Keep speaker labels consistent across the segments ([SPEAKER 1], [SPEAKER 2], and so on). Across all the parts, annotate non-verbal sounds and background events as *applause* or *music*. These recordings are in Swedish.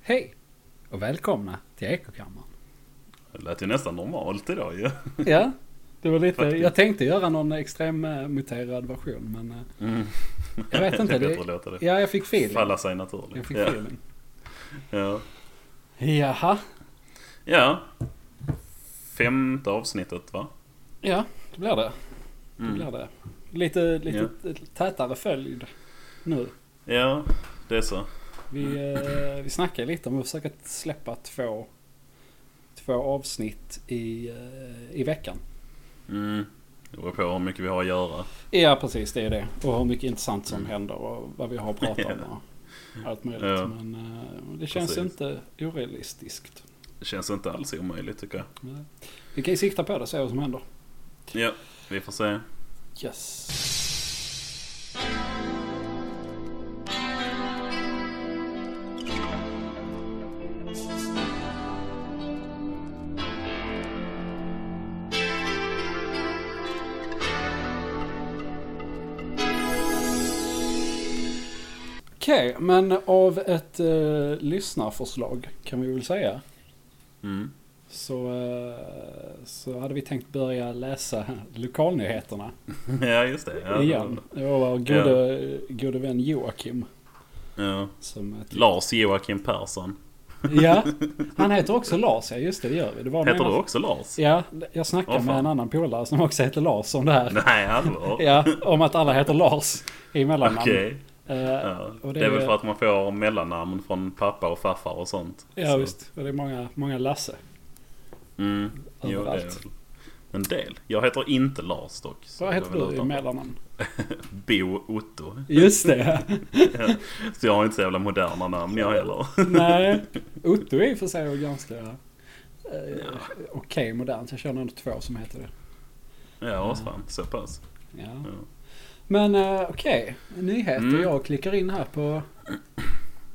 [SPEAKER 1] Hej och välkomna till Ekokammaren.
[SPEAKER 2] Det lät ju nästan normalt idag ju.
[SPEAKER 1] Ja, det var lite,
[SPEAKER 2] Faktiskt.
[SPEAKER 1] jag tänkte göra någon extremmuterad version men eh,
[SPEAKER 2] *laughs*
[SPEAKER 1] jag vet
[SPEAKER 2] Det
[SPEAKER 1] inte.
[SPEAKER 2] är bättre att
[SPEAKER 1] Det,
[SPEAKER 2] låta det
[SPEAKER 1] ja, jag fick feeling.
[SPEAKER 2] falla sig
[SPEAKER 1] Jag
[SPEAKER 2] naturligt.
[SPEAKER 1] fick
[SPEAKER 2] Ja,
[SPEAKER 1] feeling.
[SPEAKER 2] ja.
[SPEAKER 1] Jaha,
[SPEAKER 2] ja. Femte avsnittet va?
[SPEAKER 1] ja det blir det. det, blir
[SPEAKER 2] Mm.
[SPEAKER 1] det. Lite, lite tätare följd nu.
[SPEAKER 2] Ja, det är så.
[SPEAKER 1] Vi,
[SPEAKER 2] Mm.
[SPEAKER 1] eh, vi snackade lite om att försöka släppa två, två avsnitt i, eh, i veckan.
[SPEAKER 2] Mm. Det beror på hur mycket vi har att göra.
[SPEAKER 1] Ja precis, det är det. Och hur mycket intressant som
[SPEAKER 2] Mm.
[SPEAKER 1] händer och vad vi har pratat om
[SPEAKER 2] Ja.
[SPEAKER 1] och allt möjligt.
[SPEAKER 2] Ja.
[SPEAKER 1] Men eh, det känns
[SPEAKER 2] Precis.
[SPEAKER 1] inte orealistiskt.
[SPEAKER 2] Det känns inte alls omöjligt tycker jag.
[SPEAKER 1] Nej. Vi kan ju sikta på det och se vad som händer.
[SPEAKER 2] Ja, vi får se.
[SPEAKER 1] Yes. Okej, men av ett eh, lyssnarförslag kan vi väl säga
[SPEAKER 2] Mm.
[SPEAKER 1] så, eh, så hade vi tänkt börja läsa *laughs* lokalnyheterna
[SPEAKER 2] *laughs* Ja, just det. Ja.
[SPEAKER 1] igen. Det var vår gode, gode vän Joakim.
[SPEAKER 2] Ja.
[SPEAKER 1] Som, eh,
[SPEAKER 2] Lars Joakim Persson.
[SPEAKER 1] ja, han heter också Lars, ja just det, det gör vi. Det var
[SPEAKER 2] Heter
[SPEAKER 1] någon-
[SPEAKER 2] du också Lars?
[SPEAKER 1] Ja, jag snackade
[SPEAKER 2] Åh,
[SPEAKER 1] med
[SPEAKER 2] fan.
[SPEAKER 1] en annan polare som också heter Lars om det här.
[SPEAKER 2] *laughs*
[SPEAKER 1] *laughs*
[SPEAKER 2] Nej, allvar?
[SPEAKER 1] Ja, om att alla heter Lars i mellannamn.
[SPEAKER 2] Okej.
[SPEAKER 1] Eh,
[SPEAKER 2] Ja.
[SPEAKER 1] och
[SPEAKER 2] Det är väl för att man får mellannamn från pappa och farfar och sånt.
[SPEAKER 1] Ja,
[SPEAKER 2] Så.
[SPEAKER 1] visst. Och det är många, många Lasse.
[SPEAKER 2] Mm. Jo, det är
[SPEAKER 1] Överallt.
[SPEAKER 2] väl en del. Jag heter inte Lars dock. så
[SPEAKER 1] Vad
[SPEAKER 2] det
[SPEAKER 1] heter
[SPEAKER 2] är väl
[SPEAKER 1] du i
[SPEAKER 2] utan-
[SPEAKER 1] mellannamn?
[SPEAKER 2] Bo Otto.
[SPEAKER 1] Just det. *laughs*
[SPEAKER 2] Så jag har inte så jävla moderna namn jag heller. *laughs*
[SPEAKER 1] Nej, Otto är i och för sig ganska eh, okej modernt. Jag känner ändå två som heter det.
[SPEAKER 2] Ja,
[SPEAKER 1] Mm.
[SPEAKER 2] vad fan. Så pass.
[SPEAKER 1] Ja.
[SPEAKER 2] Ja.
[SPEAKER 1] Men eh, okej, nyheter.
[SPEAKER 2] Mm.
[SPEAKER 1] Jag klickar in här på...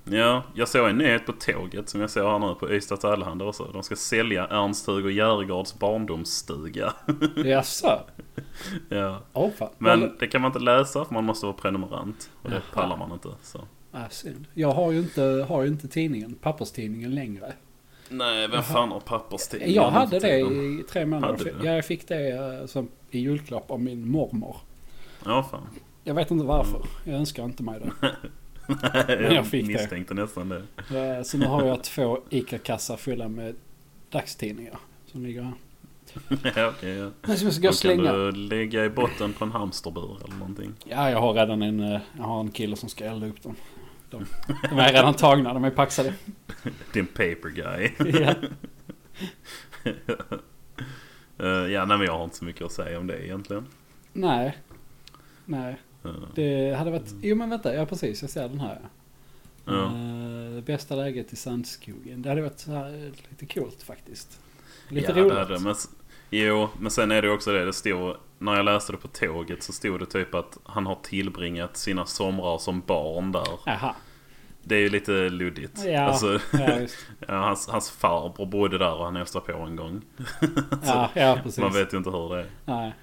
[SPEAKER 2] Ja, jag såg en nyhet på tåget som jag såg här nu på Ystad till Allehanda också. De ska sälja Ernst-Hugo Järegards barndomsstuga. *laughs*
[SPEAKER 1] *laughs* Jaså?
[SPEAKER 2] ja.
[SPEAKER 1] Åh fan.
[SPEAKER 2] Men det kan man inte läsa för man måste vara prenumerant. Och det
[SPEAKER 1] Jaha.
[SPEAKER 2] pallar man inte. Så.
[SPEAKER 1] Ah, synd. Jag har ju inte, har ju inte tidningen, papperstidningen längre.
[SPEAKER 2] Nej, vem fan har papperstidningar?
[SPEAKER 1] Jag hade
[SPEAKER 2] nu för
[SPEAKER 1] det
[SPEAKER 2] tiden?
[SPEAKER 1] i tre månader.
[SPEAKER 2] Hade du?
[SPEAKER 1] Ja, jag fick det eh, som i julklapp av min mormor.
[SPEAKER 2] Ja, fan. *laughs*
[SPEAKER 1] Jag vet inte varför. Jag önskar inte mig det.
[SPEAKER 2] jag
[SPEAKER 1] jag fick det.
[SPEAKER 2] misstänkte nästan det. *laughs*
[SPEAKER 1] Eh, Så nu har jag två ICA-kassar fulla med dagstidningar. Som ligger här.
[SPEAKER 2] ja, okej. ja.
[SPEAKER 1] Men som jag ska gå och
[SPEAKER 2] Då
[SPEAKER 1] slänga.
[SPEAKER 2] kan du lägga i botten på en hamsterbur eller någonting.
[SPEAKER 1] Ja, jag har redan en, eh, jag har en kille som ska elda upp dem. De, de är redan tagna, de är
[SPEAKER 2] *laughs*
[SPEAKER 1] paxade.
[SPEAKER 2] Din paper guy. *laughs*
[SPEAKER 1] Ja.
[SPEAKER 2] Eh, ja, nej men jag har inte så mycket att säga om det egentligen.
[SPEAKER 1] Nej. Nej,
[SPEAKER 2] Eh,
[SPEAKER 1] det hade varit... Jo men vänta, ja precis, jag ser den här.
[SPEAKER 2] ja.
[SPEAKER 1] Eh, bästa läget i Sandskogen. Det hade varit så här, eh, lite coolt faktiskt. Lite
[SPEAKER 2] ja, det hade
[SPEAKER 1] roligt.
[SPEAKER 2] jag, men, s- jo, men sen är det också det. Det stod, när jag läste det på tåget så stod det typ att han har tillbringat sina somrar som barn där.
[SPEAKER 1] Aha,
[SPEAKER 2] Det är ju lite luddigt.
[SPEAKER 1] Ja.
[SPEAKER 2] *laughs* Alltså,
[SPEAKER 1] ja, just.
[SPEAKER 2] ja, hans, hans farbror bodde där och han hälsade på en gång. *laughs*
[SPEAKER 1] ja, ja precis.
[SPEAKER 2] Man vet ju inte hur det är.
[SPEAKER 1] Nej.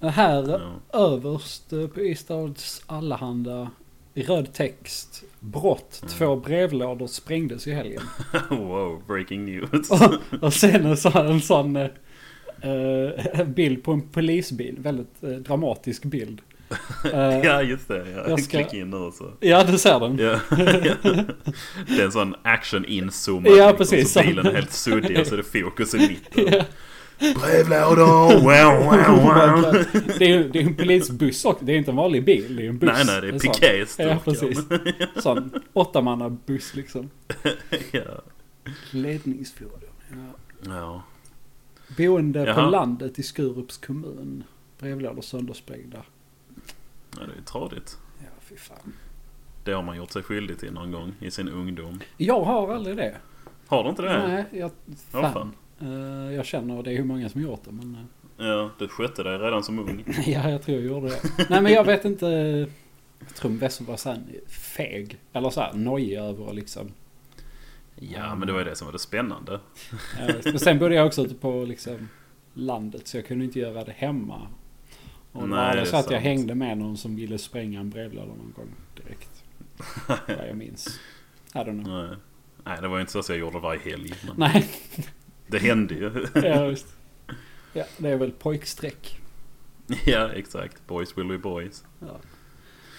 [SPEAKER 1] Men här
[SPEAKER 2] Ja. *laughs*
[SPEAKER 1] överst eh, på Ystads Allahanda i röd text. Brott.
[SPEAKER 2] Mm.
[SPEAKER 1] Två brevlådor sprängdes i helgen. *laughs*
[SPEAKER 2] wow, breaking news.
[SPEAKER 1] Och, och sen en sån, en sån eh, eh, en bild på en polisbil. Väldigt eh, dramatisk
[SPEAKER 2] *laughs*
[SPEAKER 1] bild. Eh,
[SPEAKER 2] ja, just det. Ja.
[SPEAKER 1] jag ska-
[SPEAKER 2] Klicka in nu så.
[SPEAKER 1] Ja, du ser den. *laughs*
[SPEAKER 2] Ja. det är en sån action inzoomad.
[SPEAKER 1] Ja,
[SPEAKER 2] liksom,
[SPEAKER 1] precis.
[SPEAKER 2] Så bilen är helt suddig och så är det fokus i mitten. *laughs*
[SPEAKER 1] Ja.
[SPEAKER 2] Brevlådor! Wow, wow, wow.
[SPEAKER 1] Det är ju det är en polisbuss också. Det är inte en vanlig bil. Det är en buss.
[SPEAKER 2] Nej, nej, det är
[SPEAKER 1] En sån.
[SPEAKER 2] pikés.
[SPEAKER 1] Ja, precis. Sån åttamannabuss liksom.
[SPEAKER 2] *laughs* ja.
[SPEAKER 1] Ledningsfordon. Ja.
[SPEAKER 2] ja.
[SPEAKER 1] Boende på
[SPEAKER 2] Jaha.
[SPEAKER 1] landet i Skurups kommun. Brevlådor söndersprängda.
[SPEAKER 2] Ja, det är ju tradigt.
[SPEAKER 1] Ja, fy fan.
[SPEAKER 2] Det har man gjort sig skyldig till någon gång i sin ungdom.
[SPEAKER 1] Jag har aldrig det.
[SPEAKER 2] Har du inte det?
[SPEAKER 1] Nej, jag...
[SPEAKER 2] Ja,
[SPEAKER 1] Fan.
[SPEAKER 2] fan.
[SPEAKER 1] Eh, jag känner det är hur många som gjort det, men... eh, *laughs*
[SPEAKER 2] Ja, du skötte dig redan som ung.
[SPEAKER 1] ja, jag tror jag gjorde det. Nej, men jag vet inte... Jag tror mest var så här feg. Eller så här nojig över och liksom...
[SPEAKER 2] Ja, men det var ju det som var det spännande.
[SPEAKER 1] Ja, visst. Men sen bodde jag också ute på liksom, landet så jag kunde inte göra det hemma. Och
[SPEAKER 2] Nej,
[SPEAKER 1] Nej,
[SPEAKER 2] det
[SPEAKER 1] det
[SPEAKER 2] är
[SPEAKER 1] så att jag
[SPEAKER 2] sant.
[SPEAKER 1] hängde med någon som ville
[SPEAKER 2] *laughs*
[SPEAKER 1] spränga en brevlåda någon gång direkt. Vad jag minns. I don't know.
[SPEAKER 2] Nej. Nej, det var ju inte så att jag gjorde varje helg. Men
[SPEAKER 1] Nej, *laughs*
[SPEAKER 2] det hände ju.
[SPEAKER 1] ja, just. Ja, det är väl pojkstreck.
[SPEAKER 2] *laughs* ja, exakt. Boys will be boys.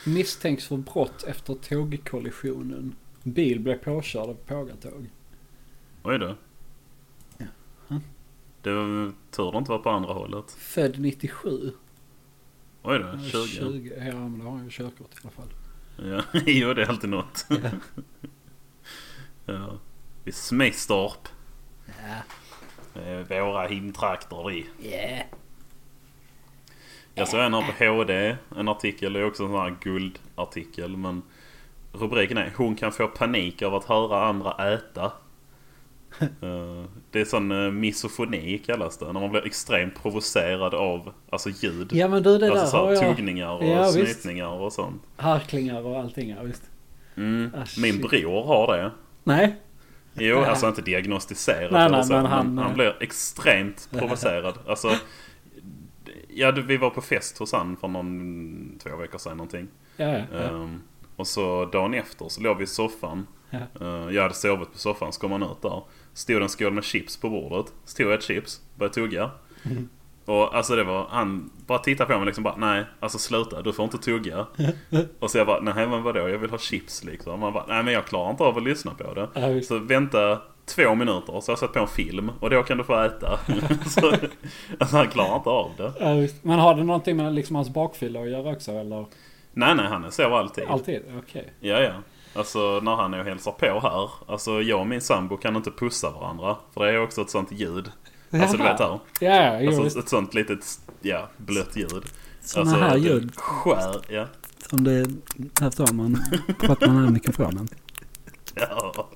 [SPEAKER 1] Misstänks för brott efter tågkollisionen. Bil blev påkörd av pågatåg.
[SPEAKER 2] Oj då.
[SPEAKER 1] Jaha.
[SPEAKER 2] Det var tur det inte var på andra hållet.
[SPEAKER 1] Född 97.
[SPEAKER 2] Oj då,
[SPEAKER 1] Ja,
[SPEAKER 2] 20.
[SPEAKER 1] Ja, men då har han ju körkort i alla fall.
[SPEAKER 2] Ja, *laughs* jo, det är alltid något.
[SPEAKER 1] Ja.
[SPEAKER 2] *laughs* ja. Vi Smedstorp.
[SPEAKER 1] Ja.
[SPEAKER 2] Det är Våra himtrakter vi.
[SPEAKER 1] Yeah.
[SPEAKER 2] Jag såg en här på HD, en artikel, det är också en sån här guldartikel men Rubriken är Hon kan få panik av att höra
[SPEAKER 1] *laughs*
[SPEAKER 2] andra äta. Eh, det är sån uh, misofoni kallas det, när man blir extremt provocerad av alltså ljud.
[SPEAKER 1] Ja, men du det
[SPEAKER 2] alltså
[SPEAKER 1] där
[SPEAKER 2] så
[SPEAKER 1] har
[SPEAKER 2] här,
[SPEAKER 1] jag.
[SPEAKER 2] tuggningar och
[SPEAKER 1] Ja, visst.
[SPEAKER 2] snytningar och sånt.
[SPEAKER 1] Harklingar och allting, ja visst.
[SPEAKER 2] Mm.
[SPEAKER 1] Ah,
[SPEAKER 2] Min
[SPEAKER 1] shit.
[SPEAKER 2] bror har det.
[SPEAKER 1] Nej, *laughs*
[SPEAKER 2] Jo, alltså inte diagnostiserat
[SPEAKER 1] Nej,
[SPEAKER 2] eller
[SPEAKER 1] nej,
[SPEAKER 2] så,
[SPEAKER 1] men
[SPEAKER 2] men han,
[SPEAKER 1] han- eh,
[SPEAKER 2] han blir
[SPEAKER 1] *laughs*
[SPEAKER 2] extremt provocerad. Alltså, ja, du, vi var på fest hos han för någon, två veckor sedan någonting.
[SPEAKER 1] ja, ja. ja.
[SPEAKER 2] Ehm, och så dagen efter så låg vi i soffan.
[SPEAKER 1] Ja.
[SPEAKER 2] Ehm, jag hade sovit på soffan, så kom han ut där. Stod en skål med chips på bordet. Stod ett chips, började tugga.
[SPEAKER 1] Mm.
[SPEAKER 2] Och alltså det var, han bara tittade på mig liksom bara nej, alltså sluta, du får
[SPEAKER 1] *laughs*
[SPEAKER 2] inte tugga. och så jag bara nej men vadå, jag vill ha chips liksom. Han bara nej men jag klarar inte av att lyssna på det.
[SPEAKER 1] Ja, visst.
[SPEAKER 2] Så vänta två minuter så har jag satt på en film och då kan du få äta. *laughs* så, alltså han klarar inte av det.
[SPEAKER 1] Ja, visst. Men har det någonting med liksom hans bakfylla att göra också eller?
[SPEAKER 2] Nej nej, han är så alltid.
[SPEAKER 1] Alltid? Okej.
[SPEAKER 2] Ja, ja. Alltså när han är och hälsar på här. Alltså jag och min sambo kan inte pussa varandra. För det är också ett sånt ljud. Alltså du vet här.
[SPEAKER 1] Ja, ja, jo,
[SPEAKER 2] Alltså
[SPEAKER 1] visst.
[SPEAKER 2] ett sånt litet, ja, blött ljud.
[SPEAKER 3] Såna
[SPEAKER 2] alltså,
[SPEAKER 3] här
[SPEAKER 2] det
[SPEAKER 3] ljud
[SPEAKER 2] Skär, ja.
[SPEAKER 3] som det... Här står man pratar man här i mikrofonen.
[SPEAKER 2] ja.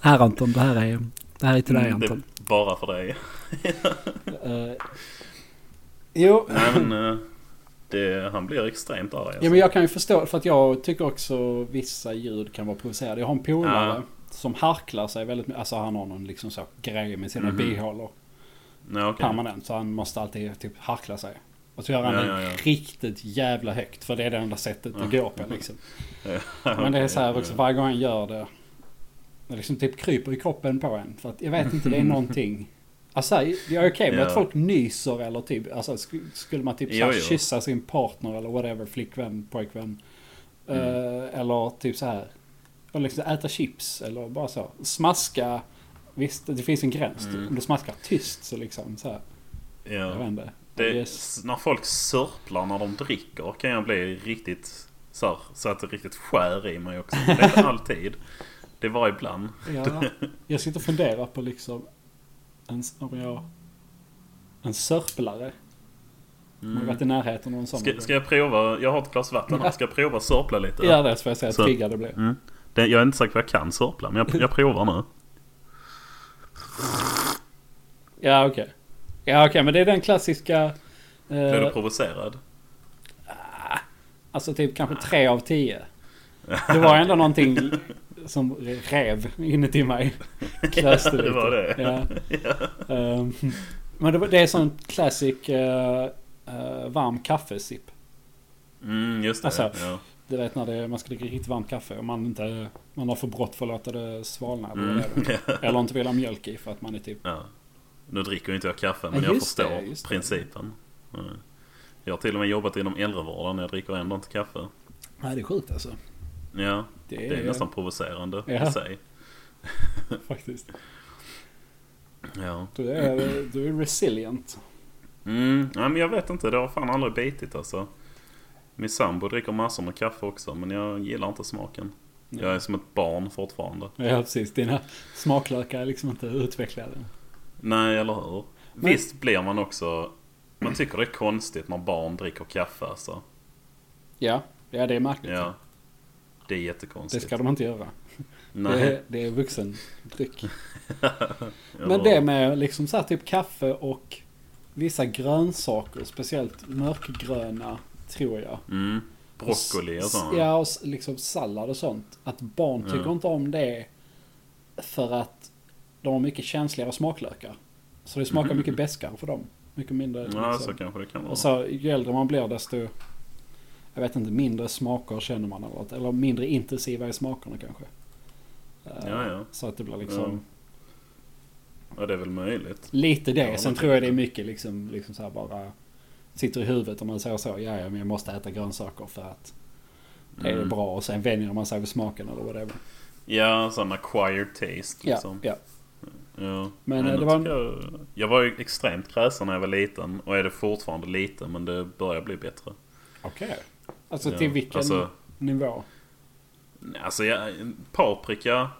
[SPEAKER 3] Här Anton, det här är, det här är till dig
[SPEAKER 2] Mm, det
[SPEAKER 3] Anton.
[SPEAKER 2] är bara för dig.
[SPEAKER 1] Eh, jo.
[SPEAKER 2] Nej men, eh, det, han blir extremt arg. Alltså.
[SPEAKER 1] Ja, men jag kan ju förstå för att jag tycker också vissa ljud kan vara provocerade. Jag har en polare
[SPEAKER 2] Ja.
[SPEAKER 1] som harklar sig väldigt mycket. Alltså han har någon liksom så grej med sina
[SPEAKER 2] Mhm.
[SPEAKER 1] bihålor
[SPEAKER 2] Nej, okej.
[SPEAKER 1] permanent. Så han måste alltid typ harkla sig. Och så gör han
[SPEAKER 2] Ja,
[SPEAKER 1] det
[SPEAKER 2] ja, ja.
[SPEAKER 1] riktigt jävla högt. För det är det enda sättet det
[SPEAKER 2] Ja.
[SPEAKER 1] går på liksom.
[SPEAKER 2] Ja,
[SPEAKER 1] Men det är
[SPEAKER 2] *laughs* okej,
[SPEAKER 1] så här
[SPEAKER 2] ja,
[SPEAKER 1] också
[SPEAKER 2] ja.
[SPEAKER 1] varje gång han gör det. Det liksom typ kryper i kroppen på en. För att jag vet inte, det är
[SPEAKER 2] *laughs*
[SPEAKER 1] någonting. Alltså jag är okej med
[SPEAKER 2] Ja.
[SPEAKER 1] att folk nyser eller typ. Alltså sk- skulle man typ så här
[SPEAKER 2] Jo, jo.
[SPEAKER 1] kyssa sin partner eller whatever. Flickvän, pojkvän.
[SPEAKER 2] Mm.
[SPEAKER 1] Eh, eller typ så här. Och liksom äta chips eller bara så. Smaska. Visst, det finns en gräns.
[SPEAKER 2] Mm.
[SPEAKER 1] Om du smaskar tyst så liksom så här. Jag vet
[SPEAKER 2] Ja.
[SPEAKER 1] inte.
[SPEAKER 2] Det,
[SPEAKER 1] Yes.
[SPEAKER 2] När folk sörplar när de dricker kan jag bli riktigt så, här, så att det riktigt skär i mig också. Det
[SPEAKER 1] *laughs*
[SPEAKER 2] är inte alltid. Det var ibland.
[SPEAKER 1] Ja, jag sitter och funderar på liksom en, om jag, en sörplare. Man har
[SPEAKER 2] Mm.
[SPEAKER 1] varit i närheten av en sån.
[SPEAKER 2] Ska, ska jag prova? Jag har ett glas vatten här. Ska jag prova sörpla lite?
[SPEAKER 1] Gör det så får jag säga att
[SPEAKER 2] Så-
[SPEAKER 1] triggad det blir.
[SPEAKER 2] Det, jag är inte säker på att jag kan sörpla, men jag, jag provar nu.
[SPEAKER 1] Ja okej. Ja okej men det är den klassiska.
[SPEAKER 2] Blir du
[SPEAKER 1] Eh,
[SPEAKER 2] provocerad?
[SPEAKER 1] alltså typ kanske tre av tio. Det var ändå någonting som rev inuti
[SPEAKER 2] *laughs*
[SPEAKER 1] mig. Klöste
[SPEAKER 2] det var det. *laughs*
[SPEAKER 1] Ja. Ehm, men det, var- det är sån classic eh, eh, varm kaffesipp.
[SPEAKER 2] Mm, just det.
[SPEAKER 1] Alltså.
[SPEAKER 2] ja.
[SPEAKER 1] Du vet när det, man ska dricka riktigt varmt kaffe och man, inte, man har för brått för att låta det svalna. eller
[SPEAKER 2] Mm.
[SPEAKER 1] vad det är. Eller inte vill ha mjölk i för att man är typ...
[SPEAKER 2] *laughs* ja. Nu dricker ju inte jag kaffe,
[SPEAKER 1] Ja,
[SPEAKER 2] men jag
[SPEAKER 1] just det,
[SPEAKER 2] förstår
[SPEAKER 1] just det.
[SPEAKER 2] principen. Mm. Jag har till och med jobbat inom äldrevården. Jag dricker ändå inte kaffe.
[SPEAKER 1] Nej det är sjukt alltså.
[SPEAKER 2] Ja,
[SPEAKER 1] Det
[SPEAKER 2] det
[SPEAKER 1] är,
[SPEAKER 2] är nästan provocerande i
[SPEAKER 1] Ja.
[SPEAKER 2] sig.
[SPEAKER 1] faktiskt.
[SPEAKER 2] Ja.
[SPEAKER 1] Du är, du är resilient.
[SPEAKER 2] Mm, nej, men jag vet inte, det har fan aldrig bitit alltså. Min sambo dricker massor med kaffe också men jag gillar inte smaken.
[SPEAKER 1] Nej.
[SPEAKER 2] Jag är som ett barn fortfarande.
[SPEAKER 1] Ja precis, dina smaklökar är liksom inte utvecklade.
[SPEAKER 2] Nej, eller hur?
[SPEAKER 1] Men-
[SPEAKER 2] Visst blir man också... Man tycker det är konstigt när barn dricker kaffe alltså.
[SPEAKER 1] Ja, ja det är märkligt.
[SPEAKER 2] Ja. Det är
[SPEAKER 1] det
[SPEAKER 2] jättekonstigt.
[SPEAKER 1] ska de inte göra.
[SPEAKER 2] Nej.
[SPEAKER 1] Det är, det är vuxendryck.
[SPEAKER 2] eller
[SPEAKER 1] Men
[SPEAKER 2] hur?
[SPEAKER 1] det med liksom så här typ kaffe och vissa grönsaker, speciellt mörkgröna tror jag.
[SPEAKER 2] Mm. Broccoli och sånt.
[SPEAKER 1] Ja, och s- liksom sallad och sånt. Att barn
[SPEAKER 2] Ja.
[SPEAKER 1] tycker inte om det för att de har mycket känsligare smaklökar. Så det smakar
[SPEAKER 2] Mhm. *laughs*
[SPEAKER 1] mycket beskare för dem. Mycket mindre.
[SPEAKER 2] Ja,
[SPEAKER 1] liksom.
[SPEAKER 2] så kanske det kan vara.
[SPEAKER 1] Och så ju äldre man blir desto, jag vet inte, mindre smaker känner man av det. Eller mindre intensiva i smakerna kanske. Eh,
[SPEAKER 2] Ja, ja.
[SPEAKER 1] Så att det blir liksom
[SPEAKER 2] Ja, det är väl möjligt.
[SPEAKER 1] lite det.
[SPEAKER 2] Ja,
[SPEAKER 1] Sen
[SPEAKER 2] men-
[SPEAKER 1] tror jag det är mycket liksom, liksom så här bara sitter i huvudet om man säger så. Ja, ja, men jag måste äta grönsaker för att det är
[SPEAKER 2] Mm.
[SPEAKER 1] bra. Och sen vänjer man sig vid smaken eller vad det är.
[SPEAKER 2] Ja, sån acquired taste
[SPEAKER 1] Ja,
[SPEAKER 2] liksom.
[SPEAKER 1] ja.
[SPEAKER 2] Ja.
[SPEAKER 1] Men, eh,
[SPEAKER 2] jag
[SPEAKER 1] det var en-
[SPEAKER 2] tycker jag, jag var ju extremt kräsen när jag var liten och är det fortfarande lite men det börjar bli bättre.
[SPEAKER 1] Okej. Alltså
[SPEAKER 2] ja.
[SPEAKER 1] till vilken
[SPEAKER 2] Alltså,
[SPEAKER 1] nivå?
[SPEAKER 2] nej, alltså jag, paprika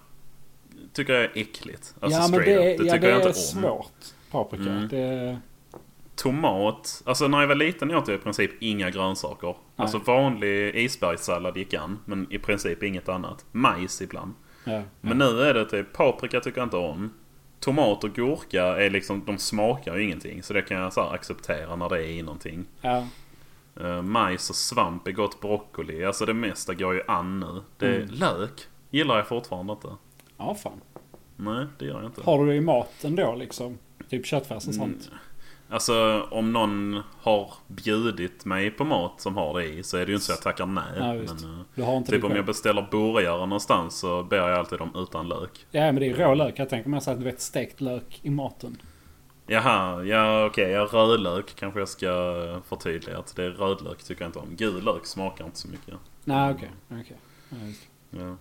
[SPEAKER 2] tycker jag är äckligt. Alltså
[SPEAKER 1] ja, men
[SPEAKER 2] straight
[SPEAKER 1] det,
[SPEAKER 2] up.
[SPEAKER 1] är- ja,
[SPEAKER 2] tycker
[SPEAKER 1] det
[SPEAKER 2] jag inte
[SPEAKER 1] är
[SPEAKER 2] om.
[SPEAKER 1] svårt. Paprika.
[SPEAKER 2] Mm.
[SPEAKER 1] Det,
[SPEAKER 2] Tomat. Alltså när jag var liten åt jag i princip inga grönsaker. Alltså vanlig isbergssallad gick an men i princip inget annat. Majs ibland.
[SPEAKER 1] ja.
[SPEAKER 2] Men nu är det typ paprika tycker jag inte om. Tomat och gurka är liksom, de smakar ju ingenting. Så det kan jag så här acceptera när det är i någonting.
[SPEAKER 1] Ja.
[SPEAKER 2] Eh, majs och svamp är gott. Broccoli, alltså det mesta går ju an nu. Det,
[SPEAKER 1] Mm.
[SPEAKER 2] Lök gillar jag fortfarande inte.
[SPEAKER 1] ja, fan.
[SPEAKER 2] Nej, det gör jag inte.
[SPEAKER 1] Har du det i maten då liksom? Typ köttfärs och
[SPEAKER 2] Mm.
[SPEAKER 1] sånt?
[SPEAKER 2] Alltså om någon har bjudit mig på mat som har det i så är det ju inte så jag tackar nej.
[SPEAKER 1] Ja, visst.
[SPEAKER 2] men, eh,
[SPEAKER 1] Du har inte
[SPEAKER 2] typ
[SPEAKER 1] det
[SPEAKER 2] om
[SPEAKER 1] själv?
[SPEAKER 2] jag beställer burgare någonstans så ber jag alltid om utan lök.
[SPEAKER 1] Ja, men det är ju rå lök. Jag tänker mig så att du vet stekt lök i maten.
[SPEAKER 2] Jaha, ja okej. ja, rödlök kanske jag ska förtydliga. Att det är rödlök tycker jag inte om. Gul lök smakar inte så mycket.
[SPEAKER 1] Nej, okej. okej. Ja, just det.
[SPEAKER 2] Ja,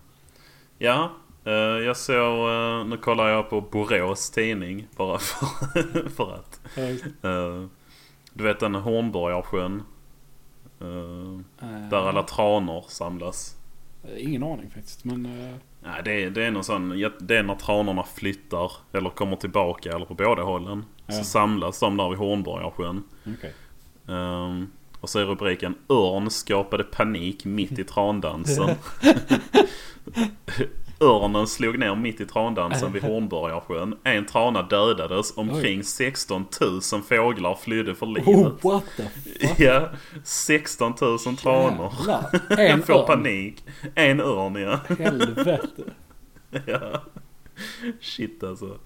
[SPEAKER 2] ja eh, jag såg... eh, nu kollar jag på Borås tidning bara *laughs* för, för att.
[SPEAKER 1] Ja, just det.
[SPEAKER 2] Eh, du vet den Hornborgarsjön? Uh,
[SPEAKER 1] Eh,
[SPEAKER 2] där alla tranor samlas.
[SPEAKER 1] Ingen aning faktiskt. Men eh,
[SPEAKER 2] Nej, det, är- det är någon sån... ja, Det är när tranorna flyttar eller kommer tillbaka eller på båda hållen.
[SPEAKER 1] Ja.
[SPEAKER 2] Så samlas de där vid Hornborgarsjön.
[SPEAKER 1] okej.
[SPEAKER 2] Ehm, och så är rubriken Örn skapade panik mitt i trandansen.
[SPEAKER 1] *laughs*
[SPEAKER 2] Örnen slog ner mitt i
[SPEAKER 1] *laughs*
[SPEAKER 2] trandansen vid Hornborgarsjön. En trana dödades. Omkring 16 000 fåglar flydde för livet.
[SPEAKER 1] Oh, what the fuck?
[SPEAKER 2] *laughs* Ja, 16 000 tranor.
[SPEAKER 1] Jävlar.
[SPEAKER 2] En
[SPEAKER 1] En
[SPEAKER 2] får
[SPEAKER 1] örn.
[SPEAKER 2] panik. En örn ja. *laughs*
[SPEAKER 1] Helvete.
[SPEAKER 2] ja. Shit alltså.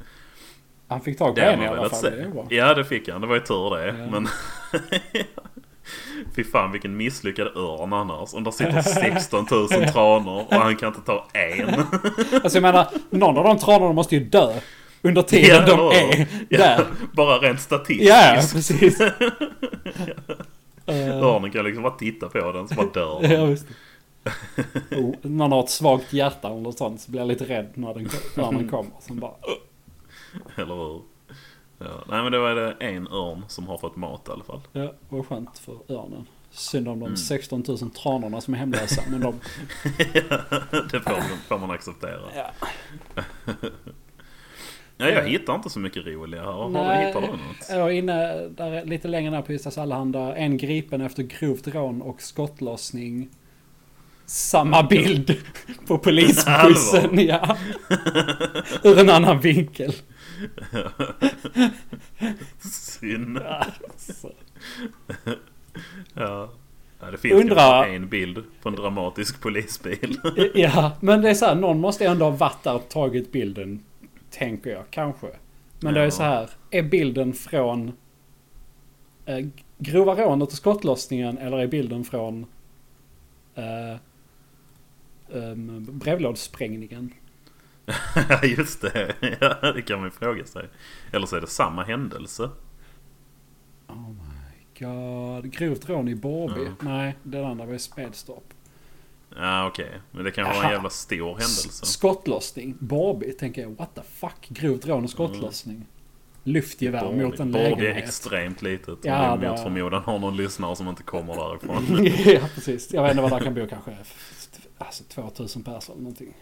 [SPEAKER 1] Han fick tag på
[SPEAKER 2] Det
[SPEAKER 1] en
[SPEAKER 2] har
[SPEAKER 1] i
[SPEAKER 2] man
[SPEAKER 1] alla
[SPEAKER 2] velat
[SPEAKER 1] fall.
[SPEAKER 2] se.
[SPEAKER 1] Det är bra.
[SPEAKER 2] Ja, det fick han. Det var ju tur det.
[SPEAKER 1] Ja.
[SPEAKER 2] Men... *laughs* Fy fan vilken misslyckad örn annars. Om
[SPEAKER 1] *laughs*
[SPEAKER 2] där sitter 16 000 tranor och han kan inte ta en.
[SPEAKER 1] Alltså jag menar, någon av de tranorna måste ju dö under tiden
[SPEAKER 2] *laughs* Ja,
[SPEAKER 1] de
[SPEAKER 2] då.
[SPEAKER 1] är där.
[SPEAKER 2] Bara rent statistiskt.
[SPEAKER 1] Ja, ja,
[SPEAKER 2] *laughs*
[SPEAKER 1] precis. Eh,
[SPEAKER 2] Örnen kan liksom bara titta på den så bara dör den.
[SPEAKER 1] Ja, visst. Oh, någon har ett svagt hjärta eller något sånt så blir jag lite rädd när den, när den kommer. Sen bara,
[SPEAKER 2] Eller hur? Ja. Nej men då är det en örn som har fått mat i alla fall. *laughs*
[SPEAKER 1] ja, vad skönt för örnen. Synd om de
[SPEAKER 2] Mm.
[SPEAKER 1] 16 000 tranorna som är hemlösa. Men de,
[SPEAKER 2] det får man, får man acceptera.
[SPEAKER 1] ja.
[SPEAKER 2] Ja, jag hittar inte så mycket roliga här. Har du,
[SPEAKER 1] Nej.
[SPEAKER 2] hittar du något?
[SPEAKER 1] Jag var inne där, lite längre ner på Ystads Allehanda. En gripen efter grovt rån och skottlossning. Samma bild på polisbussen. Ja. Ur en annan vinkel.
[SPEAKER 2] Synd.
[SPEAKER 1] Alltså.
[SPEAKER 2] Ja. ja det finns
[SPEAKER 1] Undra-
[SPEAKER 2] kanske en bild på en dramatisk polisbil. *laughs*
[SPEAKER 1] Ja, men det är så här, någon måste ändå ha varit där och tagit bilden. Tänker jag, kanske. Men det är
[SPEAKER 2] Ja.
[SPEAKER 1] så här, är bilden från eh, grova rånet och skottlossningen eller är bilden från eh, ehm, brevlådssprängningen?
[SPEAKER 2] Ja, just det. Ja, det kan man ju fråga sig. Eller så är det samma händelse.
[SPEAKER 1] Oh my god. Grovt rån i Borby?
[SPEAKER 2] Ja.
[SPEAKER 1] Nej, den andra var i Smedstorp.
[SPEAKER 2] Ja, okej. Men det kanske var en
[SPEAKER 1] Aha.
[SPEAKER 2] jävla stor
[SPEAKER 1] S-
[SPEAKER 2] händelse.
[SPEAKER 1] Skottlossning? Borby tänker jag, what the fuck? Grovt rån och skottlossning? Lyftgevär mot en
[SPEAKER 2] Borg är
[SPEAKER 1] lägenhet.
[SPEAKER 2] extremt litet.
[SPEAKER 1] Ja,
[SPEAKER 2] Ja,
[SPEAKER 1] det-
[SPEAKER 2] mot förmodan har någon lyssnare som inte kommer därifrån.
[SPEAKER 1] *laughs* ja, precis. Jag vet inte vad där kan bo kanske. Alltså 2000 personer eller någonting.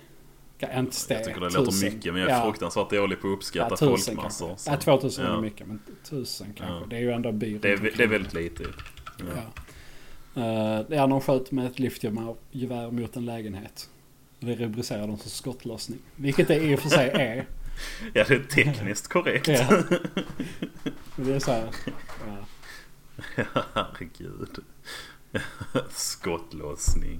[SPEAKER 1] Kan inte steg.
[SPEAKER 2] Jag tycker det låter mycket men jag är fruktansvärt dålig på att uppskatta folkmassor.
[SPEAKER 1] kanske.
[SPEAKER 2] så.
[SPEAKER 1] Ja, 2000 är
[SPEAKER 2] Ja.
[SPEAKER 1] mycket, men 1000 kanske.
[SPEAKER 2] Ja.
[SPEAKER 1] Det är ju ändå by.
[SPEAKER 2] Det är,
[SPEAKER 1] runt
[SPEAKER 2] vä-
[SPEAKER 1] omkring.
[SPEAKER 2] det är väldigt lite. Ja.
[SPEAKER 1] Ja. Eh, det är någon sköt med ett lyftgevär gevär mot en lägenhet. Det rubricerar de som skottlossning. Vilket det i och för sig
[SPEAKER 2] *laughs*
[SPEAKER 1] är.
[SPEAKER 2] ja, det är tekniskt korrekt.
[SPEAKER 1] Ja. Men Det är så här. Ja.
[SPEAKER 2] *laughs* Herregud. *laughs* Skottlossning.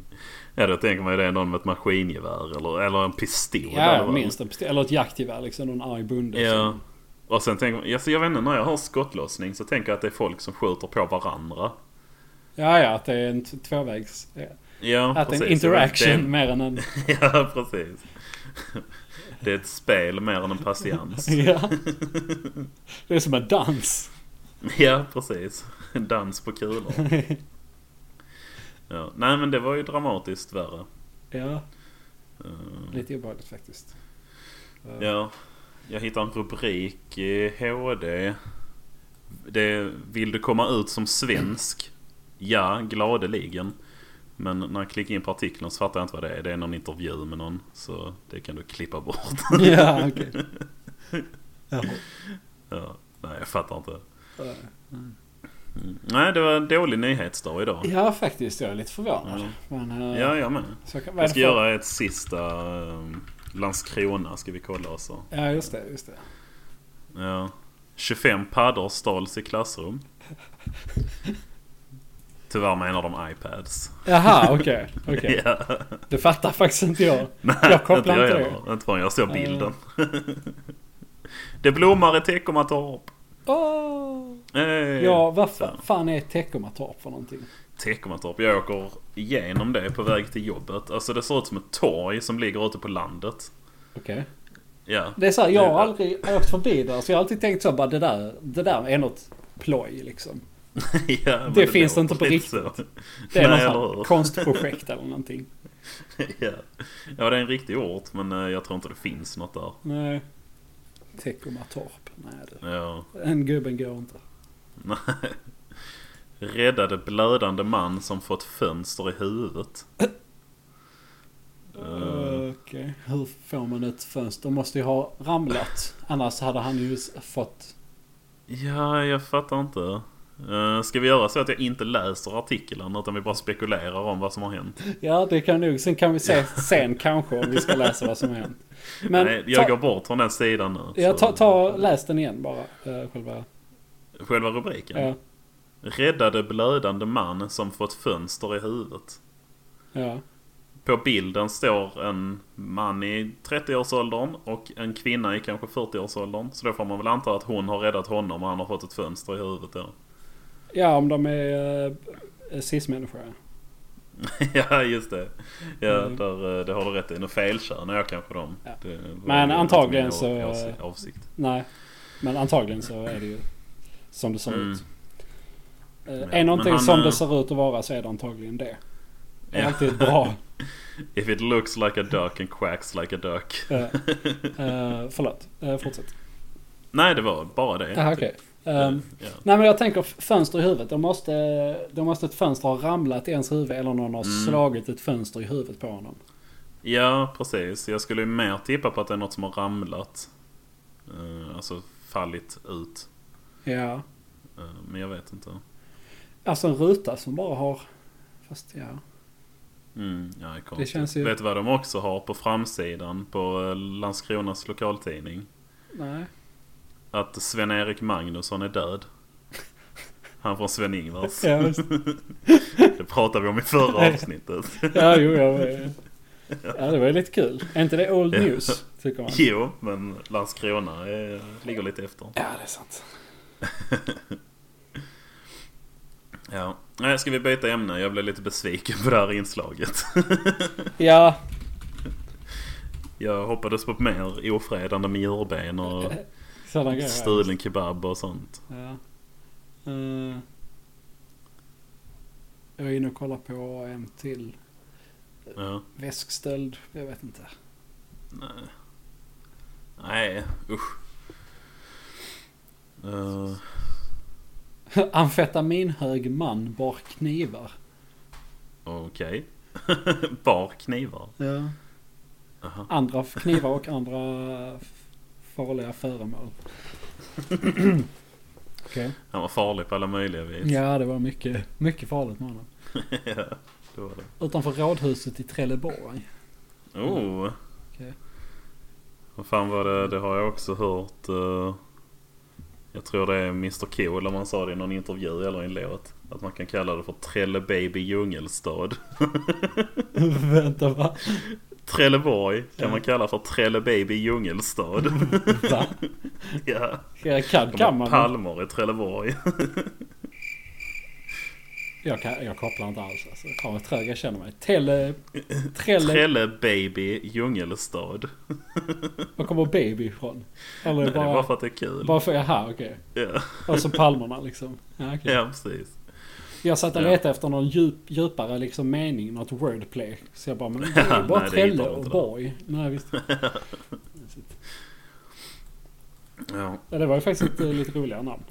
[SPEAKER 2] Ja, då tänker man ju det är någon med ett maskingevär eller, eller en pistol. eller
[SPEAKER 1] Ja,
[SPEAKER 2] vad-
[SPEAKER 1] minst en pistol. Eller ett jaktgevär liksom. Någon arg bonde.
[SPEAKER 2] Ja.
[SPEAKER 1] som-
[SPEAKER 2] Och sen tänker man, alltså jag vet inte, när jag hör skottlossning så tänker jag att det är folk som skjuter på varandra.
[SPEAKER 1] ja, ja. Att det är en t- tvåvägs. Ja.
[SPEAKER 2] Ja,
[SPEAKER 1] Att det är en
[SPEAKER 2] precis. Det var-
[SPEAKER 1] interaction
[SPEAKER 2] det-
[SPEAKER 1] mer än en...
[SPEAKER 2] *laughs* Ja, precis. Det är ett spel mer än
[SPEAKER 1] *laughs*
[SPEAKER 2] en patiens.
[SPEAKER 1] Ja. Det är som en *laughs* dans.
[SPEAKER 2] Ja, precis. En dans på kulor. Ja. Nej, men det var ju dramatiskt värre.
[SPEAKER 1] Ja,
[SPEAKER 2] Eh,
[SPEAKER 1] lite obehagligt faktiskt.
[SPEAKER 2] Ja, jag hittade en rubrik i HD. Det är, vill du komma ut som svensk? Ja, gladeligen. Men när jag klickade in på artikeln så fattar jag inte vad det är. Det är någon intervju med någon. Så det kan du klippa bort.
[SPEAKER 1] *laughs* *laughs*
[SPEAKER 2] *laughs*
[SPEAKER 1] Ja, okej. Ja.
[SPEAKER 2] Ja, nej, jag fattar inte.
[SPEAKER 1] Eh,
[SPEAKER 2] Mm. Nej, det var en dålig nyhetsdag idag.
[SPEAKER 1] Ja, faktiskt. Jag är lite förvånad.
[SPEAKER 2] Ja.
[SPEAKER 1] Men, eh,
[SPEAKER 2] Ja, jag med.
[SPEAKER 1] så kan, vad är
[SPEAKER 2] Jag
[SPEAKER 1] det
[SPEAKER 2] ska
[SPEAKER 1] för-
[SPEAKER 2] göra ett sista eh, Landskrona ska vi kolla alltså. oss.
[SPEAKER 1] Ja, just det. Just det.
[SPEAKER 2] Ja. 25 paddor stals i klassrum. Tyvärr menar de iPads. *laughs*
[SPEAKER 1] Jaha, okej. okej.
[SPEAKER 2] Ja.
[SPEAKER 1] Det fattar faktiskt inte jag.
[SPEAKER 2] Nej,
[SPEAKER 1] Jag kopplar
[SPEAKER 2] jag
[SPEAKER 1] inte det.
[SPEAKER 2] heller. Inte förrän jag såg bilden. *laughs* det blommar i Teckomatorp. Eh.
[SPEAKER 1] Åh!
[SPEAKER 2] Hey.
[SPEAKER 1] Ja, vad fa- fan är Teckomatorp för någonting?
[SPEAKER 2] Teckomatorp. Jag åker igenom det på väg till jobbet. Alltså det ser ut som ett torg som ligger ute på landet.
[SPEAKER 1] Okej.
[SPEAKER 2] Ja.
[SPEAKER 1] Det är så här, jag har
[SPEAKER 2] Det-
[SPEAKER 1] aldrig åkt förbi där så jag har alltid tänkt så bara det där, det där är något ploj liksom.
[SPEAKER 2] *laughs* ja men
[SPEAKER 1] Det finns
[SPEAKER 2] låter
[SPEAKER 1] inte på
[SPEAKER 2] lite så. *laughs*
[SPEAKER 1] Det är
[SPEAKER 2] Nej,
[SPEAKER 1] något
[SPEAKER 2] eller *laughs*
[SPEAKER 1] sånt
[SPEAKER 2] hur?
[SPEAKER 1] här konstprojekt eller någonting.
[SPEAKER 2] ja. ja, det är en riktig ort men eh, jag tror inte det finns något där.
[SPEAKER 1] Nej. Teckomatorp. Nej du.
[SPEAKER 2] Ja.
[SPEAKER 1] Den gubben går inte.
[SPEAKER 2] Nej. *laughs* Räddade blödande man som fått fönster i huvudet. Eh.
[SPEAKER 1] Okej. Hur får man ett fönster? Måste ju ha ramlat. Annars hade han ju s- fått...
[SPEAKER 2] Ja, jag fattar inte. Uh, ska vi göra så att jag inte läser artiklarna utan vi bara spekulerar om vad som har hänt?
[SPEAKER 1] Ja, det kan nog. Sen kan vi se sen kanske om vi ska läsa vad som har hänt. Men
[SPEAKER 2] Nej, jag
[SPEAKER 1] ta,
[SPEAKER 2] går bort från den sidan nu.
[SPEAKER 1] ja, ta,
[SPEAKER 2] så-
[SPEAKER 1] ta, läs den igen bara. eh, Själva...
[SPEAKER 2] Själva rubriken.
[SPEAKER 1] Ja.
[SPEAKER 2] Räddade blödande man som fått fönster i huvudet.
[SPEAKER 1] Ja.
[SPEAKER 2] På bilden står en man i 30-årsåldern och en kvinna i kanske 40-årsåldern. Så då får man väl anta att hon har räddat honom och han har fått ett fönster i huvudet. Ja.
[SPEAKER 1] Ja, om de är uh, cis-människor.
[SPEAKER 2] *laughs* Ja, just det. Ja,
[SPEAKER 1] Mm.
[SPEAKER 2] där, eh, det har du rätt i. Nu felkörnar jag kanske dem.
[SPEAKER 1] Ja.
[SPEAKER 2] Det var
[SPEAKER 1] Men
[SPEAKER 2] ju
[SPEAKER 1] antagligen
[SPEAKER 2] inte
[SPEAKER 1] så-
[SPEAKER 2] min avs- Avsikt.
[SPEAKER 1] Nej, men antagligen så är det ju som det ser
[SPEAKER 2] Mm.
[SPEAKER 1] ut. Eh,
[SPEAKER 2] Ja,
[SPEAKER 1] är någonting
[SPEAKER 2] men han,
[SPEAKER 1] som
[SPEAKER 2] eh,
[SPEAKER 1] det ser ut att vara så är det antagligen det. Det är
[SPEAKER 2] Ja.
[SPEAKER 1] alltid bra.
[SPEAKER 2] *laughs* If it looks like a duck and quacks like a duck.
[SPEAKER 1] Uh, uh, förlåt, Eh, fortsätt.
[SPEAKER 2] Nej, det var bara det.
[SPEAKER 1] Aha, Ah, okej.
[SPEAKER 2] Ja. typ.
[SPEAKER 1] Ehm, nej men jag tänker f- fönster i huvudet. Då måste, då måste ett fönster ha ramlat i ens huvud eller någon har
[SPEAKER 2] Mm.
[SPEAKER 1] slagit ett fönster i huvudet på honom.
[SPEAKER 2] ja, precis. Jag skulle ju mer tippa på att det är något som har ramlat. Eh, Alltså fallit ut.
[SPEAKER 1] Ja.
[SPEAKER 2] Eh, Men jag vet inte.
[SPEAKER 1] Alltså en ruta som bara har... Fast ja.
[SPEAKER 2] Mm, ja, det, är konstigt.
[SPEAKER 1] känns ju-
[SPEAKER 2] Vet du vad de också har på framsidan på eh, Landskronas lokaltidning?
[SPEAKER 1] Nej.
[SPEAKER 2] Att Sven-Erik Magnusson är död. Han från Sven-Ingvars.
[SPEAKER 1] Ja, just-
[SPEAKER 2] Det pratade vi om i förra avsnittet.
[SPEAKER 1] *laughs* Ja, jo, jag... Ja, det var ju lite kul. Är inte det old
[SPEAKER 2] Ja.
[SPEAKER 1] news, tycker man?
[SPEAKER 2] Jo, men Landskrona eh, ligger lite efter.
[SPEAKER 1] Ja, det är sant.
[SPEAKER 2] Ja. Nej, ska vi byta ämne? Jag blev lite besviken på det här inslaget.
[SPEAKER 1] Ja,
[SPEAKER 2] Jag hoppades på mer ofredande med djurben och
[SPEAKER 1] sådana grejer.
[SPEAKER 2] stulen kebab och sånt.
[SPEAKER 1] Ja. Eh, jag är inne och kollar på en till
[SPEAKER 2] Ja.
[SPEAKER 1] väskstöld. Jag vet inte. *laughs*
[SPEAKER 2] Nej. Nej, usch. Eh,
[SPEAKER 1] Amfetaminhög man bar knivar.
[SPEAKER 2] Okej. *laughs* Bar knivar.
[SPEAKER 1] Ja.
[SPEAKER 2] Aha.
[SPEAKER 1] Andra f- knivar och andra f- farliga föremål. *clears throat* Okej.
[SPEAKER 2] Han var farlig på alla möjliga vis.
[SPEAKER 1] Ja, det var mycket, mycket farligt med honom.
[SPEAKER 2] *laughs* Ja, det var det.
[SPEAKER 1] Utanför rådhuset i Trelleborg.
[SPEAKER 2] Oh.
[SPEAKER 1] Okej.
[SPEAKER 2] Vad fan var det? Det har jag också hört. eh, jag tror det är Mr Cool om man sa det i någon intervju eller i en låt. Att man kan kalla det för Trelle Baby Djungelstad.
[SPEAKER 1] *laughs*
[SPEAKER 2] *laughs*
[SPEAKER 1] Vänta va?
[SPEAKER 2] Trelleborg kan man kalla för Trelle
[SPEAKER 1] *laughs*
[SPEAKER 2] Baby Djungelstad.
[SPEAKER 1] va?
[SPEAKER 2] ja.
[SPEAKER 1] *laughs* Ja, Kan,
[SPEAKER 2] De
[SPEAKER 1] kan
[SPEAKER 2] har
[SPEAKER 1] man?
[SPEAKER 2] palmer i Trelleborg.
[SPEAKER 1] Jag, kan, jag kopplar inte alls alltså. Fan vad trög jag känner mig. Tele... Trelle...
[SPEAKER 2] Trelle baby djungelstad.
[SPEAKER 1] Var kommer baby ifrån? Eller
[SPEAKER 2] Nej,
[SPEAKER 1] bara...
[SPEAKER 2] bara för att det är kul.
[SPEAKER 1] Bara för, jaha okej.
[SPEAKER 2] Ja,
[SPEAKER 1] Alltså palmerna liksom. Ja, okej.
[SPEAKER 2] ja precis.
[SPEAKER 1] Jag satt och
[SPEAKER 2] Ja.
[SPEAKER 1] letade efter någon djup, djupare liksom mening, något wordplay. Så jag bara, men det är ju bara
[SPEAKER 2] *laughs* Nej, det
[SPEAKER 1] Trelle
[SPEAKER 2] hittar du
[SPEAKER 1] och
[SPEAKER 2] inte där.
[SPEAKER 1] Borg. Nej visst.
[SPEAKER 2] Ja.
[SPEAKER 1] Ja, det var ju faktiskt ett eh, lite roligare namn.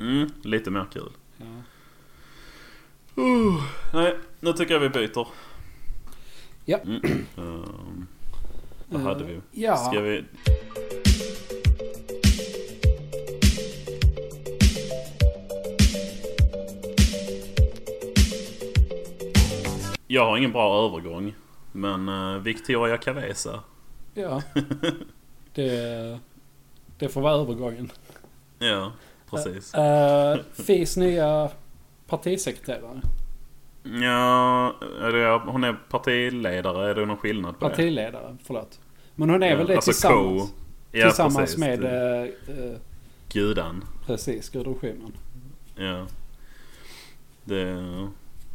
[SPEAKER 2] Mm, lite mer kul.
[SPEAKER 1] Ja.
[SPEAKER 2] Uh, nej, nu tycker jag vi byter.
[SPEAKER 1] Ja. Eh,
[SPEAKER 2] Mm. Ehm, vad hade vi?
[SPEAKER 1] Ja.
[SPEAKER 2] Ska vi... Jag har ingen bra övergång. Men eh, Victoria Cavesa.
[SPEAKER 1] Ja. Det, det får vara övergången.
[SPEAKER 2] Ja, precis.
[SPEAKER 1] Eh, FIs nya partisekreterare. eh.
[SPEAKER 2] Ja, är det, hon är partiledare. Är det någon skillnad på det?
[SPEAKER 1] Partiledare, förlåt. Men hon är väl det tillsammans?
[SPEAKER 2] Co. alltså Ja,
[SPEAKER 1] tillsammans
[SPEAKER 2] precis.
[SPEAKER 1] med...
[SPEAKER 2] Det-
[SPEAKER 1] eh, eh,
[SPEAKER 2] Gudan.
[SPEAKER 1] precis, Gudrun Schyman.
[SPEAKER 2] Ja. Det,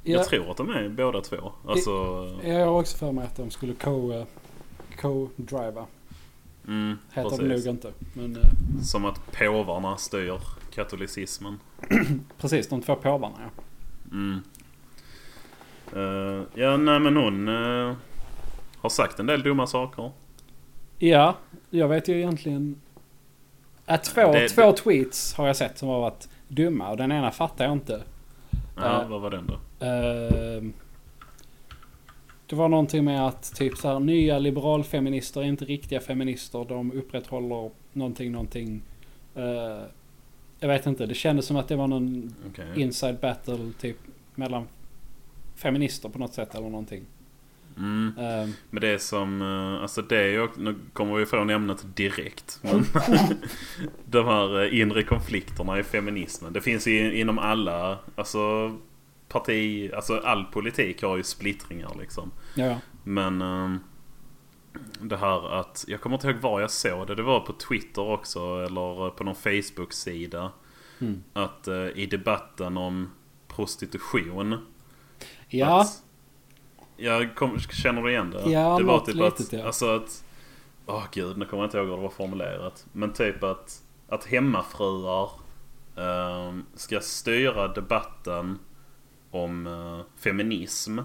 [SPEAKER 1] Ja,
[SPEAKER 2] Jag tror att de är båda två. Alltså,
[SPEAKER 1] jag har också för mig att de skulle co... eh, Co-driva.
[SPEAKER 2] mm,
[SPEAKER 1] Heter
[SPEAKER 2] precis.
[SPEAKER 1] de nog inte. Men eh,
[SPEAKER 2] Som att påvarna styr katolicismen.
[SPEAKER 1] precis, de två påvarna ja.
[SPEAKER 2] Mm. Eh, ja, nej men hon eh, har sagt en del dumma saker.
[SPEAKER 1] Ja, jag vet ju egentligen... Äh, två,
[SPEAKER 2] Det-
[SPEAKER 1] två tweets har jag sett som har varit dumma och den ena fattar jag inte.
[SPEAKER 2] Ja,
[SPEAKER 1] Eh.
[SPEAKER 2] vad var den då?
[SPEAKER 1] Ehm, Det var någonting med att typ så här, nya liberalfeminister är inte riktiga feminister. De upprätthåller någonting, någonting. Eh, jag vet inte, det kändes som att det var någon
[SPEAKER 2] Okej.
[SPEAKER 1] inside battle typ mellan feminister på något sätt eller någonting.
[SPEAKER 2] Mm.
[SPEAKER 1] Ehm,
[SPEAKER 2] Men det är som, eh, alltså det är ju, nu kommer vi ifrån ämnet direkt. Men *laughs* de här eh, inre konflikterna i feminismen. Det finns ju inom alla, alltså parti, alltså all politik har ju splittringar liksom.
[SPEAKER 1] ja, ja.
[SPEAKER 2] Men ehm, det här att, jag kommer inte ihåg var jag såg det. Det var på Twitter också eller eh, på någon Facebook-sida.
[SPEAKER 1] Mm.
[SPEAKER 2] Att eh, i debatten om prostitution.
[SPEAKER 1] ja
[SPEAKER 2] Att, jag kom, känner du igen det?
[SPEAKER 1] Ja,
[SPEAKER 2] det var
[SPEAKER 1] något
[SPEAKER 2] typ
[SPEAKER 1] litet,
[SPEAKER 2] att,
[SPEAKER 1] ja.
[SPEAKER 2] alltså att... Åh gud, nu kommer jag inte ihåg hur det var formulerat. Men typ att, att hemmafruar ehm, ska styra debatten om eh, feminism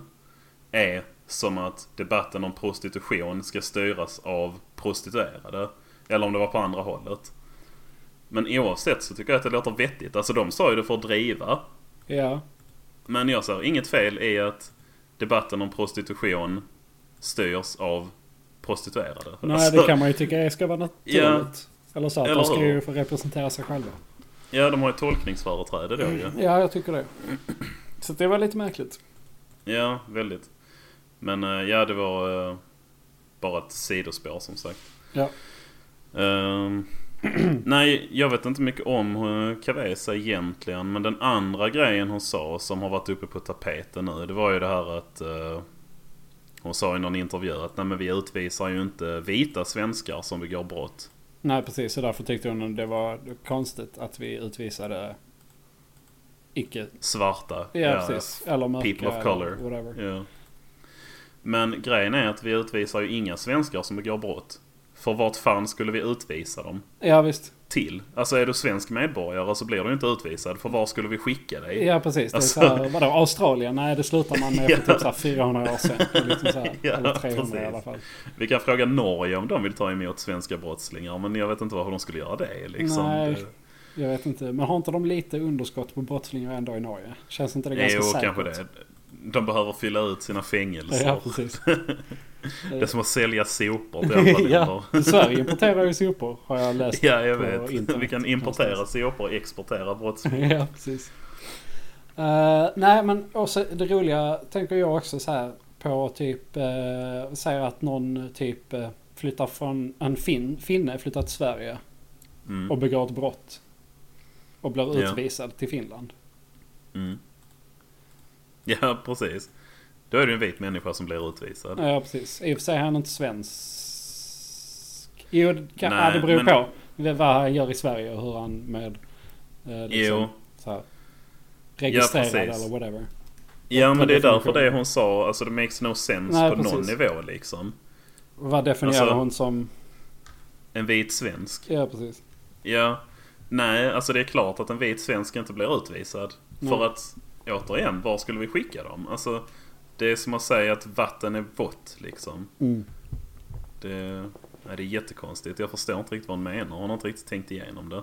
[SPEAKER 2] är som att debatten om prostitution ska styras av prostituerade. Eller om det var på andra hållet. Men oavsett så tycker jag att det låter vettigt. Alltså de sa ju det för att driva.
[SPEAKER 1] ja,
[SPEAKER 2] Men jag ser inget fel i att debatten om prostitution styrs av prostituerade.
[SPEAKER 1] nej
[SPEAKER 2] Alltså,
[SPEAKER 1] det kan man ju tycka ska vara naturligt. Eller så att
[SPEAKER 2] Eller
[SPEAKER 1] de ska
[SPEAKER 2] hur?
[SPEAKER 1] ju få representera sig själva.
[SPEAKER 2] Ja, de har ju tolkningsföreträde då ju.
[SPEAKER 1] Ja, jag tycker det. Så det var lite märkligt.
[SPEAKER 2] Ja, väldigt. Men eh, ja, det var eh, bara ett sidospår som sagt.
[SPEAKER 1] Ja.
[SPEAKER 2] Ehm,
[SPEAKER 1] *clears throat*
[SPEAKER 2] nej, jag vet inte mycket om eh, Cavesa egentligen. Men den andra grejen hon sa som har varit uppe på tapeten nu. Det var ju det här att eh, hon sa i någon intervju att nej men vi utvisar ju inte vita svenskar som begår brott.
[SPEAKER 1] Nej, precis. Så därför tyckte hon det var konstigt att vi utvisade icke...
[SPEAKER 2] Svarta.
[SPEAKER 1] Ja, precis. Eller mörka.
[SPEAKER 2] people of
[SPEAKER 1] eller
[SPEAKER 2] color.
[SPEAKER 1] Whatever.
[SPEAKER 2] Ja. Men grejen är att vi utvisar ju inga svenskar som begår brott. För vart fan skulle vi utvisa dem
[SPEAKER 1] Ja, visst.
[SPEAKER 2] till? Alltså är du svensk medborgare så blir du inte utvisad. För var skulle vi skicka dig?
[SPEAKER 1] Ja, precis. Det är
[SPEAKER 2] Alltså-
[SPEAKER 1] så här, vadå, Australien? Nej, det slutar man
[SPEAKER 2] *laughs*
[SPEAKER 1] med för typ så här 400 år sedan. Liksom så här,
[SPEAKER 2] Ja,
[SPEAKER 1] eller 300 i
[SPEAKER 2] precis.
[SPEAKER 1] alla fall.
[SPEAKER 2] Vi kan fråga Norge om de vill ta emot svenska brottslingar. Men jag vet inte hur de skulle göra det. Liksom.
[SPEAKER 1] Nej, Jag vet inte. Men har inte de lite underskott på brottslingar ändå i Norge? Känns inte det
[SPEAKER 2] det
[SPEAKER 1] ganska
[SPEAKER 2] jo,
[SPEAKER 1] säkert?
[SPEAKER 2] kanske det. De behöver fylla ut sina fängelser.
[SPEAKER 1] Ja, precis.
[SPEAKER 2] det är som att sälja sopor till andra länder.
[SPEAKER 1] *laughs* ja, Sverige importerar ju sopor, har jag läst.
[SPEAKER 2] Ja, jag
[SPEAKER 1] på
[SPEAKER 2] vet.
[SPEAKER 1] internet
[SPEAKER 2] Vi kan importera
[SPEAKER 1] någonstans.
[SPEAKER 2] sopor och exportera brottslingar.
[SPEAKER 1] *laughs* ja, precis. Eh, nej, men också det roliga tänker jag också så här på typ, uh, säger att någon typ eh, flyttar från, en fin, finne flyttar till Sverige
[SPEAKER 2] Mm.
[SPEAKER 1] och begår ett brott. Och blir
[SPEAKER 2] Ja.
[SPEAKER 1] utvisad till Finland.
[SPEAKER 2] Mm. Ja, *laughs* precis. Då är det ju en vit människa som blir utvisad.
[SPEAKER 1] Ja, precis. I och för sig är han inte svensk. Jo, det kan,
[SPEAKER 2] Nej,
[SPEAKER 1] ja, det beror
[SPEAKER 2] men-
[SPEAKER 1] på vad han gör i Sverige och hur han med... eh, liksom,
[SPEAKER 2] Jo,
[SPEAKER 1] så här, registrerad
[SPEAKER 2] precis.
[SPEAKER 1] eller whatever.
[SPEAKER 2] Ja men det är därför
[SPEAKER 1] definition.
[SPEAKER 2] det hon sa, alltså det makes no sense
[SPEAKER 1] Nej,
[SPEAKER 2] på någon
[SPEAKER 1] precis.
[SPEAKER 2] nivå liksom.
[SPEAKER 1] Vad definierar
[SPEAKER 2] Alltså-
[SPEAKER 1] hon som?
[SPEAKER 2] En vit svensk.
[SPEAKER 1] Ja, precis.
[SPEAKER 2] Ja. Nej, alltså det är klart att en vit svensk inte blir utvisad.
[SPEAKER 1] Nej.
[SPEAKER 2] För att, återigen, var skulle vi skicka dem? Alltså, det är som att säga att vatten är vått liksom.
[SPEAKER 1] Mm.
[SPEAKER 2] Det, nej, det är jättekonstigt. Jag förstår inte riktigt vad hon menar. Hon har inte riktigt tänkt igenom det.
[SPEAKER 1] Nej.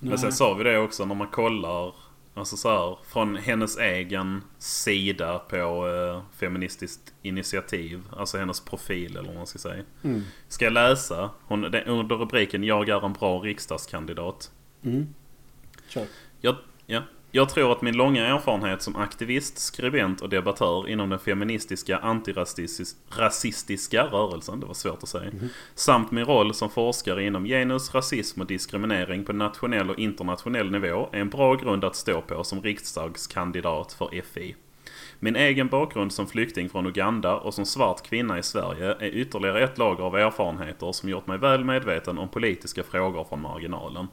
[SPEAKER 2] Men sen sa vi det också när man kollar Alltså så här, från hennes egen sida på eh, Feministiskt initiativ. Alltså hennes profil eller vad man ska säga.
[SPEAKER 1] Mm.
[SPEAKER 2] Ska jag läsa? Hon, det, under rubriken Jag är en bra riksdagskandidat.
[SPEAKER 1] Mm. Kör.
[SPEAKER 2] Jag, ja, jag tror att min långa erfarenhet som aktivist, skribent och debattör inom den feministiska antirasistiska rörelsen, det var svårt att säga, samt min roll som forskare inom genus, rasism och diskriminering på nationell och internationell nivå är en bra grund att stå på som riksdagskandidat för FI. Min egen bakgrund som flykting från Uganda och som svart kvinna i Sverige är ytterligare ett lager av erfarenheter som gjort mig väl medveten om politiska frågor från marginalen.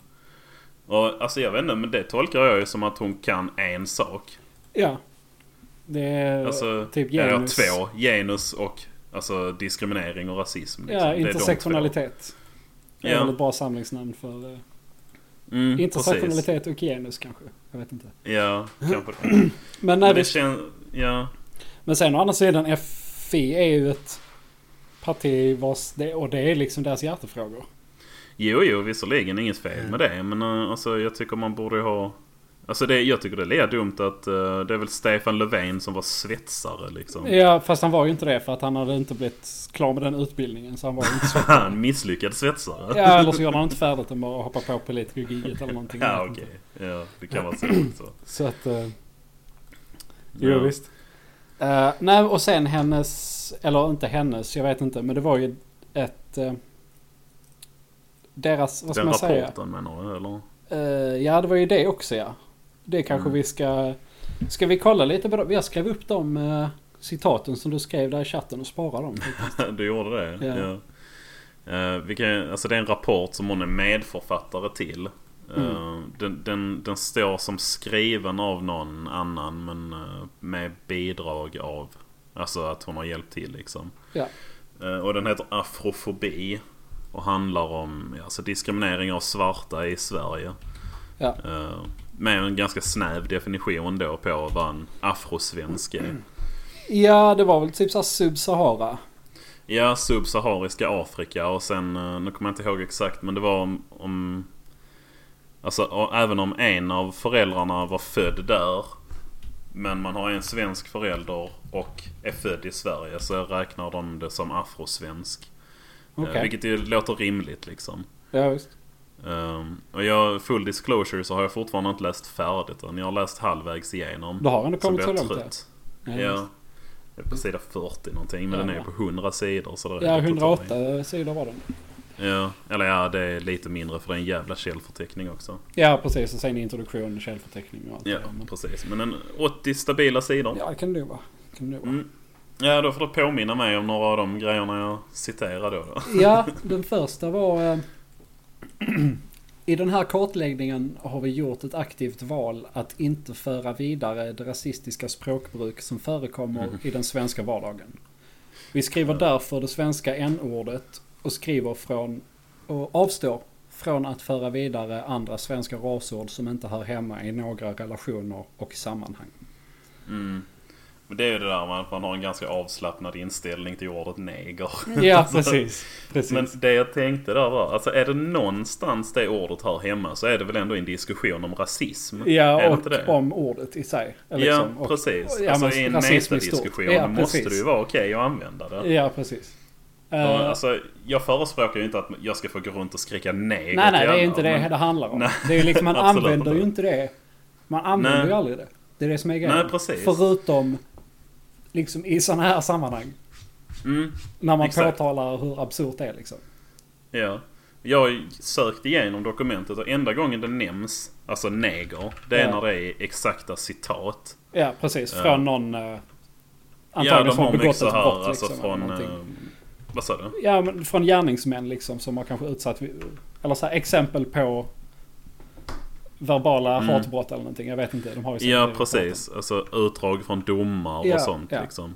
[SPEAKER 2] Och, alltså jag vet inte, men det tolkar jag ju som att hon kan en sak.
[SPEAKER 1] Ja. Det är
[SPEAKER 2] Alltså,
[SPEAKER 1] typ
[SPEAKER 2] eller
[SPEAKER 1] genus.
[SPEAKER 2] två. Genus och alltså, diskriminering och rasism. liksom. Det
[SPEAKER 1] Ja,
[SPEAKER 2] är de två.
[SPEAKER 1] intersektionalitet. Det är
[SPEAKER 2] Ja.
[SPEAKER 1] väl ett bra samlingsnamn för eh,
[SPEAKER 2] Mm, precis.
[SPEAKER 1] intersektionalitet och genus kanske. Jag vet inte.
[SPEAKER 2] Ja, kanske
[SPEAKER 1] *clears throat*
[SPEAKER 2] det.
[SPEAKER 1] Men, nej,
[SPEAKER 2] Men
[SPEAKER 1] det,
[SPEAKER 2] det känns... Ja.
[SPEAKER 1] men sen å andra sidan, FI är ju ett parti vars, det, och det är liksom deras hjärtefrågor.
[SPEAKER 2] Jo, jo, visserligen. Inget fel med det. Men eh, alltså, jag tycker man borde ha... Alltså det, jag tycker det är lika dumt att eh, det är väl Stefan Löfven som var svetsare liksom.
[SPEAKER 1] Ja, fast han var ju inte det för att han hade inte blivit klar med den utbildningen. Så han var ju inte så...
[SPEAKER 2] *laughs* Han misslyckad svetsare.
[SPEAKER 1] Ja, eller så gjorde han inte färdigt och bara hoppade på politikergiget eller någonting. Jag vet
[SPEAKER 2] *laughs* Ja,
[SPEAKER 1] inte.
[SPEAKER 2] okej. Ja, det kan vara så också.
[SPEAKER 1] Så att... eh, Jo,
[SPEAKER 2] Ja.
[SPEAKER 1] visst. Eh, nej, och sen hennes, eller inte hennes, jag vet inte, men det var ju ett... eh, deras, vad ska
[SPEAKER 2] Den
[SPEAKER 1] man säga?
[SPEAKER 2] rapporten menar du, eller?
[SPEAKER 1] Eh, ja, det var ju det också ja. Det kanske
[SPEAKER 2] Mm.
[SPEAKER 1] vi ska... Ska vi kolla lite på dem? Jag skrev upp de eh, citaten som du skrev där i chatten och sparade dem.
[SPEAKER 2] *laughs* Du gjorde det?
[SPEAKER 1] Ja.
[SPEAKER 2] Ja. Eh, vi kan, alltså det är en rapport som hon är medförfattare till. Eh,
[SPEAKER 1] Mm.
[SPEAKER 2] den, den, den står som skriven av någon annan men eh, med bidrag av. Alltså att hon har hjälpt till liksom.
[SPEAKER 1] Ja.
[SPEAKER 2] Eh, och den heter Afrofobi. Och handlar om ja, alltså diskriminering av svarta i Sverige.
[SPEAKER 1] Ja.
[SPEAKER 2] Eh, med en ganska snäv definition då på vad en afrosvensk är.
[SPEAKER 1] ja, det var väl typ såhär Sub-Sahara.
[SPEAKER 2] Ja, subsahariska Afrika och sen, eh, nu kommer jag inte ihåg exakt men det var om... om alltså och även om en av föräldrarna var född där men man har en svensk förälder och är född i Sverige så räknar de det som afrosvensk. Eh,
[SPEAKER 1] Okej.
[SPEAKER 2] Vilket ju låter rimligt liksom.
[SPEAKER 1] Ja, visst.
[SPEAKER 2] Ehm, och jag, full disclosure så har jag fortfarande inte läst färdigt än. Jag har läst halvvägs igenom.
[SPEAKER 1] Då har han kommit så
[SPEAKER 2] jag
[SPEAKER 1] långt ja. Ja,
[SPEAKER 2] Ja. Det är på sida 40 någonting men
[SPEAKER 1] Ja.
[SPEAKER 2] den är på 100 sidor. Så det
[SPEAKER 1] Ja,
[SPEAKER 2] räcker totalt.
[SPEAKER 1] 108 sidor var den.
[SPEAKER 2] Ja, eller ja det är lite mindre för det är en jävla källförteckning också.
[SPEAKER 1] Ja, precis. Och sen introduktion, källförteckning och allt
[SPEAKER 2] Ja,
[SPEAKER 1] det där. Men-
[SPEAKER 2] precis. Men en 80 stabila sidor.
[SPEAKER 1] Ja, det kan det nog vara. Det Kan det nog vara.
[SPEAKER 2] Mm. Ja, då får du påminna mig om några av de grejerna jag citerar då. då.
[SPEAKER 1] Ja, den första var... Eh, I den här kartläggningen har vi gjort ett aktivt val att inte föra vidare det rasistiska språkbruk som förekommer
[SPEAKER 2] Mm.
[SPEAKER 1] i den svenska vardagen. Vi skriver därför det svenska n-ordet och skriver från och avstår från att föra vidare andra svenska rasord som inte hör hemma i några relationer och sammanhang.
[SPEAKER 2] Mm. Men det är ju det där med att man har en ganska avslappnad inställning till ordet neger.
[SPEAKER 1] *laughs*
[SPEAKER 2] *laughs*
[SPEAKER 1] Ja, precis. precis.
[SPEAKER 2] Men det jag tänkte där var, alltså är det någonstans det ordet hör hemma så är det väl ändå en diskussion om rasism? är
[SPEAKER 1] ja,
[SPEAKER 2] det
[SPEAKER 1] och om ordet i sig. liksom.
[SPEAKER 2] ja,
[SPEAKER 1] Och-
[SPEAKER 2] precis.
[SPEAKER 1] ja,
[SPEAKER 2] alltså
[SPEAKER 1] men
[SPEAKER 2] i en
[SPEAKER 1] rasism i stort.
[SPEAKER 2] metadiskussion
[SPEAKER 1] Ja,
[SPEAKER 2] måste
[SPEAKER 1] precis.
[SPEAKER 2] det ju vara okej att använda det.
[SPEAKER 1] Ja, precis. Eh,
[SPEAKER 2] Ja, alltså, jag förespråkar ju inte att jag ska få gå runt och skrika
[SPEAKER 1] nej,
[SPEAKER 2] nej.
[SPEAKER 1] nej, det är
[SPEAKER 2] till alla,
[SPEAKER 1] inte det
[SPEAKER 2] men-
[SPEAKER 1] det handlar om.
[SPEAKER 2] Nej,
[SPEAKER 1] Det är ju liksom, man
[SPEAKER 2] *laughs* absolut
[SPEAKER 1] använder ju inte
[SPEAKER 2] inte.
[SPEAKER 1] det. Man använder
[SPEAKER 2] Nej.
[SPEAKER 1] ju aldrig det. Det är det som är grejen.
[SPEAKER 2] Nej, precis.
[SPEAKER 1] Förutom liksom i sådana här sammanhang.
[SPEAKER 2] Mm,
[SPEAKER 1] När man
[SPEAKER 2] Exakt.
[SPEAKER 1] påtalar hur absurt det är liksom.
[SPEAKER 2] ja. Jag har ju sökt igenom dokumentet och enda gången det nämns, alltså neger, det är
[SPEAKER 1] Ja.
[SPEAKER 2] när det är exakta citat.
[SPEAKER 1] Ja, precis.
[SPEAKER 2] Ja.
[SPEAKER 1] Från någon... eh, antagligen
[SPEAKER 2] har
[SPEAKER 1] från
[SPEAKER 2] mycket
[SPEAKER 1] begått ett
[SPEAKER 2] så här,
[SPEAKER 1] brott
[SPEAKER 2] alltså
[SPEAKER 1] liksom. eller
[SPEAKER 2] från...
[SPEAKER 1] någonting.
[SPEAKER 2] eh, vad sa du?
[SPEAKER 1] Ja, men från gärningsmän liksom som har kanske utsatt... Eller så här, exempel på verbala hatbrott eller någonting. Jag vet inte. De har ju säkert det
[SPEAKER 2] Mm. Ja,
[SPEAKER 1] vi pratar om.
[SPEAKER 2] precis. Alltså utdrag från domar
[SPEAKER 1] Ja,
[SPEAKER 2] och sånt
[SPEAKER 1] ja.
[SPEAKER 2] liksom.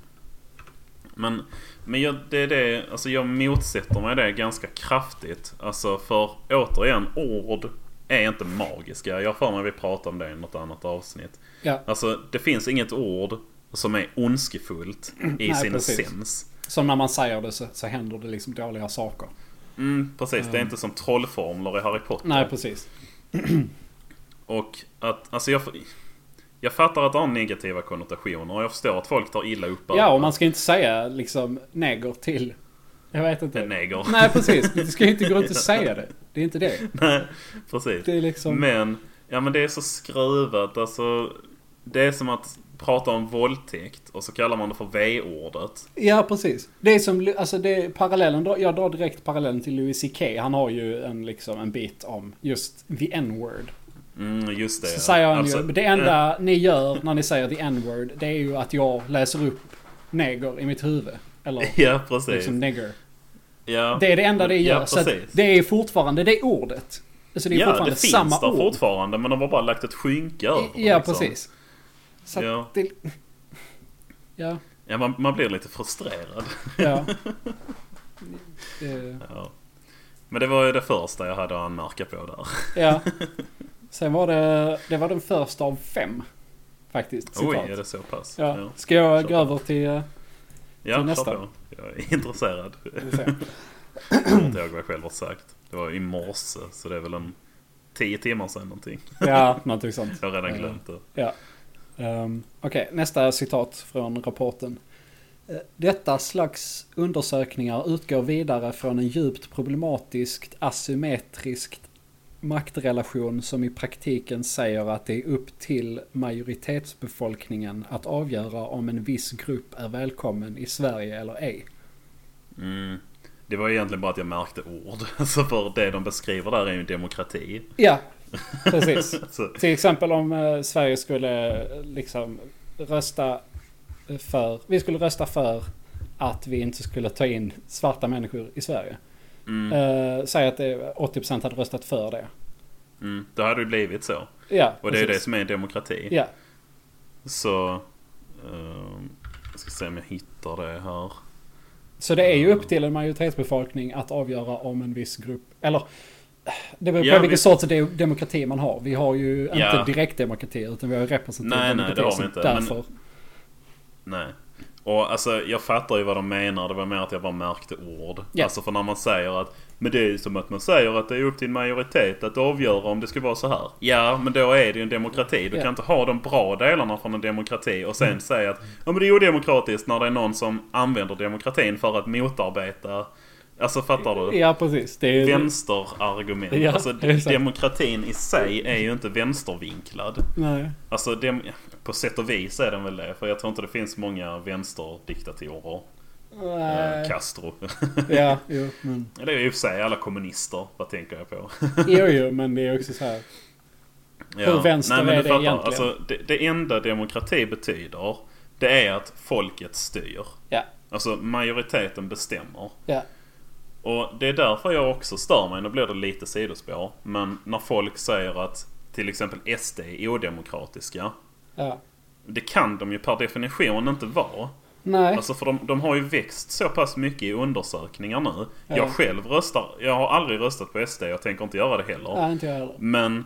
[SPEAKER 2] Men, men jag, det är det, alltså jag motsätter mig det ganska kraftigt. Alltså för återigen, ord är inte magiska. Jag har för mig vi pratade om det i något annat avsnitt.
[SPEAKER 1] Ja,
[SPEAKER 2] Alltså det finns inget ord som är
[SPEAKER 1] *clears throat*
[SPEAKER 2] ondskefullt i sin
[SPEAKER 1] precis.
[SPEAKER 2] essens.
[SPEAKER 1] som när man säger det så, så händer det liksom dåliga saker.
[SPEAKER 2] Mm, precis, det är inte som trollformler i Harry Potter.
[SPEAKER 1] Nej, precis.
[SPEAKER 2] Och att, alltså jag, jag fattar att det har negativa konnotationer och jag förstår att folk tar illa upp
[SPEAKER 1] Ja, och
[SPEAKER 2] det.
[SPEAKER 1] man ska inte säga liksom neger till... Jag vet inte.
[SPEAKER 2] En neger.
[SPEAKER 1] *laughs* Nej, precis. Du ska ju inte gå runt och säga det. Det är inte det.
[SPEAKER 2] Nej, *laughs* precis.
[SPEAKER 1] Det är liksom...
[SPEAKER 2] Men, ja men det är så skruvat. Alltså, det är som att prata om våldtäkt och så kallar man det för V-ordet.
[SPEAKER 1] Ja, precis. Det är som, alltså det är parallellen, då- jag drar direkt parallellen till Louis CK. Han har ju en, liksom, en bit om just the n-word.
[SPEAKER 2] Mm, just det.
[SPEAKER 1] Så säger han
[SPEAKER 2] Alltså,
[SPEAKER 1] ju, "Men det
[SPEAKER 2] eh,
[SPEAKER 1] enda ni gör när ni säger the n-word, det är ju att jag läser upp neger i mitt huvud. Eller
[SPEAKER 2] *laughs* Ja, precis.
[SPEAKER 1] liksom nigger.
[SPEAKER 2] ja.
[SPEAKER 1] Det är det enda det gör.
[SPEAKER 2] Ja,
[SPEAKER 1] så att
[SPEAKER 2] precis.
[SPEAKER 1] det är fortfarande det ordet. Alltså det är
[SPEAKER 2] ja,
[SPEAKER 1] fortfarande
[SPEAKER 2] det finns
[SPEAKER 1] samma
[SPEAKER 2] där
[SPEAKER 1] ord.
[SPEAKER 2] fortfarande men de har bara lagt ett skynke över det,
[SPEAKER 1] ja,
[SPEAKER 2] liksom.
[SPEAKER 1] precis. Så att
[SPEAKER 2] Ja.
[SPEAKER 1] det... Ja,
[SPEAKER 2] Ja, man, man blir lite frustrerad. *laughs*
[SPEAKER 1] ja. Eh.
[SPEAKER 2] Ja. Men det var ju det första jag hade att anmärka på där.
[SPEAKER 1] Ja. Sen var det, det var den första av fem. Faktiskt.
[SPEAKER 2] Oj,
[SPEAKER 1] Citat.
[SPEAKER 2] är det så pass?
[SPEAKER 1] ja. Ska jag gå över till... eh,
[SPEAKER 2] ja
[SPEAKER 1] till nästa?
[SPEAKER 2] nästa. Jag är intresserad.
[SPEAKER 1] vi får se.
[SPEAKER 2] Jag kommer inte ihåg vad jag själv har sagt. Det var i morse, så det är väl en tio timmar sedan någonting.
[SPEAKER 1] Ja, någonting sånt.
[SPEAKER 2] Jag har redan
[SPEAKER 1] Ja.
[SPEAKER 2] glömt det.
[SPEAKER 1] Ehm, Okej, nästa citat från rapporten. Eh, Detta slags undersökningar utgår vidare från en djupt problematiskt asymmetrisk maktrelation som i praktiken säger att det är upp till majoritetsbefolkningen att avgöra om en viss grupp är välkommen i Sverige eller ej.
[SPEAKER 2] Mm. Det var egentligen bara att jag märkte ord. *laughs* Alltså för det de beskriver där är ju demokrati. *laughs*
[SPEAKER 1] Ja, precis.
[SPEAKER 2] Så,
[SPEAKER 1] Till exempel om eh, Sverige skulle eh, liksom rösta eh, för, vi skulle rösta för att vi inte skulle ta in svarta människor i Sverige.
[SPEAKER 2] mm,
[SPEAKER 1] Eh, säg att det, 80% hade röstat för det.
[SPEAKER 2] mm. Det hade ju blivit så.
[SPEAKER 1] Ja,
[SPEAKER 2] Och det är det
[SPEAKER 1] precis.
[SPEAKER 2] som är demokrati.
[SPEAKER 1] Ja,
[SPEAKER 2] Så... ehm, jag ska se om jag hittar det här.
[SPEAKER 1] så det är ju upp till en majoritetsbefolkning att avgöra om en viss grupp, eller eh, det beror på
[SPEAKER 2] Ja,
[SPEAKER 1] vilken
[SPEAKER 2] vi-
[SPEAKER 1] sorts de- demokrati man har. Vi har ju
[SPEAKER 2] Ja.
[SPEAKER 1] inte direktdemokrati utan vi har ju representativ
[SPEAKER 2] Nej, nej, det
[SPEAKER 1] demokrati.
[SPEAKER 2] har vi
[SPEAKER 1] så
[SPEAKER 2] inte, men-
[SPEAKER 1] Därför.
[SPEAKER 2] Nej. Och alltså jag fattar ju vad de menar. Det var mer att jag bara märkte ord.
[SPEAKER 1] Ja.
[SPEAKER 2] Alltså för när man säger att men det är ju som att man säger att det är upp till en majoritet att avgöra om det ska vara så här. Ja, men då är det ju en demokrati. Du
[SPEAKER 1] Ja. Mm.
[SPEAKER 2] kan inte ha de bra delarna från en demokrati och sen säga att ja, men det är odemokratiskt när det är någon som använder demokratin för att motarbeta. Alltså fattar du?
[SPEAKER 1] Ja, precis. Det är,
[SPEAKER 2] Vänsterargument.
[SPEAKER 1] Ja,
[SPEAKER 2] alltså
[SPEAKER 1] exakt.
[SPEAKER 2] demokratin i sig är ju inte vänstervinklad.
[SPEAKER 1] Nej.
[SPEAKER 2] Alltså dem, på sätt och vis är den väl det. För jag tror inte det finns många vänsterdiktatorer.
[SPEAKER 1] Nej.
[SPEAKER 2] Äh. Castro. *laughs*
[SPEAKER 1] Ja, *laughs* jo, men...
[SPEAKER 2] det är ju i och för sig alla kommunister. Vad tänker jag på? *laughs*
[SPEAKER 1] Jo, jo, men det är också så här. Hur vänster
[SPEAKER 2] men
[SPEAKER 1] är det
[SPEAKER 2] du
[SPEAKER 1] egentligen?
[SPEAKER 2] Alltså, det, det enda demokrati betyder det är att folket styr.
[SPEAKER 1] Ja,
[SPEAKER 2] Alltså majoriteten bestämmer.
[SPEAKER 1] ja,
[SPEAKER 2] Och det är därför jag också stör mig. Nu blir det lite sidospår. Men när folk säger att till exempel SD är odemokratiska.
[SPEAKER 1] ja.
[SPEAKER 2] Det kan de ju per definition inte vara.
[SPEAKER 1] Nej,
[SPEAKER 2] *laughs* Alltså för de, de har ju växt så pass mycket i undersökningar nu.
[SPEAKER 1] Ja.
[SPEAKER 2] Jag själv röstar, jag har aldrig röstat på SD, jag tänker inte göra det heller.
[SPEAKER 1] nej, inte jag heller.
[SPEAKER 2] Men,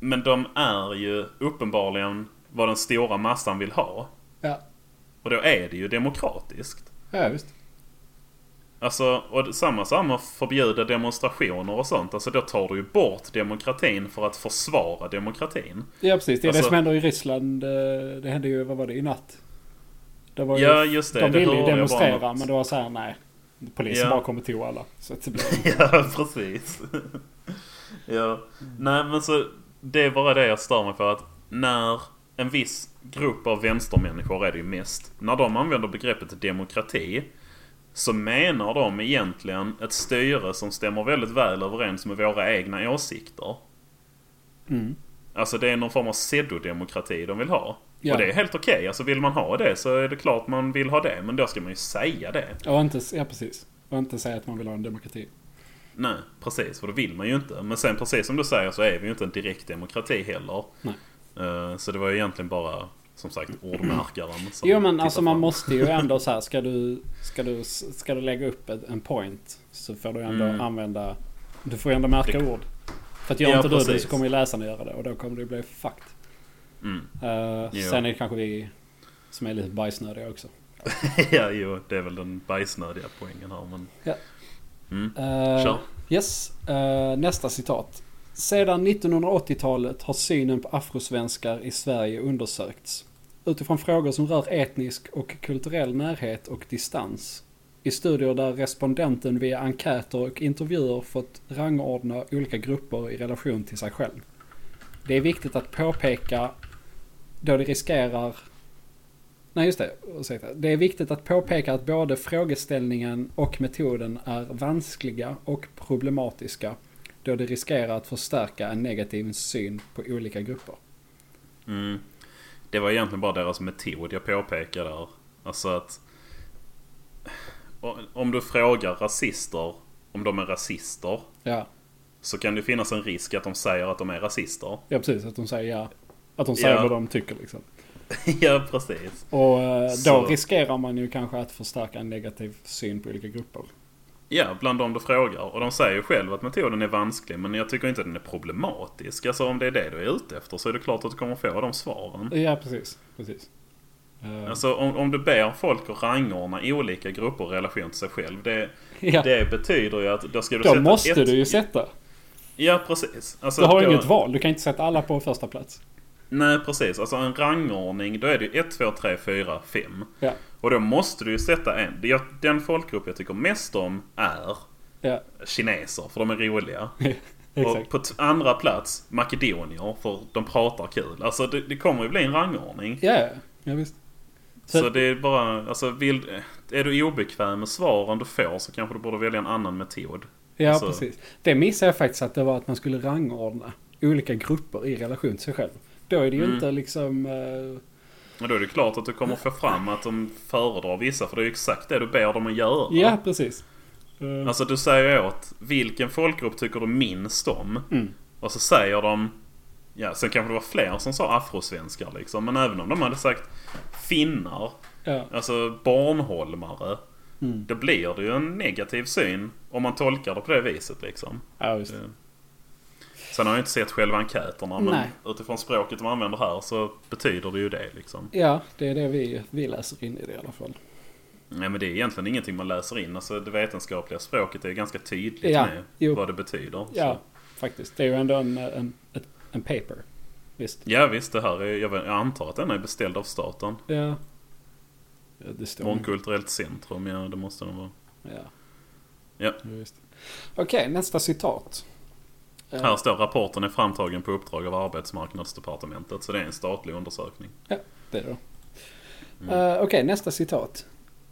[SPEAKER 2] men de är ju uppenbarligen vad den stora massan vill ha.
[SPEAKER 1] Ja,
[SPEAKER 2] Och då är det ju demokratiskt.
[SPEAKER 1] ja visst.
[SPEAKER 2] Alltså, och det- samma samma förbjuda demonstrationer och sånt. Alltså då tar du ju bort demokratin för att försvara demokratin.
[SPEAKER 1] Ja, precis. Det är det
[SPEAKER 2] Alltså-
[SPEAKER 1] som händer i Ryssland. eh, Det hände ju, vad var det, i natt? Det var ju,
[SPEAKER 2] Ja, just det.
[SPEAKER 1] de
[SPEAKER 2] det
[SPEAKER 1] ville ju
[SPEAKER 2] hörde jag
[SPEAKER 1] demonstrera,
[SPEAKER 2] bara något-
[SPEAKER 1] men det var så här, nej. Polisen
[SPEAKER 2] Ja.
[SPEAKER 1] bara kommer till alla. Så att det blev...
[SPEAKER 2] *laughs* Ja, precis. ja. Nej, men så det är bara det jag stör mig på. Att när en viss grupp av vänstermänniskor är det ju mest. När de använder begreppet demokrati så menar de egentligen ett styre som stämmer väldigt väl överens med våra egna åsikter.
[SPEAKER 1] Mm.
[SPEAKER 2] Alltså det är någon form av pseudodemokrati de vill ha.
[SPEAKER 1] Ja.
[SPEAKER 2] Och det är helt okej. Alltså vill man ha det så är det klart man vill ha det. Men då ska man ju säga det.
[SPEAKER 1] Och inte, ja, precis. Och inte säga att man vill ha en demokrati.
[SPEAKER 2] Nej, precis. För det vill man ju inte. Men sen precis som du säger så är vi ju inte en direkt demokrati heller.
[SPEAKER 1] Nej.
[SPEAKER 2] Eh, Så det var ju egentligen bara, som sagt, ordmärkaren som
[SPEAKER 1] Jo men
[SPEAKER 2] tittade
[SPEAKER 1] alltså man
[SPEAKER 2] fram.
[SPEAKER 1] måste ju ändå så här, ska du, ska du, ska du lägga upp ett- en point så får du ändå
[SPEAKER 2] Mm.
[SPEAKER 1] använda, du får ju ändå märka ord. För att gör
[SPEAKER 2] Ja,
[SPEAKER 1] inte du det
[SPEAKER 2] precis.
[SPEAKER 1] så kommer ju läsarna göra det och då kommer det bli fucked.
[SPEAKER 2] Mm. *laughs*
[SPEAKER 1] Eh, Sen är det kanske vi som är lite bajsnödiga också.
[SPEAKER 2] ja, jo, det är väl den bajsnödiga poängen här. Men...
[SPEAKER 1] Ja.
[SPEAKER 2] Mm.
[SPEAKER 1] Eh,
[SPEAKER 2] Kör.
[SPEAKER 1] Yes, eh, nästa citat. Sedan 1980-talet har synen på afrosvenskar i Sverige undersökts. Utifrån frågor som rör etnisk och kulturell närhet och distans. I studier där respondenten via enkäter och intervjuer fått rangordna olika grupper i relation till sig själv. Det är viktigt att påpeka då det riskerar... Nej, just det. Ursäkta. Det är viktigt att påpeka att både frågeställningen och metoden är vanskliga och problematiska då det riskerar att förstärka en negativ syn på olika grupper.
[SPEAKER 2] Mm. Det var egentligen bara deras metod jag påpekade där. Alltså att... Om du frågar rasister om de är rasister
[SPEAKER 1] Ja,
[SPEAKER 2] så kan det finnas en risk att de säger att de är rasister. *laughs*
[SPEAKER 1] ja precis. Att de säger ja. Att de säger
[SPEAKER 2] Ja.
[SPEAKER 1] vad de tycker liksom.
[SPEAKER 2] ja, precis.
[SPEAKER 1] Och eh, då
[SPEAKER 2] Så.
[SPEAKER 1] riskerar man ju kanske att förstärka en negativ syn på olika grupper.
[SPEAKER 2] Ja, bland dem du frågar. Och de säger ju själv att metoden är vansklig, men jag tycker inte att den är problematisk. Alltså om det är det du är ute efter så är det klart att du kommer få de svaren.
[SPEAKER 1] Ja, precis. precis. Eh,
[SPEAKER 2] Alltså om, om du ber folk att rangordna i olika grupper i relation till sig själv. Det,
[SPEAKER 1] ja.
[SPEAKER 2] det betyder ju att då ska du
[SPEAKER 1] Då
[SPEAKER 2] sätta
[SPEAKER 1] måste
[SPEAKER 2] ett...
[SPEAKER 1] du ju sätta.
[SPEAKER 2] Ja, precis. Alltså,
[SPEAKER 1] Du har
[SPEAKER 2] då-
[SPEAKER 1] inget val. Du kan inte sätta alla på första plats.
[SPEAKER 2] Nej, precis. Alltså en rangordning, då är det ju 1, 2, 3, 4, 5.
[SPEAKER 1] Ja.
[SPEAKER 2] Och då måste du ju sätta en. Det- jag- Den folkgrupp jag tycker mest om är
[SPEAKER 1] Ja, *laughs*
[SPEAKER 2] kineser, för de är roliga.
[SPEAKER 1] exakt.
[SPEAKER 2] Och på t- andra plats, makedonier, för de pratar kul. Alltså det, det kommer ju bli en rangordning.
[SPEAKER 1] Ja, ja, ja visst.
[SPEAKER 2] Så,
[SPEAKER 1] Så-
[SPEAKER 2] det är bara, alltså vill, är du obekväm med svaren du får så kanske du borde välja en annan metod.
[SPEAKER 1] Ja,
[SPEAKER 2] Alltså-
[SPEAKER 1] precis. Det missade jag faktiskt att det var att man skulle rangordna olika grupper i relation till sig själv. Då är det ju
[SPEAKER 2] Mm.
[SPEAKER 1] inte liksom... eh,
[SPEAKER 2] Men då är det klart att du kommer få fram att de föredrar vissa, för det är ju exakt det du ber dem att göra.
[SPEAKER 1] ja, precis. Eh,
[SPEAKER 2] Alltså du säger åt vilken folkgrupp tycker du minst om?
[SPEAKER 1] Mm.
[SPEAKER 2] Och så säger de... Ja, sen kanske det var fler som sa afrosvenskar liksom. Men även om de hade sagt finnar,
[SPEAKER 1] ja.
[SPEAKER 2] alltså barnholmare.
[SPEAKER 1] Mm.
[SPEAKER 2] Då blir det ju en negativ syn om man tolkar det på det viset liksom.
[SPEAKER 1] ja, just det.
[SPEAKER 2] Sen har jag inte sett själva enkäterna men
[SPEAKER 1] Nej.
[SPEAKER 2] utifrån språket man använder här så betyder det ju det liksom.
[SPEAKER 1] Ja, det är det vi, vi läser in i det i alla fall.
[SPEAKER 2] Nej men det är egentligen ingenting man läser in. Alltså det vetenskapliga språket är ju ganska tydligt
[SPEAKER 1] Ja,
[SPEAKER 2] med
[SPEAKER 1] jo.
[SPEAKER 2] vad det betyder.
[SPEAKER 1] Ja,
[SPEAKER 2] Så.
[SPEAKER 1] faktiskt. Det är ju ändå en, en, ett- en paper. Visst.
[SPEAKER 2] Ja visst, det här är, jag vet- jag antar att den är beställd av staten.
[SPEAKER 1] Ja. ja det står
[SPEAKER 2] Mångkulturellt centrum, ja det måste den vara.
[SPEAKER 1] Ja.
[SPEAKER 2] Ja.
[SPEAKER 1] Just. Okej, nästa citat. Eh,
[SPEAKER 2] Här står rapporten är framtagen på uppdrag av arbetsmarknadsdepartementet. Så det är en statlig undersökning.
[SPEAKER 1] Det då.
[SPEAKER 2] Mm.
[SPEAKER 1] Eh, Okej, nästa citat.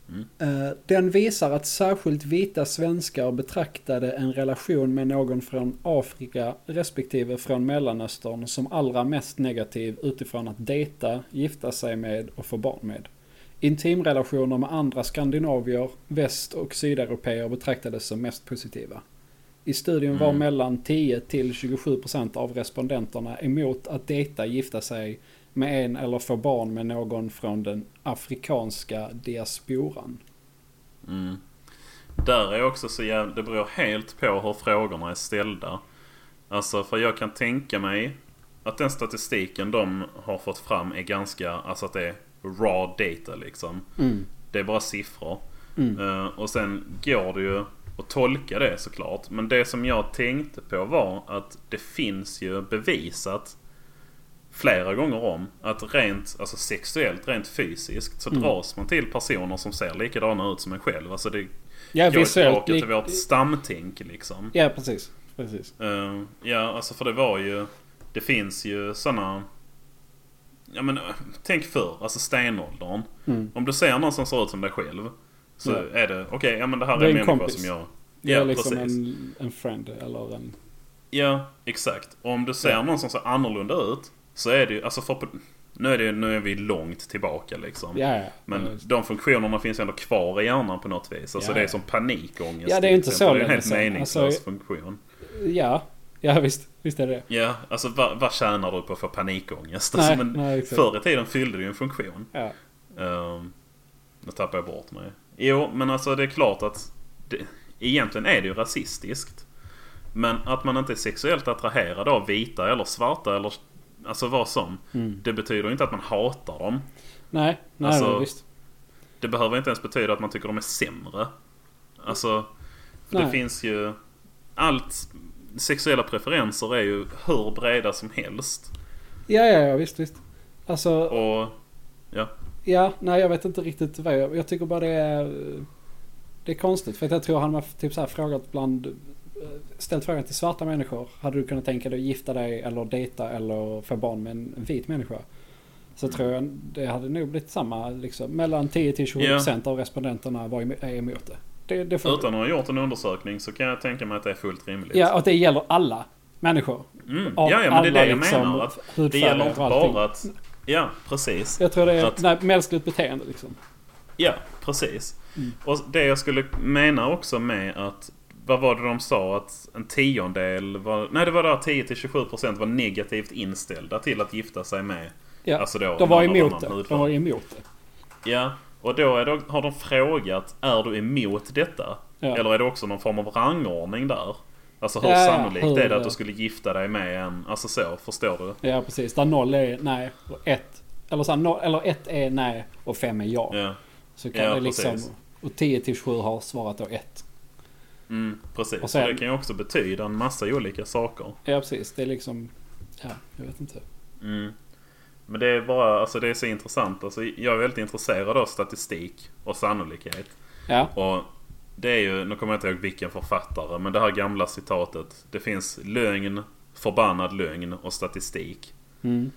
[SPEAKER 2] Mm.
[SPEAKER 1] Eh, den visar att särskilt vita svenskar betraktade en relation med någon från Afrika respektive från Mellanöstern som allra mest negativ utifrån att dejta, gifta sig med och få barn med. Intimrelationer med andra skandinavier, väst och sydeuropeer betraktades som mest positiva. I studien var
[SPEAKER 2] Mm.
[SPEAKER 1] mellan 10 till 27 procent av respondenterna emot att dejta, gifta sig med en eller få barn med någon från den afrikanska diasporan.
[SPEAKER 2] Mm. Där är också så jävla... Det beror helt på hur frågorna är ställda. Alltså för jag kan tänka mig att den statistiken de har fått fram är ganska... Alltså att det är raw data liksom.
[SPEAKER 1] Mm.
[SPEAKER 2] Det är bara siffror.
[SPEAKER 1] Mm.
[SPEAKER 2] Eh, och sen går det ju att tolka det såklart. Men det som jag tänkte på var att det finns ju bevisat flera gånger om att rent alltså sexuellt, rent fysiskt så
[SPEAKER 1] Mm.
[SPEAKER 2] dras man till personer som ser likadana ut som en själv. Alltså det
[SPEAKER 1] Ja,
[SPEAKER 2] går
[SPEAKER 1] visuellt.
[SPEAKER 2] tillbaka
[SPEAKER 1] Lik-
[SPEAKER 2] till vårt stamtänk liksom.
[SPEAKER 1] ja, precis. precis.
[SPEAKER 2] Eh, ja, alltså för det var ju... Det finns ju sådana... Ja men eh, tänk förr, alltså stenåldern.
[SPEAKER 1] Mm.
[SPEAKER 2] Om du ser någon som ser ut som dig själv så
[SPEAKER 1] Ja.
[SPEAKER 2] är det okej, ja men det här
[SPEAKER 1] Det
[SPEAKER 2] är
[SPEAKER 1] är
[SPEAKER 2] en
[SPEAKER 1] en
[SPEAKER 2] människa
[SPEAKER 1] kompis.
[SPEAKER 2] som jag...
[SPEAKER 1] Det
[SPEAKER 2] Ja,
[SPEAKER 1] är liksom
[SPEAKER 2] precis.
[SPEAKER 1] en, en friend eller en...
[SPEAKER 2] Ja, exakt. Och om du ser
[SPEAKER 1] Ja.
[SPEAKER 2] någon som ser annorlunda ut så är det ju, alltså för på, Nu är, det, nu är vi långt tillbaka liksom.
[SPEAKER 1] Ja, ja.
[SPEAKER 2] Men de funktionerna finns ändå kvar i hjärnan på något vis. Alltså
[SPEAKER 1] Ja.
[SPEAKER 2] det är som panikångest.
[SPEAKER 1] Ja, det är
[SPEAKER 2] till
[SPEAKER 1] inte
[SPEAKER 2] exempel.
[SPEAKER 1] så
[SPEAKER 2] Det är en
[SPEAKER 1] länge
[SPEAKER 2] helt
[SPEAKER 1] sedan.
[SPEAKER 2] meningslös
[SPEAKER 1] Alltså-
[SPEAKER 2] funktion.
[SPEAKER 1] ja. ja visst, visst är det det.
[SPEAKER 2] Ja, alltså vad, vad tjänar du på att få panikångest?
[SPEAKER 1] Nej,
[SPEAKER 2] Alltså, men
[SPEAKER 1] nej, exakt.
[SPEAKER 2] förr i tiden fyllde det ju en funktion.
[SPEAKER 1] Ja.
[SPEAKER 2] Ehm, nu tappar jag bort mig. Jo, men alltså det är klart att det, egentligen är det ju rasistiskt. Men att man inte är sexuellt attraherad av vita eller svarta eller alltså vad som.
[SPEAKER 1] Mm.
[SPEAKER 2] Det betyder ju inte att man hatar dem.
[SPEAKER 1] Nej, nej
[SPEAKER 2] Alltså-
[SPEAKER 1] nej, visst.
[SPEAKER 2] Det behöver inte ens betyda att man tycker de är sämre. Alltså, för det
[SPEAKER 1] Nej.
[SPEAKER 2] finns ju... Allt... Sexuella preferenser är ju hur breda som helst.
[SPEAKER 1] Ja, ja, ja, visst, visst. Alltså,
[SPEAKER 2] Och...
[SPEAKER 1] Ja, nej jag vet inte riktigt vad jag... Jag tycker bara det är... eh, Det är konstigt för att jag tror han har typ så här frågat bland... eh, Ställt frågan till svarta människor. Hade du kunnat tänka dig att gifta dig eller dejta eller få barn med en en vit människa? Så
[SPEAKER 2] Mm.
[SPEAKER 1] tror jag det hade nog blivit samma liksom. Mellan 10 till 20 procent av respondenterna var emo- är emot det. Det, det får...
[SPEAKER 2] Utan att ha gjort en undersökning så kan jag tänka mig att det är fullt rimligt.
[SPEAKER 1] Ja, och det gäller alla människor.
[SPEAKER 2] mm.
[SPEAKER 1] Av
[SPEAKER 2] ja, ja men det är
[SPEAKER 1] alla
[SPEAKER 2] det jag
[SPEAKER 1] liksom
[SPEAKER 2] menar. Att det
[SPEAKER 1] hudfärger
[SPEAKER 2] gäller inte
[SPEAKER 1] och allting.
[SPEAKER 2] bara att... Ja, precis.
[SPEAKER 1] Jag tror det är
[SPEAKER 2] Så
[SPEAKER 1] ett
[SPEAKER 2] att-
[SPEAKER 1] nej, mänskligt beteende liksom.
[SPEAKER 2] Ja, precis.
[SPEAKER 1] Mm.
[SPEAKER 2] Och det jag skulle mena också med att... Vad var det de sa? Att en tiondel var... Nej, det var där 10-27% var negativt inställda till att gifta sig med
[SPEAKER 1] Ja,
[SPEAKER 2] Alltså då,
[SPEAKER 1] de var
[SPEAKER 2] någon av
[SPEAKER 1] emot
[SPEAKER 2] annan
[SPEAKER 1] det. De
[SPEAKER 2] hudfärg.
[SPEAKER 1] var emot det.
[SPEAKER 2] Ja, och då, är det, har de frågat är du emot detta?
[SPEAKER 1] Ja.
[SPEAKER 2] Eller är det också någon form av rangordning där? Alltså hur
[SPEAKER 1] Ja, ja,
[SPEAKER 2] sannolikt
[SPEAKER 1] hur-
[SPEAKER 2] är det att
[SPEAKER 1] ja.
[SPEAKER 2] du skulle gifta dig med en... Alltså så, förstår du?
[SPEAKER 1] Ja precis, där noll är nej och ett. Eller, så här, noll, eller ett är nej och fem är ja.
[SPEAKER 2] Ja,
[SPEAKER 1] Så kan
[SPEAKER 2] Ja,
[SPEAKER 1] det liksom...
[SPEAKER 2] precis.
[SPEAKER 1] Och 10 till 27 har svarat då ett.
[SPEAKER 2] mm, precis.
[SPEAKER 1] Och
[SPEAKER 2] Och
[SPEAKER 1] sen-
[SPEAKER 2] det kan ju också betyda en massa olika saker.
[SPEAKER 1] Ja precis, det är liksom... Ja, jag vet inte.
[SPEAKER 2] Mm. Men det är bara, alltså det är så intressant. Alltså, jag är väldigt intresserad av statistik och sannolikhet.
[SPEAKER 1] Ja,
[SPEAKER 2] Och det är ju, nu kommer jag inte ihåg vilken författare, men det här gamla citatet. Det finns lögn, förbannad lögn och statistik.
[SPEAKER 1] mm.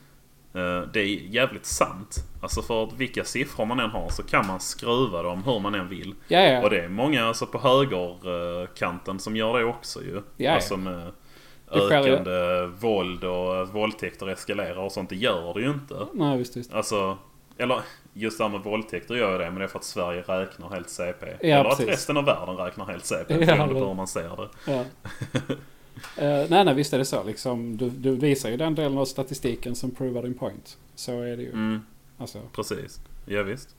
[SPEAKER 2] Eh, Det är jävligt sant. Alltså för att vilka siffror man än har så kan man skruva dem hur man än vill.
[SPEAKER 1] ja, ja.
[SPEAKER 2] Och det är många alltså på högerkanten som gör det också ju.
[SPEAKER 1] ja.
[SPEAKER 2] Alltså med
[SPEAKER 1] Det skär ju-
[SPEAKER 2] ökande våld och att våldtäkter eskalerar och sånt. Det gör det ju inte.
[SPEAKER 1] Nej visst, visst.
[SPEAKER 2] Alltså, eller just det här med våldtäkter gör ju det men det är för att Sverige räknar helt CP.
[SPEAKER 1] Ja,
[SPEAKER 2] eller att
[SPEAKER 1] precis.
[SPEAKER 2] resten av världen räknar helt
[SPEAKER 1] *laughs*
[SPEAKER 2] CP.
[SPEAKER 1] Ja,
[SPEAKER 2] Beroende
[SPEAKER 1] men-
[SPEAKER 2] på hur man ser det. *laughs*
[SPEAKER 1] Ja. Eh, nej, nej, visst är det så. Liksom, du, du visar ju den delen av statistiken som provar din point. Så är det ju.
[SPEAKER 2] Mm,
[SPEAKER 1] Alltså,
[SPEAKER 2] precis. Ja, visst.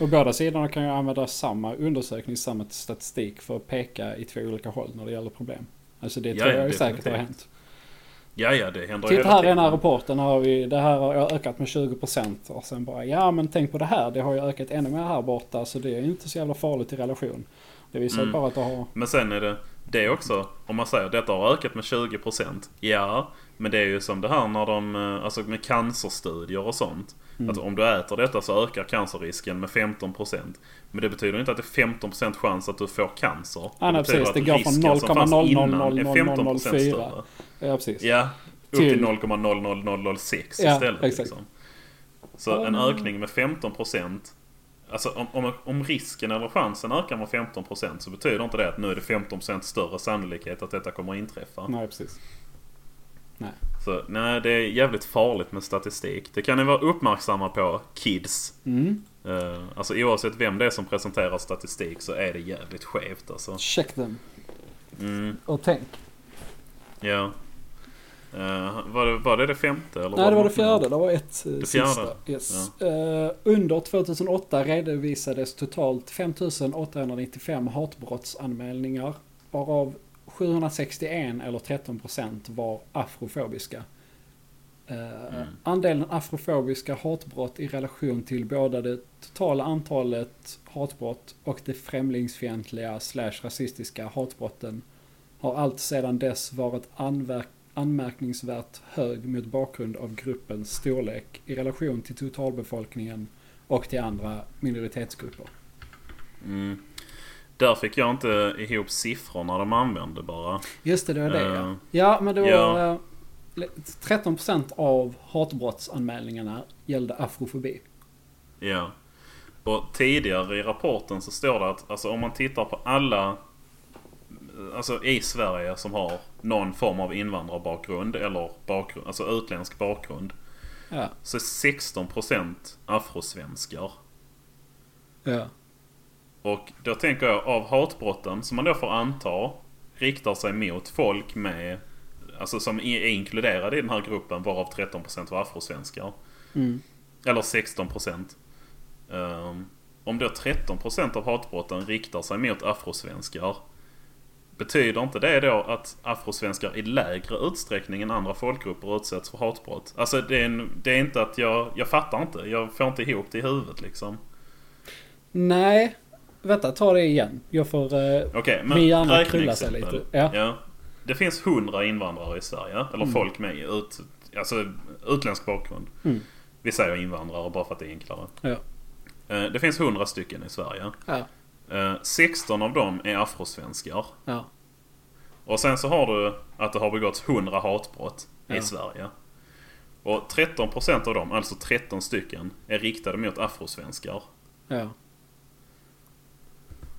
[SPEAKER 1] och båda sidorna kan ju använda samma undersökning, samma statistik för att peka i två olika håll när det gäller problem. Alltså det
[SPEAKER 2] Ja,
[SPEAKER 1] tror
[SPEAKER 2] ja,
[SPEAKER 1] jag ju säkert har
[SPEAKER 2] definitivt.
[SPEAKER 1] hänt.
[SPEAKER 2] Ja, ja, det händer ju
[SPEAKER 1] Titta
[SPEAKER 2] hela
[SPEAKER 1] här i den här
[SPEAKER 2] tiden.
[SPEAKER 1] rapporten har vi, det här har ökat med 20% och sen bara ja men tänk på det här, det har ju ökat ännu mer här borta så det är ju inte så jävla farligt i relation. Det visar ju
[SPEAKER 2] Mm.
[SPEAKER 1] bara att det har,
[SPEAKER 2] Men sen är det det också. Om man säger detta har ökat med 20%. Ja, men det är ju som det här när de, eh, alltså med cancerstudier och sånt.
[SPEAKER 1] Mm.
[SPEAKER 2] Att om du äter detta så ökar cancerrisken med 15%. Men det betyder inte att det är 15% chans att du får cancer.
[SPEAKER 1] nej,
[SPEAKER 2] betyder
[SPEAKER 1] precis.
[SPEAKER 2] att
[SPEAKER 1] Det går
[SPEAKER 2] risken
[SPEAKER 1] från
[SPEAKER 2] som fanns innan är
[SPEAKER 1] 0,0000004.
[SPEAKER 2] 15% större.
[SPEAKER 1] ja precis.
[SPEAKER 2] Ja, upp
[SPEAKER 1] Till-
[SPEAKER 2] till 0,00006
[SPEAKER 1] Ja,
[SPEAKER 2] istället.
[SPEAKER 1] exakt.
[SPEAKER 2] Liksom. Så en ökning med 15% Alltså om, om, om risken eller chansen ökar med 15% så betyder inte det att nu är det 15% större sannolikhet att detta kommer att inträffa.
[SPEAKER 1] Nej precis.
[SPEAKER 2] Så nej, det är jävligt farligt med statistik. Det kan ni vara uppmärksamma på, kids.
[SPEAKER 1] Mm.
[SPEAKER 2] Eh, alltså oavsett vem det är som presenterar statistik så är det jävligt skevt alltså.
[SPEAKER 1] Check them
[SPEAKER 2] Mm,
[SPEAKER 1] och tänk.
[SPEAKER 2] ja. Eh, var, det, var det det femte? Eller
[SPEAKER 1] Nej det var det
[SPEAKER 2] något mer?
[SPEAKER 1] fjärde, det var ett det sista.
[SPEAKER 2] fjärde?
[SPEAKER 1] Yes. Eh, under 2008 redovisades totalt 5895 hatbrottsanmälningar. Varav 761 eller 13% var afrofobiska. Eh, Andelen afrofobiska hatbrott i relation till både det totala antalet hatbrott och det främlingsfientliga slash rasistiska hatbrotten har allt sedan dess varit anverk- anmärkningsvärt hög mot bakgrund av gruppens storlek i relation till totalbefolkningen och till andra minoritetsgrupper.
[SPEAKER 2] Mm. Där fick jag inte ihop siffrorna de använde bara.
[SPEAKER 1] Just det, det var det ja.
[SPEAKER 2] Eh,
[SPEAKER 1] Ja, men det var...
[SPEAKER 2] ja.
[SPEAKER 1] eh, 13% av hatbrottsanmälningarna gällde afrofobi.
[SPEAKER 2] Ja. Och tidigare i rapporten så står det att alltså, om man tittar på alla alltså, i Sverige som har någon form av invandrarbakgrund eller bakgrund, alltså utländsk bakgrund.
[SPEAKER 1] Ja.
[SPEAKER 2] Så 16% afrosvenskar.
[SPEAKER 1] Ja.
[SPEAKER 2] Och då tänker jag av hatbrotten som man då får anta riktar sig mot folk med Alltså som är inkluderade i den här gruppen varav 13% var afrosvenskar.
[SPEAKER 1] Mm.
[SPEAKER 2] Eller 16%. Um, om då 13% av hatbrotten riktar sig mot afrosvenskar. Betyder inte det då att afrosvenskar i lägre utsträckning än andra folkgrupper utsätts för hatbrott? Alltså det är, en, det är inte att jag, jag fattar inte. Jag får inte ihop det i huvudet liksom.
[SPEAKER 1] Nej. Vänta, ta det igen. Jag får... eh,
[SPEAKER 2] Okej,
[SPEAKER 1] Min
[SPEAKER 2] men
[SPEAKER 1] hjärna
[SPEAKER 2] räkna
[SPEAKER 1] krullar sig
[SPEAKER 2] exempel.
[SPEAKER 1] lite. Ja.
[SPEAKER 2] Det finns hundra invandrare i Sverige. Eller folk med ut, alltså, utländsk bakgrund.
[SPEAKER 1] Mm.
[SPEAKER 2] Vi säger invandrare bara för att det är enklare.
[SPEAKER 1] Ja.
[SPEAKER 2] Eh, Det finns hundra stycken i Sverige.
[SPEAKER 1] Ja.
[SPEAKER 2] Eh, 16 av dem är afrosvenskar.
[SPEAKER 1] Ja.
[SPEAKER 2] Och sen så har du att det har begåtts 100 hatbrott i
[SPEAKER 1] Ja.
[SPEAKER 2] Sverige. Och 13% av dem, alltså 13 stycken, är riktade mot afrosvenskar.
[SPEAKER 1] Ja.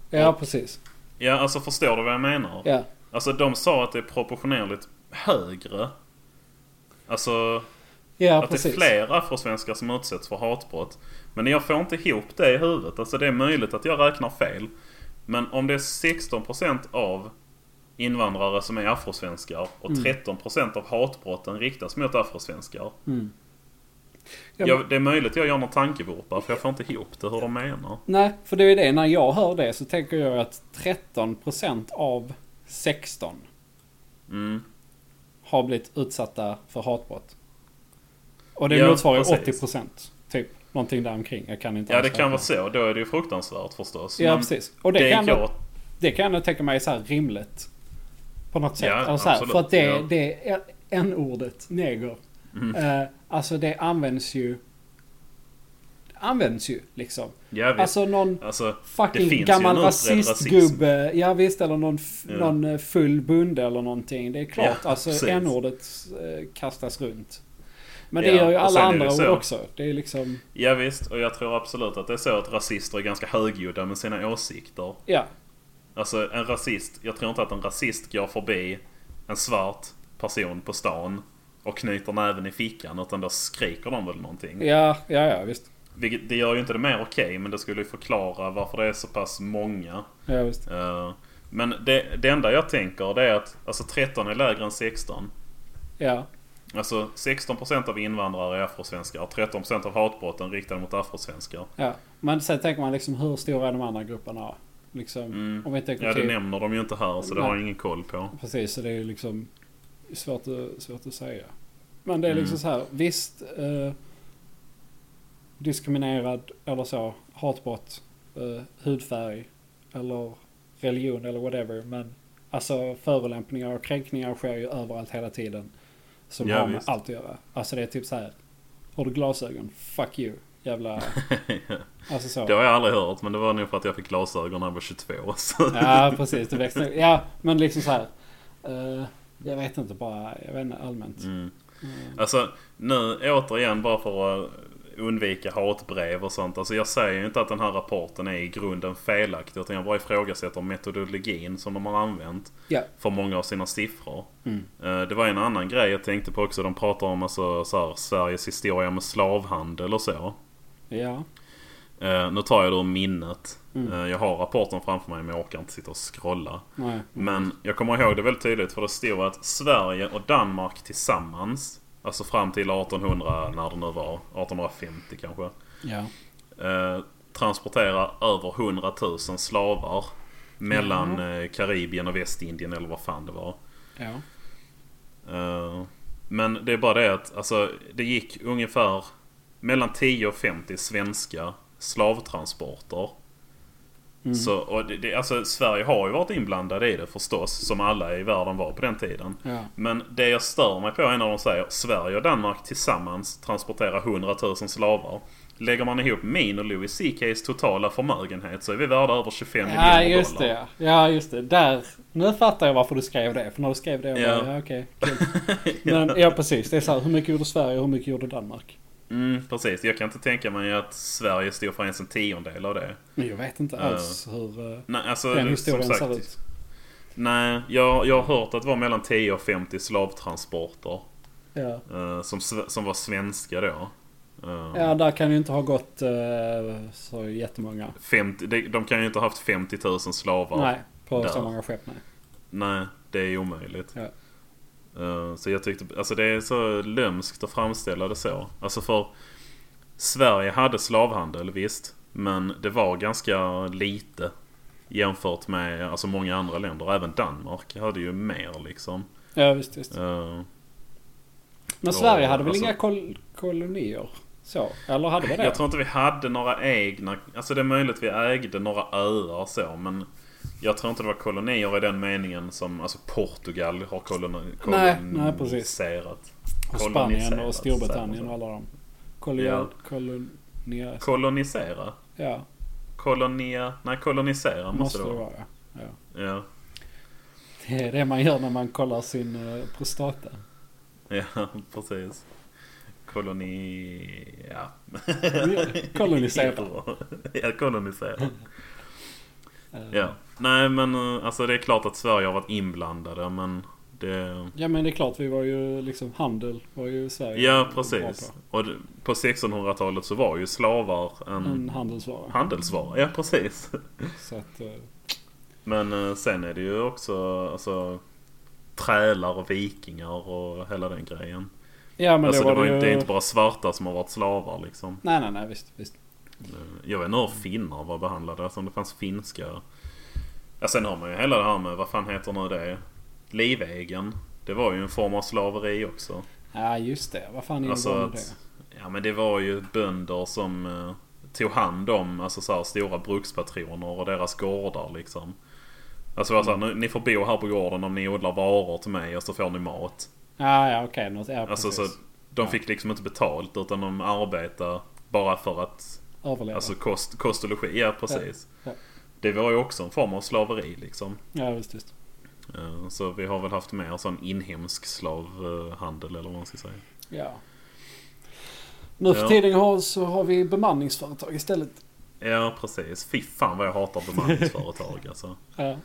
[SPEAKER 1] Ja, precis.
[SPEAKER 2] Ja, alltså förstår du vad jag menar?
[SPEAKER 1] Ja.
[SPEAKER 2] Alltså de sa att det är proportionerligt högre. Alltså
[SPEAKER 1] Ja,
[SPEAKER 2] att det är
[SPEAKER 1] precis.
[SPEAKER 2] fler afrosvenskar som utsätts för hatbrott. Men jag får inte ihop det i huvudet. Alltså det är möjligt att jag räknar fel. Men om det är 16% av invandrare som är afrosvenskar och 13% av hatbrotten riktas mot afrosvenskar.
[SPEAKER 1] Mm. Ja, men-
[SPEAKER 2] Jag, det är möjligt jag gör någon tankevurpa för jag får inte ihop det hur de menar.
[SPEAKER 1] Nej, för det är ju det. När jag hör det så tänker jag att 13% av 16
[SPEAKER 2] Mm.
[SPEAKER 1] har blivit utsatta för hatbrott. Och det
[SPEAKER 2] Ja,
[SPEAKER 1] motsvarar ju
[SPEAKER 2] precis.
[SPEAKER 1] 80% typ. Någonting däromkring. Jag kan inte
[SPEAKER 2] Ja
[SPEAKER 1] alls
[SPEAKER 2] det kan
[SPEAKER 1] räkna.
[SPEAKER 2] vara så. Då är det ju fruktansvärt förstås.
[SPEAKER 1] Ja,
[SPEAKER 2] Men
[SPEAKER 1] precis. Och det,
[SPEAKER 2] Det
[SPEAKER 1] kan,
[SPEAKER 2] är
[SPEAKER 1] jag,
[SPEAKER 2] klart.
[SPEAKER 1] det kan jag tänka mig är så här rimligt. På något sätt.
[SPEAKER 2] Ja,
[SPEAKER 1] Eller så här,
[SPEAKER 2] absolut.
[SPEAKER 1] för att det,
[SPEAKER 2] Ja. Mm.
[SPEAKER 1] det är n-ordet, neger. Eh, alltså det används ju... Används ju liksom.
[SPEAKER 2] Ja, visst.
[SPEAKER 1] Alltså någon...
[SPEAKER 2] Alltså, Det
[SPEAKER 1] Fucking
[SPEAKER 2] finns ju
[SPEAKER 1] gammal
[SPEAKER 2] en utbredd
[SPEAKER 1] rasistgubbe. Ja visst, eller någon, f-
[SPEAKER 2] Ja.
[SPEAKER 1] någon eh, full bonde eller någonting. Det är klart,
[SPEAKER 2] Ja, precis.
[SPEAKER 1] alltså n-ordet eh, kastas runt. Men det
[SPEAKER 2] Ja,
[SPEAKER 1] gör ju
[SPEAKER 2] och sen
[SPEAKER 1] alla
[SPEAKER 2] är
[SPEAKER 1] andra
[SPEAKER 2] det ju
[SPEAKER 1] ord
[SPEAKER 2] så.
[SPEAKER 1] också. Det är liksom,
[SPEAKER 2] ja visst. Och jag tror absolut att det är så att rasister är ganska högljudda med sina åsikter.
[SPEAKER 1] ja.
[SPEAKER 2] Alltså en rasist, jag tror inte att en rasist går förbi en svart person på stan och knyter näven i fickan utan då skriker de väl någonting.
[SPEAKER 1] Ja, ja, ja visst.
[SPEAKER 2] Vilket, det gör ju inte det mer okej men det skulle ju förklara varför det är så pass många.
[SPEAKER 1] Ja, visst.
[SPEAKER 2] Eh, men det, det enda jag tänker det är att alltså 13 är lägre än 16.
[SPEAKER 1] Ja,
[SPEAKER 2] Alltså 16% av invandrare är afrosvenskar, 13% av hatbrotten riktade mot afrosvenskar.
[SPEAKER 1] ja. Men sen tänker man liksom hur stora är de andra grupperna? Liksom,
[SPEAKER 2] Mm.
[SPEAKER 1] om vi tänker
[SPEAKER 2] Ja det
[SPEAKER 1] typ-
[SPEAKER 2] nämner de ju inte här så det har jag
[SPEAKER 1] Nej.
[SPEAKER 2] ingen koll på.
[SPEAKER 1] Precis, så det är ju liksom svårt, att- svårt att säga. Men det är liksom
[SPEAKER 2] Mm.
[SPEAKER 1] så här, visst eh, diskriminerad eller så, hatbrott, eh, hudfärg eller religion eller whatever. Men alltså förolämpningar och kränkningar sker ju överallt hela tiden. Som
[SPEAKER 2] Ja,
[SPEAKER 1] har med
[SPEAKER 2] visst.
[SPEAKER 1] allt att göra. Alltså det är typ så här, har du glasögon? Fuck you.
[SPEAKER 2] *laughs*
[SPEAKER 1] Jävla... Alltså så.
[SPEAKER 2] Det har jag aldrig hört men det var nog för att jag fick glasögon när jag var 22. *laughs* Så.
[SPEAKER 1] Ja, precis. Du växte Ja, men liksom så här. eh, jag vet inte bara, jag vet inte allmänt.
[SPEAKER 2] Mm.
[SPEAKER 1] Mm.
[SPEAKER 2] Alltså nu återigen bara för att undvika hatbrev och sånt. Alltså jag säger ju inte att den här rapporten är i grunden felaktig. Utan jag bara ifrågasätter metodologin som de har använt.
[SPEAKER 1] Ja.
[SPEAKER 2] För många av sina siffror.
[SPEAKER 1] Mm.
[SPEAKER 2] Eh, Det var en annan grej jag tänkte på också. De pratar om alltså, så här, Sveriges historia med slavhandel och så.
[SPEAKER 1] Ja.
[SPEAKER 2] Eh, Nu tar jag det ur minnet.
[SPEAKER 1] Mm.
[SPEAKER 2] Eh, Jag har rapporten framför mig men jag orkar inte sitta och scrolla.
[SPEAKER 1] Nej.
[SPEAKER 2] Men jag kommer ihåg det väldigt tydligt för det stod att Sverige och Danmark tillsammans Alltså fram till 1800 när det nu var 1850 kanske
[SPEAKER 1] Ja.
[SPEAKER 2] eh, Transporterar över 100 000 slavar Mellan eh, Karibien och Västindien eller vad fan det var
[SPEAKER 1] Ja.
[SPEAKER 2] Eh, Men det är bara det att alltså, det gick ungefär mellan 10 och 50 svenska slavtransporter.
[SPEAKER 1] Mm.
[SPEAKER 2] Så, och det, det, alltså, Sverige har ju varit inblandade i det förstås, som alla i världen var på den tiden.
[SPEAKER 1] Ja.
[SPEAKER 2] Men det jag stör mig på är när de säger Sverige och Danmark tillsammans transporterar 100 000 slavar. Lägger man ihop min och Louis CKs totala förmögenhet så är vi värda över 25
[SPEAKER 1] Ja,
[SPEAKER 2] miljoner
[SPEAKER 1] just det.
[SPEAKER 2] dollar.
[SPEAKER 1] Ja. ja, just det. Där. Nu fattar jag varför du skrev det. För när du skrev det, jag
[SPEAKER 2] Ja.
[SPEAKER 1] bara, *laughs* ja okej. kul. Men ja, precis. Det är så här, hur mycket gjorde Sverige och hur mycket gjorde Danmark?
[SPEAKER 2] Mm, precis. Jag kan inte tänka mig att Sverige stod för ens en tiondel av det.
[SPEAKER 1] Men Jag vet inte
[SPEAKER 2] Ja.
[SPEAKER 1] alls hur eh,
[SPEAKER 2] Nej, alltså,
[SPEAKER 1] den
[SPEAKER 2] som
[SPEAKER 1] historien
[SPEAKER 2] sagt,
[SPEAKER 1] ser ut.
[SPEAKER 2] Nej, jag, jag har hört att det var mellan 10 och 50 slavtransporter.
[SPEAKER 1] Ja.
[SPEAKER 2] eh, som, sve- som var svenska då. Eh,
[SPEAKER 1] ja, där kan ju inte ha gått eh, så jättemånga.
[SPEAKER 2] 50, de, de kan ju inte ha haft 50 000 slavar.
[SPEAKER 1] Nej, på
[SPEAKER 2] Där.
[SPEAKER 1] så många skepp. Nej.
[SPEAKER 2] Nej, det är omöjligt.
[SPEAKER 1] Ja.
[SPEAKER 2] Eh, Så jag tyckte, alltså det är så lömskt att framställa det så. Alltså för Sverige hade slavhandel visst, men det var ganska lite jämfört med alltså många andra länder. Även Danmark hade ju mer liksom.
[SPEAKER 1] Ja, visst, visst.
[SPEAKER 2] Eh,
[SPEAKER 1] Men
[SPEAKER 2] Ja,
[SPEAKER 1] Sverige hade väl
[SPEAKER 2] alltså-
[SPEAKER 1] inga kol- kolonier? Så, eller hade vi det?
[SPEAKER 2] Jag tror inte vi hade några egna, alltså det är möjligt vi ägde några öar och så men jag tror inte det var kolonier i den meningen som alltså Portugal har koloni-
[SPEAKER 1] Nej,
[SPEAKER 2] koloniserat.
[SPEAKER 1] nej, precis. och Spanien
[SPEAKER 2] koloniserat,
[SPEAKER 1] och Storbritannien och
[SPEAKER 2] säger
[SPEAKER 1] alla de. Kolonial...
[SPEAKER 2] Ja.
[SPEAKER 1] Kolonial...
[SPEAKER 2] man så. Kolonisera?
[SPEAKER 1] Ja,
[SPEAKER 2] Kolonia? Nej, kolonisera måste,
[SPEAKER 1] måste det
[SPEAKER 2] det vara.
[SPEAKER 1] vara. ja. Ja.
[SPEAKER 2] Ja.
[SPEAKER 1] Det är det man gör när man kollar sin eh, prostata.
[SPEAKER 2] ja, *laughs* precis. Koloni... Ja.
[SPEAKER 1] Kolonisera.
[SPEAKER 2] *laughs* ja, kolonisera.
[SPEAKER 1] Eh,
[SPEAKER 2] Ja. Nej, men eh, alltså det är klart att Sverige har varit inblandade men det...
[SPEAKER 1] Ja men det är klart, vi var ju liksom handel var ju Sverige
[SPEAKER 2] Ja,
[SPEAKER 1] bra
[SPEAKER 2] precis.
[SPEAKER 1] på.
[SPEAKER 2] Och d- på 1600-talet så var ju slavar en
[SPEAKER 1] En handelsvara.
[SPEAKER 2] handelsvara. Ja, precis.
[SPEAKER 1] Så att, eh,
[SPEAKER 2] Men eh, sen är det ju också alltså, trälar och vikingar och hela den grejen.
[SPEAKER 1] ja men
[SPEAKER 2] alltså,
[SPEAKER 1] då
[SPEAKER 2] det,
[SPEAKER 1] var
[SPEAKER 2] var
[SPEAKER 1] det,
[SPEAKER 2] ju...
[SPEAKER 1] ju...
[SPEAKER 2] det är inte bara svarta som har varit slavar liksom.
[SPEAKER 1] Nej nej nej visst. visst.
[SPEAKER 2] Eh, Jag vet inte hur finnar var behandlade. Alltså om det fanns finska... Ja, sen har man ju hela det här med, vad fan heter nu det? Livegen. Det var ju en form av slaveri också.
[SPEAKER 1] Ja just det, vad fan är
[SPEAKER 2] Alltså
[SPEAKER 1] det med
[SPEAKER 2] att-
[SPEAKER 1] det?
[SPEAKER 2] Ja men det var ju bönder som eh, tog hand om alltså, så här, stora brukspatroner och deras gårdar liksom. Alltså det var så här,
[SPEAKER 1] Mm.
[SPEAKER 2] nu, ni får bo här på gården om ni odlar varor till mig och så får ni mat.
[SPEAKER 1] Ja ja okej, något, ja,
[SPEAKER 2] Alltså så
[SPEAKER 1] precis.
[SPEAKER 2] de
[SPEAKER 1] Ja.
[SPEAKER 2] fick liksom inte betalt utan de arbetade bara för att
[SPEAKER 1] Överleva.
[SPEAKER 2] alltså kost, kost och logi. Ja precis.
[SPEAKER 1] Ja, ja.
[SPEAKER 2] Det var ju också en form av slaveri liksom.
[SPEAKER 1] Ja visst visst.
[SPEAKER 2] Eh, Så vi har väl haft mer sån inhemsk slavhandel eller vad man ska säga.
[SPEAKER 1] Ja. Nu för
[SPEAKER 2] Ja.
[SPEAKER 1] tiden har, så har vi bemanningsföretag istället.
[SPEAKER 2] Ja precis. Fy fan vad jag hatar
[SPEAKER 1] *laughs*
[SPEAKER 2] bemanningsföretag alltså.
[SPEAKER 1] Ja.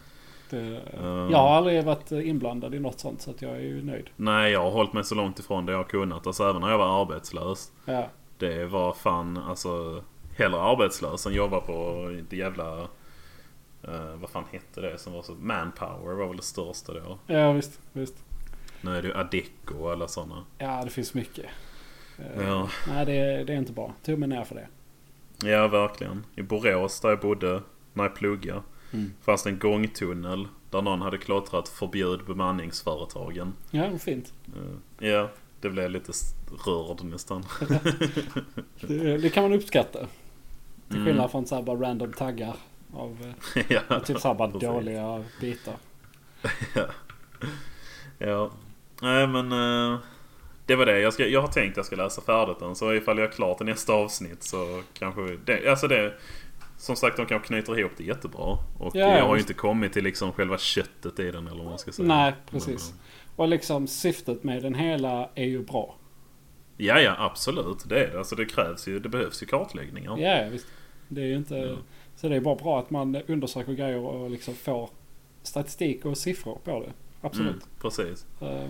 [SPEAKER 1] Det,
[SPEAKER 2] Eh,
[SPEAKER 1] Jag har aldrig varit inblandad i något sånt så att jag är ju nöjd.
[SPEAKER 2] Nej, jag har hållit mig så långt ifrån det jag har kunnat. Alltså även när jag var arbetslös.
[SPEAKER 1] Ja.
[SPEAKER 2] Det var fan alltså hellre arbetslös än jobba på det jävla... eh, vad fan hette det som var så... Manpower var väl det största då.
[SPEAKER 1] Ja visst, visst.
[SPEAKER 2] Nu är det ju Adecco och alla sådana.
[SPEAKER 1] Ja det finns mycket. Eh,
[SPEAKER 2] Ja.
[SPEAKER 1] Nej det, det är inte bra. Tummen ner för det.
[SPEAKER 2] ja, verkligen. I Borås där jag bodde när jag pluggade. Fanns det en gångtunnel där någon hade klottrat förbjud bemanningsföretagen.
[SPEAKER 1] Ja, fint.
[SPEAKER 2] Eh, Ja, det blev jag lite s- rörd nästan. *laughs*
[SPEAKER 1] Det, det kan man uppskatta.
[SPEAKER 2] Mm.
[SPEAKER 1] Till skillnad från så här bara random taggar. Av
[SPEAKER 2] ja,
[SPEAKER 1] eh, typ så här bara
[SPEAKER 2] *laughs* precis.
[SPEAKER 1] dåliga bitar.
[SPEAKER 2] Ja. Nej men... eh, det var det. Jag, ska, jag har tänkt att jag ska läsa färdigt den. Så ifall jag är klar till nästa avsnitt så kanske... vi- Det, alltså det... Som sagt, de kanske knyter ihop det jättebra. Och
[SPEAKER 1] Ja,
[SPEAKER 2] jag har ju
[SPEAKER 1] visst.
[SPEAKER 2] inte kommit till liksom själva köttet i den eller vad man ska säga.
[SPEAKER 1] Nej, precis.
[SPEAKER 2] Men, eh,
[SPEAKER 1] Och liksom syftet med den hela är ju bra.
[SPEAKER 2] ja, ja, absolut. Det är det. Alltså det krävs ju... Det behövs ju kartläggningar.
[SPEAKER 1] Ja, ja visst. Det är ju inte...
[SPEAKER 2] Ja.
[SPEAKER 1] Så det är bara bra att man undersöker grejer och liksom får statistik och siffror på det.
[SPEAKER 2] Mm,
[SPEAKER 1] Absolut.
[SPEAKER 2] precis.
[SPEAKER 1] Eh,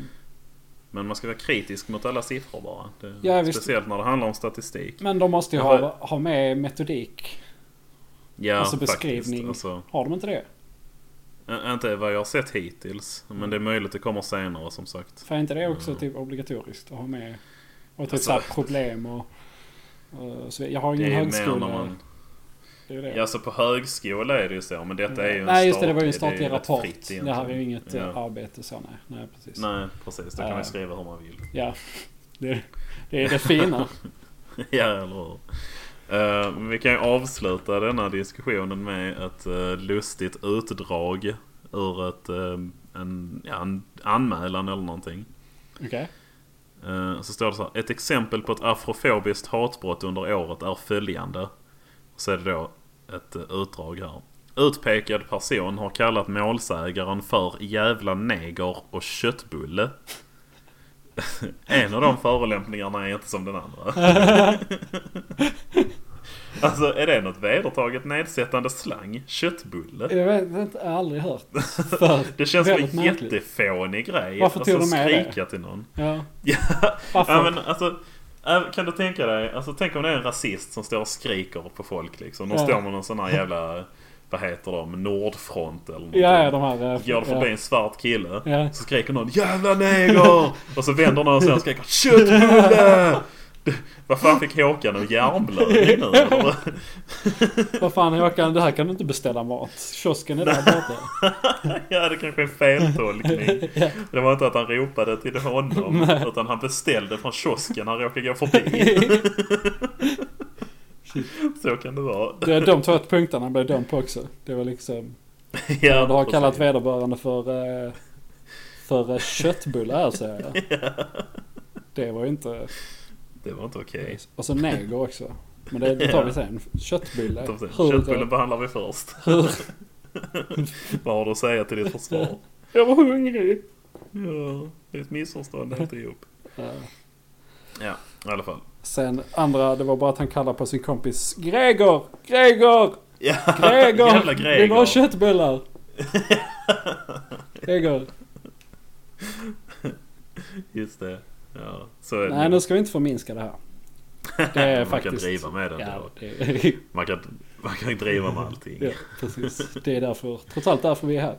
[SPEAKER 2] Men man ska vara kritisk mot alla siffror bara. Det,
[SPEAKER 1] Ja, visst.
[SPEAKER 2] speciellt när det handlar om statistik.
[SPEAKER 1] Men de måste ju
[SPEAKER 2] Ja,
[SPEAKER 1] ha, ha med metodik.
[SPEAKER 2] Ja,
[SPEAKER 1] alltså
[SPEAKER 2] Faktiskt.
[SPEAKER 1] beskrivning.
[SPEAKER 2] Alltså,
[SPEAKER 1] Har de inte det?
[SPEAKER 2] ä- inte vad jag har sett hittills.
[SPEAKER 1] Mm.
[SPEAKER 2] Men det är möjligt det kommer senare som sagt.
[SPEAKER 1] För är inte det också
[SPEAKER 2] Mm.
[SPEAKER 1] typ obligatoriskt att ha med? Och typ
[SPEAKER 2] Alltså-
[SPEAKER 1] såhär problem och... och så, jag har ingen
[SPEAKER 2] Det är ju mer
[SPEAKER 1] högskola.
[SPEAKER 2] när man...
[SPEAKER 1] Det är det.
[SPEAKER 2] Ja, alltså på högskola är det ju så, men detta är ju en
[SPEAKER 1] nej just det, det var ju en
[SPEAKER 2] statlig-
[SPEAKER 1] statlig
[SPEAKER 2] är ju rätt
[SPEAKER 1] rapport.
[SPEAKER 2] fritt
[SPEAKER 1] Det
[SPEAKER 2] egentligen.
[SPEAKER 1] här är ju inget
[SPEAKER 2] Ja.
[SPEAKER 1] eh, arbete så nej. Nej precis.
[SPEAKER 2] Nej, precis. Då kan
[SPEAKER 1] Ja.
[SPEAKER 2] man skriva hur man vill. *laughs*
[SPEAKER 1] Ja. Det, det är det fina.
[SPEAKER 2] ja, eller hur? Eh, men vi kan ju avsluta denna diskussionen med ett eh, lustigt utdrag ur ett, eh, en, ja, en anmälan eller någonting.
[SPEAKER 1] Okej.
[SPEAKER 2] Eh, Så står det så här. Ett exempel på ett afrofobiskt hatbrott under året är följande. Så är det då ett eh, utdrag här. Utpekad person har kallat målsägaren för jävla neger och köttbulle. *laughs* en av de förolämpningarna är inte som den andra. *laughs* Alltså är det något vedertaget nedsättande slang? Köttbulle?
[SPEAKER 1] Jag vet inte, jag har aldrig hört. För
[SPEAKER 2] Det känns som
[SPEAKER 1] väldigt
[SPEAKER 2] en
[SPEAKER 1] märkligt.
[SPEAKER 2] jättefånig grej.
[SPEAKER 1] Varför tog
[SPEAKER 2] alltså,
[SPEAKER 1] de med det?
[SPEAKER 2] skrika
[SPEAKER 1] *laughs*
[SPEAKER 2] till någon.
[SPEAKER 1] Ja.
[SPEAKER 2] Ja,
[SPEAKER 1] Varför?
[SPEAKER 2] ja men alltså. även- Kan du tänka dig, alltså tänk om det är en rasist som står och skriker på folk liksom. De
[SPEAKER 1] Ja.
[SPEAKER 2] står med någon sån här jävla, vad heter de, Nordfront eller något.
[SPEAKER 1] Ja, ja, de här... eh,
[SPEAKER 2] Går det
[SPEAKER 1] ja.
[SPEAKER 2] förbi en svart kille
[SPEAKER 1] Ja.
[SPEAKER 2] så skriker någon 'Jävla neger!' och så vänder någon sig och skriker 'Köttbulle!' Det- Vad fan fick Håkan en hjärnblödning nu eller?
[SPEAKER 1] Vad fan Håkan, det här kan du inte beställa mat. Kiosken är där borta.
[SPEAKER 2] Ja det kanske är en feltolkning.
[SPEAKER 1] Ja. *laughs*
[SPEAKER 2] Det var inte att han ropade till honom utan han beställde från kiosken han råkade
[SPEAKER 1] *laughs*
[SPEAKER 2] gå förbi. Så kan det vara.
[SPEAKER 1] Det, de två punkterna blev dömd på också. Det var liksom... Ja, du har
[SPEAKER 2] precis.
[SPEAKER 1] kallat vederbörande för... eh, För eh, köttbullar här säger jag. Det var ju inte...
[SPEAKER 2] Det var inte okej.
[SPEAKER 1] Och så neger också. Men det, det tar vi sen. Köttbulle. Hur-
[SPEAKER 2] Köttbullen behandlar vi först. *laughs*
[SPEAKER 1] hur-
[SPEAKER 2] Vad har du att säga till ditt försvar?
[SPEAKER 1] Jag var hungrig.
[SPEAKER 2] Ja, det är ett missförstånd alltihop.
[SPEAKER 1] Ja.
[SPEAKER 2] Ja, i alla fall.
[SPEAKER 1] Sen andra, det var bara att han kallade på sin kompis Gregor! Gregor!
[SPEAKER 2] Ja, jävla
[SPEAKER 1] Gregor!
[SPEAKER 2] Gregor.
[SPEAKER 1] Vill du ha köttbullar? Gregor.
[SPEAKER 2] *laughs* Just det. Ja, så är det.
[SPEAKER 1] Nej, nu ska vi inte förminska det här. Det är
[SPEAKER 2] man
[SPEAKER 1] faktiskt...
[SPEAKER 2] kan driva med den
[SPEAKER 1] Ja,
[SPEAKER 2] då.
[SPEAKER 1] det,
[SPEAKER 2] Man kan, man kan driva med allting.
[SPEAKER 1] *laughs* ja, precis. Det är därför, trots allt därför vi är här.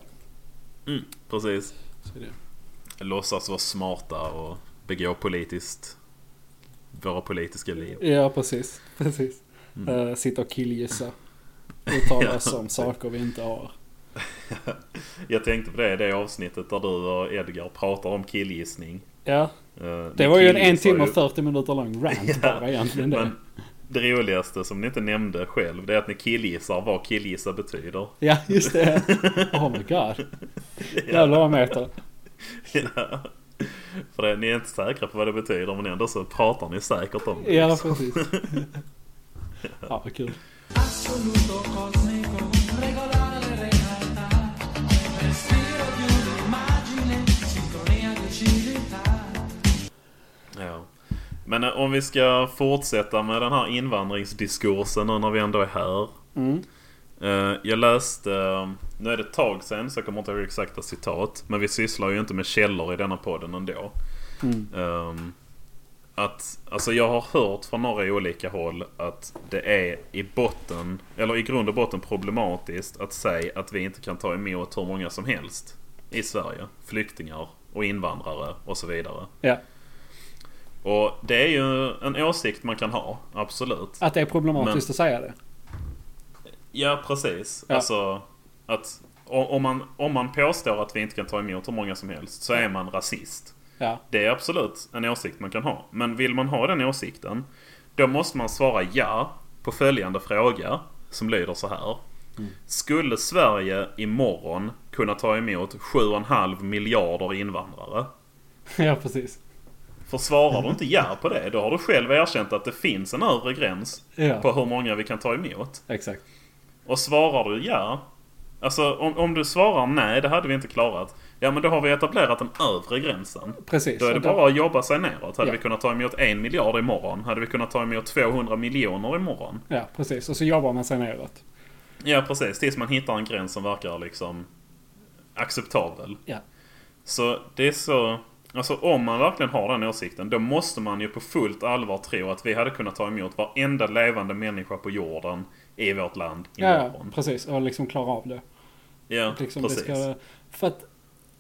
[SPEAKER 2] Mm, Precis.
[SPEAKER 1] Så är det.
[SPEAKER 2] Låtsas vara smarta och begå politiskt. Våra politiska liv.
[SPEAKER 1] Ja, precis. precis.
[SPEAKER 2] Mm.
[SPEAKER 1] Eh, sitta och killgissa. Uttala oss om saker vi inte har.
[SPEAKER 2] Jag tänkte på det i det avsnittet där du och Edgar pratar om killgissning.
[SPEAKER 1] Ja,
[SPEAKER 2] Eh,
[SPEAKER 1] det
[SPEAKER 2] ni
[SPEAKER 1] var ju en en
[SPEAKER 2] killgissar
[SPEAKER 1] timme och
[SPEAKER 2] ju.
[SPEAKER 1] 40 minuter lång rant
[SPEAKER 2] Ja,
[SPEAKER 1] bara egentligen. Det.
[SPEAKER 2] Men det roligaste som ni inte nämnde själv det är att ni killgissar vad killgissa betyder. *laughs*
[SPEAKER 1] Ja, just det. Oh my god. Jävlar vad meter.
[SPEAKER 2] Ja. För det, ni är inte säkra på vad det betyder men ändå så pratar ni säkert om det. *laughs*
[SPEAKER 1] Ja,
[SPEAKER 2] liksom.
[SPEAKER 1] precis. Ja, vad kul.
[SPEAKER 4] assoluto cosmico, regolare le realtà, respiro di un'immagine, sintonia di civiltà.
[SPEAKER 2] Ja. Men eh, om vi ska fortsätta med den här invandringsdiskursen nu när vi ändå är här.
[SPEAKER 1] Mm.
[SPEAKER 2] Eh, Jag läste, eh, nu är det ett tag sedan så jag kommer inte ihåg exakta citat. Men vi sysslar ju inte med källor i denna podden ändå.
[SPEAKER 1] Mm.
[SPEAKER 2] Ehm, att, alltså jag har hört från några olika håll att det är i botten, eller i grund och botten problematiskt att säga att vi inte kan ta emot hur många som helst i Sverige. Flyktingar och invandrare och så vidare.
[SPEAKER 1] Ja,
[SPEAKER 2] Och det är ju en åsikt man kan ha, absolut.
[SPEAKER 1] att det är problematiskt
[SPEAKER 2] Men-
[SPEAKER 1] att säga det.
[SPEAKER 2] Ja, precis.
[SPEAKER 1] Ja.
[SPEAKER 2] Alltså att o- om man, om man påstår att vi inte kan ta emot hur många som helst så är man rasist.
[SPEAKER 1] Ja,
[SPEAKER 2] Det är absolut en åsikt man kan ha. Men vill man ha den åsikten, då måste man svara ja på följande fråga som lyder så här. Skulle Sverige imorgon kunna ta emot 7,5 miljarder invandrare?
[SPEAKER 1] ja precis.
[SPEAKER 2] För svarar du inte ja på det, då har du själv erkänt att det finns en övre gräns
[SPEAKER 1] Ja.
[SPEAKER 2] på hur många vi kan ta emot.
[SPEAKER 1] Exakt.
[SPEAKER 2] Och svarar du ja, alltså om, om du svarar nej, det hade vi inte klarat. Ja, men då har vi etablerat den övre gränsen.
[SPEAKER 1] Precis.
[SPEAKER 2] Då är det
[SPEAKER 1] Och då-
[SPEAKER 2] bara att jobba sig neråt. Hade
[SPEAKER 1] Ja.
[SPEAKER 2] vi kunnat ta emot en miljard imorgon? Hade vi kunnat ta emot 200 miljoner imorgon?
[SPEAKER 1] Ja, precis. Och så jobbar man sig neråt.
[SPEAKER 2] Ja, precis. Tills man hittar en gräns som verkar liksom acceptabel.
[SPEAKER 1] Ja.
[SPEAKER 2] Så det är så... Alltså om man verkligen har den åsikten, då måste man ju på fullt allvar tro att vi hade kunnat ta emot varenda levande människa på jorden i vårt land
[SPEAKER 1] Ja, ja
[SPEAKER 2] imorgon.
[SPEAKER 1] precis. Och liksom klara av det.
[SPEAKER 2] Ja,
[SPEAKER 1] Liksom det
[SPEAKER 2] precis.
[SPEAKER 1] ska, för att,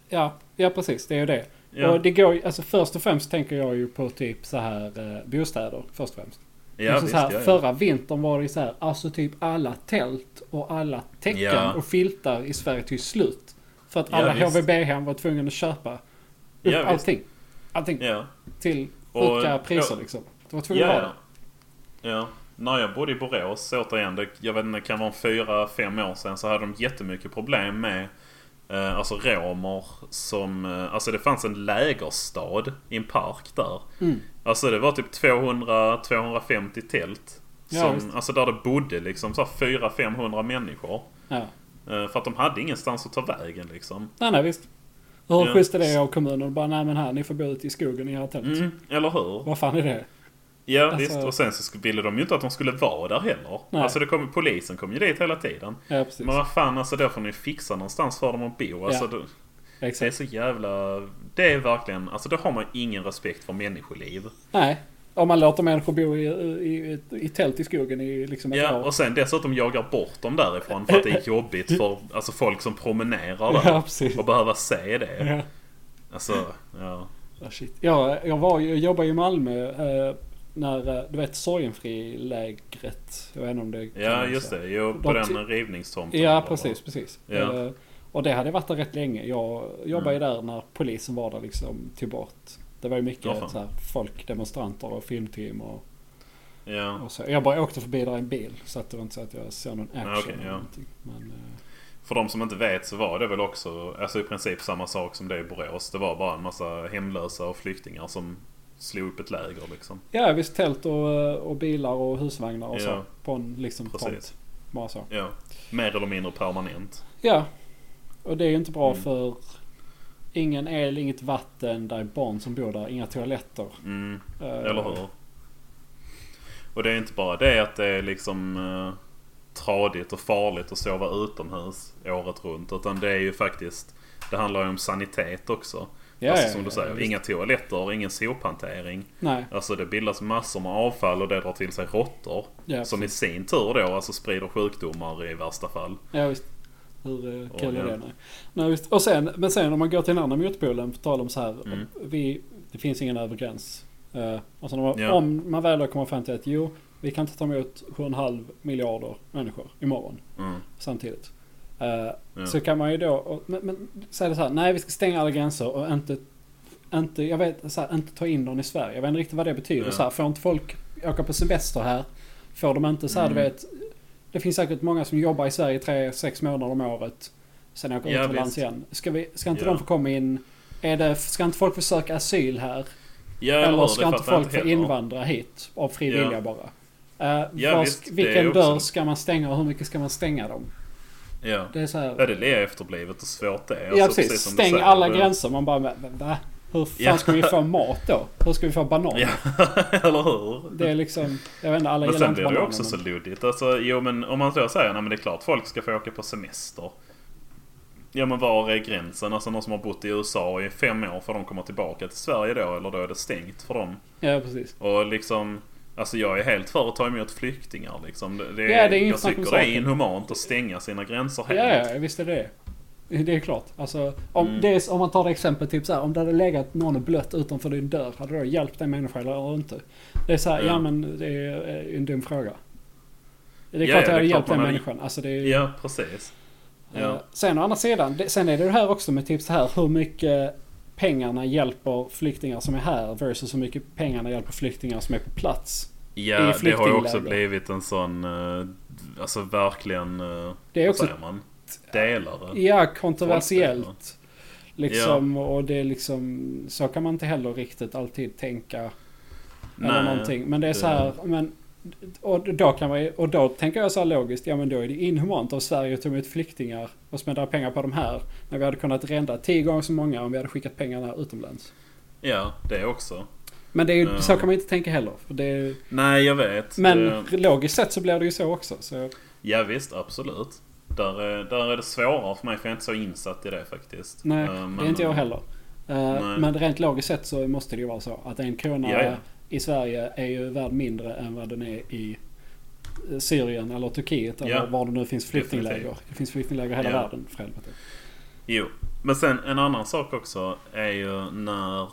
[SPEAKER 1] ja, ja, precis. Det är ju det.
[SPEAKER 2] Ja.
[SPEAKER 1] Och det går ju- alltså först och främst tänker jag ju på typ så här eh, bostäder. Först och främst.
[SPEAKER 2] ja,
[SPEAKER 1] liksom
[SPEAKER 2] visst,
[SPEAKER 1] så här,
[SPEAKER 2] ja, ja.
[SPEAKER 1] Förra vintern var det ju så här, alltså typ alla tält och alla täcken
[SPEAKER 2] Ja.
[SPEAKER 1] och filtar i Sverige tog slut. För att
[SPEAKER 2] Ja,
[SPEAKER 1] alla
[SPEAKER 2] visst.
[SPEAKER 1] HVB-hem var tvungna att köpa upp
[SPEAKER 2] Ja, visst.
[SPEAKER 1] allting. Allting
[SPEAKER 2] Ja.
[SPEAKER 1] till
[SPEAKER 2] Och-
[SPEAKER 1] sjuka priser
[SPEAKER 2] ja.
[SPEAKER 1] liksom. Det var tvungna
[SPEAKER 2] Ja,
[SPEAKER 1] att ha
[SPEAKER 2] ja.
[SPEAKER 1] det.
[SPEAKER 2] ja. När jag bodde i Borås, återigen, det, jag vet inte, det kan vara fyra, fem år sedan, så hade de jättemycket problem med eh, alltså romer som... Eh, alltså det fanns en lägerstad i en park där.
[SPEAKER 1] Mm.
[SPEAKER 2] Alltså det var typ 200-250 tält.
[SPEAKER 1] Ja,
[SPEAKER 2] Som,
[SPEAKER 1] visst.
[SPEAKER 2] alltså där det bodde liksom så här 400-500 människor.
[SPEAKER 1] Ja.
[SPEAKER 2] Eh, för att de hade ingenstans att ta vägen liksom.
[SPEAKER 1] Nej, nej, visst. Och Hur
[SPEAKER 2] Ja.
[SPEAKER 1] schysst är det av kommunen? Bara, nej men här, ni får bo ute i skogen i era tält.
[SPEAKER 2] Mm, eller hur?
[SPEAKER 1] Vad fan är det?
[SPEAKER 2] Ja
[SPEAKER 1] Mm. Alltså-
[SPEAKER 2] visst, och sen så sk- ville de ju inte att de skulle vara där heller.
[SPEAKER 1] Nej.
[SPEAKER 2] Alltså det kom, polisen kom ju dit hela tiden.
[SPEAKER 1] Ja, precis.
[SPEAKER 2] Men vad fan, alltså då får ni fixa någonstans för dem att bo. Alltså,
[SPEAKER 1] Ja.
[SPEAKER 2] det, det är
[SPEAKER 1] Exakt.
[SPEAKER 2] så jävla... Det är verkligen... Alltså då har man ingen respekt för människoliv.
[SPEAKER 1] Nej. Om man låter människor bo i, i, i, i tält i skogen i liksom ett
[SPEAKER 2] Ja,
[SPEAKER 1] år.
[SPEAKER 2] och sen dessutom jagar bort dem därifrån för att det är jobbigt för alltså, folk som promenerar där.
[SPEAKER 1] Ja, precis.
[SPEAKER 2] och behöva se det.
[SPEAKER 1] Ja.
[SPEAKER 2] Alltså, ja.
[SPEAKER 1] Ah, shit. Ja, jag, var, ju- jag jobbade i Malmö eh, när, eh, du vet, Sorgenfri-lägret. Jag vet inte om det
[SPEAKER 2] Ja, just det. Jo, på
[SPEAKER 1] De ty-
[SPEAKER 2] den rivningstomten.
[SPEAKER 1] Ja,
[SPEAKER 2] eller-
[SPEAKER 1] precis, precis.
[SPEAKER 2] Ja. Mm.
[SPEAKER 1] Eh, och det hade varit där rätt länge. Jag jobbade ju där när polisen var där liksom tog bort. Det var ju mycket
[SPEAKER 2] Ja, fan.
[SPEAKER 1] så här, folk, demonstranter och filmteam och,
[SPEAKER 2] Ja.
[SPEAKER 1] och så. Jag bara åkte förbi där i en bil. Så att det var inte så att jag såg någon action
[SPEAKER 2] Ja, okej,
[SPEAKER 1] eller
[SPEAKER 2] ja.
[SPEAKER 1] någonting. Men, eh,
[SPEAKER 2] För de som inte vet så var det väl också alltså, i princip samma sak som det i Borås. Det var bara en massa hemlösa och flyktingar som slog upp ett läger liksom.
[SPEAKER 1] ja, visst tält och, eh, och bilar och husvagnar och så.
[SPEAKER 2] Ja.
[SPEAKER 1] På en liksom
[SPEAKER 2] Precis.
[SPEAKER 1] tomt. Bara så.
[SPEAKER 2] Ja. Mer eller mindre permanent.
[SPEAKER 1] Ja. Och det är ju inte bra
[SPEAKER 2] Mm.
[SPEAKER 1] för ingen el, inget vatten, där är barn som bor där, inga toaletter.
[SPEAKER 2] Mm.
[SPEAKER 1] Eh,
[SPEAKER 2] Eller hur? Och det är inte bara det att det är liksom eh, tradigt och farligt att sova utomhus året runt. Utan det är ju faktiskt, det handlar ju om sanitet också.
[SPEAKER 1] Ja,
[SPEAKER 2] alltså,
[SPEAKER 1] ja,
[SPEAKER 2] som du
[SPEAKER 1] ja,
[SPEAKER 2] säger,
[SPEAKER 1] visst.
[SPEAKER 2] inga toaletter, ingen sophantering.
[SPEAKER 1] Nej.
[SPEAKER 2] Alltså det bildas massor med avfall och det drar till sig råttor.
[SPEAKER 1] Ja,
[SPEAKER 2] som i sin tur då alltså sprider sjukdomar i värsta fall.
[SPEAKER 1] Ja visst. Hur eh, kul
[SPEAKER 2] Ja,
[SPEAKER 1] är
[SPEAKER 2] ja.
[SPEAKER 1] det? Nej. Nej, visst. Och sen, men sen om man går till den andra motpolen, på tal om så här.
[SPEAKER 2] Mm.
[SPEAKER 1] Vi, det finns ingen övre gräns. Eh, och sen om, man-
[SPEAKER 2] Ja.
[SPEAKER 1] om man väl då kommer fram till att jo, vi kan inte ta emot 7,5 miljarder människor imorgon
[SPEAKER 2] Mm.
[SPEAKER 1] samtidigt. Eh,
[SPEAKER 2] Ja.
[SPEAKER 1] Så kan man ju då, och, men, men säga det så här, nej vi ska stänga alla gränser och inte, inte, jag vet, så här, inte ta in dem i Sverige. Jag vet inte riktigt vad det betyder.
[SPEAKER 2] Ja.
[SPEAKER 1] Så här, får inte folk åka på semester här? Får de inte så här, du
[SPEAKER 2] Mm.
[SPEAKER 1] vet, det finns säkert många som jobbar i Sverige tre, sex månader om året. Sen åker
[SPEAKER 2] Ja,
[SPEAKER 1] utomlands
[SPEAKER 2] visst.
[SPEAKER 1] igen. Ska, vi, ska inte
[SPEAKER 2] Ja.
[SPEAKER 1] de få komma in? Är det, ska inte folk få söka asyl här?
[SPEAKER 2] Ja,
[SPEAKER 1] Eller
[SPEAKER 2] hur?
[SPEAKER 1] ska
[SPEAKER 2] Det
[SPEAKER 1] inte
[SPEAKER 2] fattar jag
[SPEAKER 1] folk få
[SPEAKER 2] heller.
[SPEAKER 1] invandra hit av fri vilja
[SPEAKER 2] Ja.
[SPEAKER 1] bara? Eh,
[SPEAKER 2] Ja,
[SPEAKER 1] var,
[SPEAKER 2] visst, det är
[SPEAKER 1] vilken
[SPEAKER 2] också-
[SPEAKER 1] dörr ska man stänga och hur mycket ska man stänga dem?
[SPEAKER 2] Ja.
[SPEAKER 1] Det är så här,
[SPEAKER 2] ja, det är efterblivet och svårt det är.
[SPEAKER 1] ja
[SPEAKER 2] Alltså,
[SPEAKER 1] precis.
[SPEAKER 2] precis som du
[SPEAKER 1] Stäng
[SPEAKER 2] säger,
[SPEAKER 1] alla
[SPEAKER 2] det-
[SPEAKER 1] gränser. Man bara, "Men, men, va? Hur fan
[SPEAKER 2] Ja.
[SPEAKER 1] ska vi få mat då? Hur ska vi få banan?
[SPEAKER 2] Ja, *laughs* eller hur?
[SPEAKER 1] Det är liksom, jag vet inte, alla
[SPEAKER 2] Men
[SPEAKER 1] gillar
[SPEAKER 2] sen
[SPEAKER 1] inte
[SPEAKER 2] blir det ju
[SPEAKER 1] bananer.
[SPEAKER 2] också så
[SPEAKER 1] men,
[SPEAKER 2] luddigt. Alltså, jo men om man då säger nej men det är klart folk ska få åka på semester. Ja men var är gränsen? Alltså någon som har bott i USA i fem år får de komma tillbaka till Sverige då eller då är det stängt för dem.
[SPEAKER 1] ja precis.
[SPEAKER 2] Och liksom Alltså jag är helt för att ta emot flyktingar liksom. Det, det,
[SPEAKER 1] Ja, det är inget
[SPEAKER 2] jag
[SPEAKER 1] snack om
[SPEAKER 2] tycker det är
[SPEAKER 1] saken.
[SPEAKER 2] inhumant att stänga sina gränser
[SPEAKER 1] Ja,
[SPEAKER 2] helt.
[SPEAKER 1] ja, ja, visst är det det. Det är klart. Alltså, om,
[SPEAKER 2] Mm.
[SPEAKER 1] det är, om man tar det exempel, typ så här, om det hade legat någon blött utanför din dörr, hade du då hjälpt den människan eller inte? Det är så här, ja,
[SPEAKER 2] Ja.
[SPEAKER 1] men det är eh, en dum fråga. Det är klart
[SPEAKER 2] Ja, ja,
[SPEAKER 1] jag
[SPEAKER 2] det är
[SPEAKER 1] hade
[SPEAKER 2] klart
[SPEAKER 1] hjälpt den
[SPEAKER 2] man hade-
[SPEAKER 1] människan. Alltså, det är,
[SPEAKER 2] Ja, precis.
[SPEAKER 1] Eh,
[SPEAKER 2] Ja.
[SPEAKER 1] Sen å andra sidan, det, sen är det det här också med tips här hur mycket pengarna hjälper flyktingar som är här versus hur mycket pengarna hjälper flyktingar som är på plats.
[SPEAKER 2] Ja, det har ju också
[SPEAKER 1] flyktingläger.
[SPEAKER 2] blivit en sån, eh, alltså verkligen, eh,
[SPEAKER 1] Det är
[SPEAKER 2] vad
[SPEAKER 1] också-
[SPEAKER 2] säger man? Delare.
[SPEAKER 1] Ja, kontroversiellt. Liksom, och det är liksom, så kan man inte heller riktigt alltid tänka. eller någonting. Men det är så här, men, och, då kan man, ju- och då tänker jag så här logiskt, ja men då är det inhumant av Sverige att ta emot flyktingar och smälla pengar på de här. När vi hade kunnat rända tio gånger så många om vi hade skickat pengarna utomlands.
[SPEAKER 2] Ja, det också.
[SPEAKER 1] Men det är, ju-
[SPEAKER 2] Ja.
[SPEAKER 1] så kan man ju inte tänka heller. För det är,
[SPEAKER 2] Nej, jag vet.
[SPEAKER 1] Men
[SPEAKER 2] Det-
[SPEAKER 1] logiskt sett så blir det ju så också. Så,
[SPEAKER 2] Ja, visst, absolut. Där, är- där är det svårare för mig, för jag är inte så insatt i det faktiskt.
[SPEAKER 1] nej,
[SPEAKER 2] Eh, men-
[SPEAKER 1] det är inte jag heller. Eh,
[SPEAKER 2] nej.
[SPEAKER 1] men rent logiskt sett så måste det ju vara så att en krona
[SPEAKER 2] Ja, ja.
[SPEAKER 1] i Sverige är ju värd mindre än vad den är i eh, Syrien eller Turkiet eller
[SPEAKER 2] Ja,
[SPEAKER 1] var det nu finns flyktingläger.
[SPEAKER 2] definitivt.
[SPEAKER 1] Det finns flyktingläger i hela
[SPEAKER 2] Ja.
[SPEAKER 1] världen för helvete.
[SPEAKER 2] Jo. Men sen en annan sak också är ju när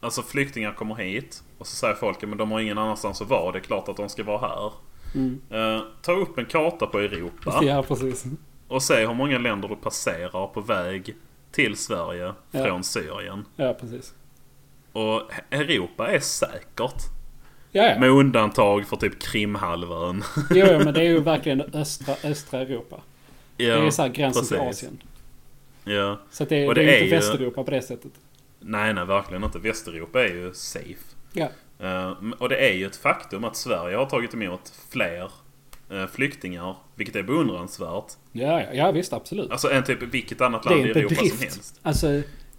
[SPEAKER 2] Alltså flyktingar kommer hit och så säger folk "Ja, men de har ingen annanstans att vara. Det är klart att de ska vara här.
[SPEAKER 1] Mm.
[SPEAKER 2] Eh, ta upp en karta på Europa.
[SPEAKER 1] Ja, precis.
[SPEAKER 2] Och se hur många länder du passerar på väg till Sverige
[SPEAKER 1] Ja.
[SPEAKER 2] från Syrien.
[SPEAKER 1] Ja, precis.
[SPEAKER 2] Och Europa är säkert.
[SPEAKER 1] Ja, ja.
[SPEAKER 2] Med undantag för typ Krimhalvön.
[SPEAKER 1] Jo, jo, men det är ju verkligen östra, östra Europa.
[SPEAKER 2] *laughs* ja,
[SPEAKER 1] det är så här gränsen till
[SPEAKER 2] precis.
[SPEAKER 1] Asien.
[SPEAKER 2] Ja.
[SPEAKER 1] Så att det,
[SPEAKER 2] Och
[SPEAKER 1] det,
[SPEAKER 2] det
[SPEAKER 1] är ju
[SPEAKER 2] är
[SPEAKER 1] inte
[SPEAKER 2] ju-
[SPEAKER 1] Västeuropa på det sättet.
[SPEAKER 2] Nej, nej, verkligen inte. Västeuropa är ju safe.
[SPEAKER 1] Ja,
[SPEAKER 2] Eh, och det är ju ett faktum att Sverige har tagit emot fler eh, flyktingar, vilket är beundransvärt.
[SPEAKER 1] ja, ja, ja visst absolut.
[SPEAKER 2] Alltså en typ vilket annat
[SPEAKER 1] Det
[SPEAKER 2] land
[SPEAKER 1] är
[SPEAKER 2] i
[SPEAKER 1] en
[SPEAKER 2] Europa som
[SPEAKER 1] bedrift.
[SPEAKER 2] helst.
[SPEAKER 1] Alltså,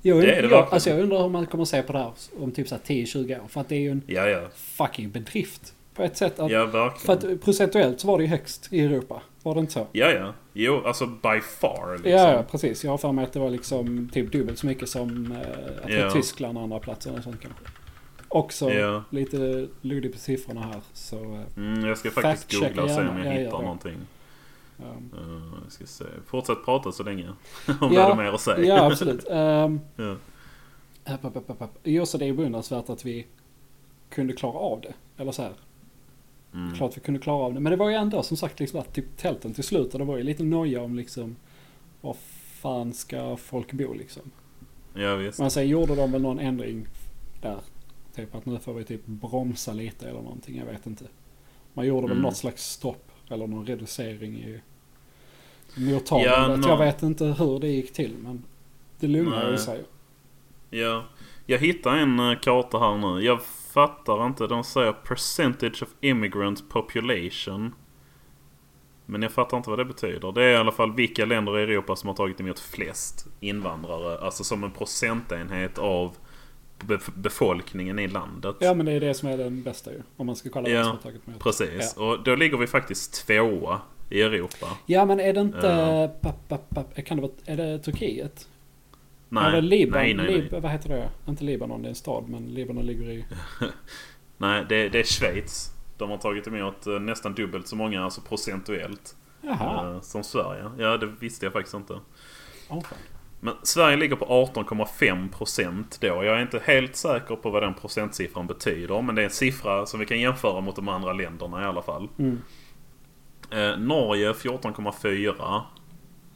[SPEAKER 1] Jag,
[SPEAKER 2] Det är det
[SPEAKER 1] jag,
[SPEAKER 2] verkligen.
[SPEAKER 1] alltså jag undrar hur man kommer se på det här om typ så här 10-20 år. För att det är ju en
[SPEAKER 2] Ja, ja.
[SPEAKER 1] fucking bedrift. På ett sätt. Att,
[SPEAKER 2] Ja,
[SPEAKER 1] För
[SPEAKER 2] verkligen.
[SPEAKER 1] att procentuellt så var det ju högst i Europa. Var det inte så?
[SPEAKER 2] Ja, ja. Jo, alltså by far liksom.
[SPEAKER 1] Ja, ja, precis. Jag har för mig att det var liksom typ dubbelt så mycket som eh, att det
[SPEAKER 2] Ja.
[SPEAKER 1] var Tyskland och andra platser och sånt kanske. Också
[SPEAKER 2] Ja.
[SPEAKER 1] lite luddig på siffrorna här. Så, eh,
[SPEAKER 2] Mm, jag ska faktiskt
[SPEAKER 1] Fact-checka
[SPEAKER 2] googla och se om
[SPEAKER 1] gärna.
[SPEAKER 2] jag
[SPEAKER 1] Ja,
[SPEAKER 2] hittar
[SPEAKER 1] gör det.
[SPEAKER 2] någonting.
[SPEAKER 1] ehm,
[SPEAKER 2] Eh, jag ska se. Fortsätt prata så länge. *laughs* om du
[SPEAKER 1] Ja.
[SPEAKER 2] hade mer att säga. *laughs*
[SPEAKER 1] ja, absolut. Um,
[SPEAKER 2] Ja.
[SPEAKER 1] upp, upp, upp, upp, upp. Just det, det är beundransvärt att vi kunde klara av det. Eller så här,
[SPEAKER 2] Mm.
[SPEAKER 1] klart vi kunde klara av det. Men det var ju ändå som sagt liksom att typ tälten till slut och det var ju lite noja om liksom var fan ska folk bo liksom.
[SPEAKER 2] Ja, visst.
[SPEAKER 1] Men sen gjorde de väl någon ändring där. Typ att nu får vi typ bromsa lite eller någonting, jag vet inte. Man gjorde väl
[SPEAKER 2] Mm.
[SPEAKER 1] något slags stopp eller någon reducering i mottagandet.
[SPEAKER 2] Ja,
[SPEAKER 1] Jag
[SPEAKER 2] någon-
[SPEAKER 1] vet inte hur det gick till men det lugnar ju
[SPEAKER 2] Nej.
[SPEAKER 1] sig.
[SPEAKER 2] Ja. Jag hittar en eh, karta här nu. Jag fattar inte. De säger percentage of immigrant population. Men jag fattar inte vad det betyder. Det är i alla fall vilka länder i Europa som har tagit emot flest invandrare. Alltså som en procentenhet av bef- befolkningen i landet.
[SPEAKER 1] Ja men det är det som är den bästa ju. Om man ska kolla
[SPEAKER 2] Ja.
[SPEAKER 1] vad som har tagit med.
[SPEAKER 2] Precis. Och då ligger vi faktiskt tvåa i Europa.
[SPEAKER 1] Ja men är det inte...
[SPEAKER 2] Ja.
[SPEAKER 1] Papp, papp, papp, kan det vara, är det Turkiet?
[SPEAKER 2] Nej,
[SPEAKER 1] Eller Libanon?
[SPEAKER 2] nej, nej. nej.
[SPEAKER 1] Lib- vad heter det? Inte Libanon, det är en stad. Men Libanon ligger i...
[SPEAKER 2] nej det, det är Schweiz. De har tagit emot eh, nästan dubbelt så många, alltså procentuellt.
[SPEAKER 1] Jaha.
[SPEAKER 2] Eh, som Sverige. Ja, det visste jag faktiskt inte.
[SPEAKER 1] Åh, fan.
[SPEAKER 2] Men Sverige ligger på 18,5% då. Jag är inte helt säker på vad den procentsiffran betyder. Men det är en siffra som vi kan jämföra mot de andra länderna i alla fall.
[SPEAKER 1] Mm.
[SPEAKER 2] Eh, Norge 14,4%.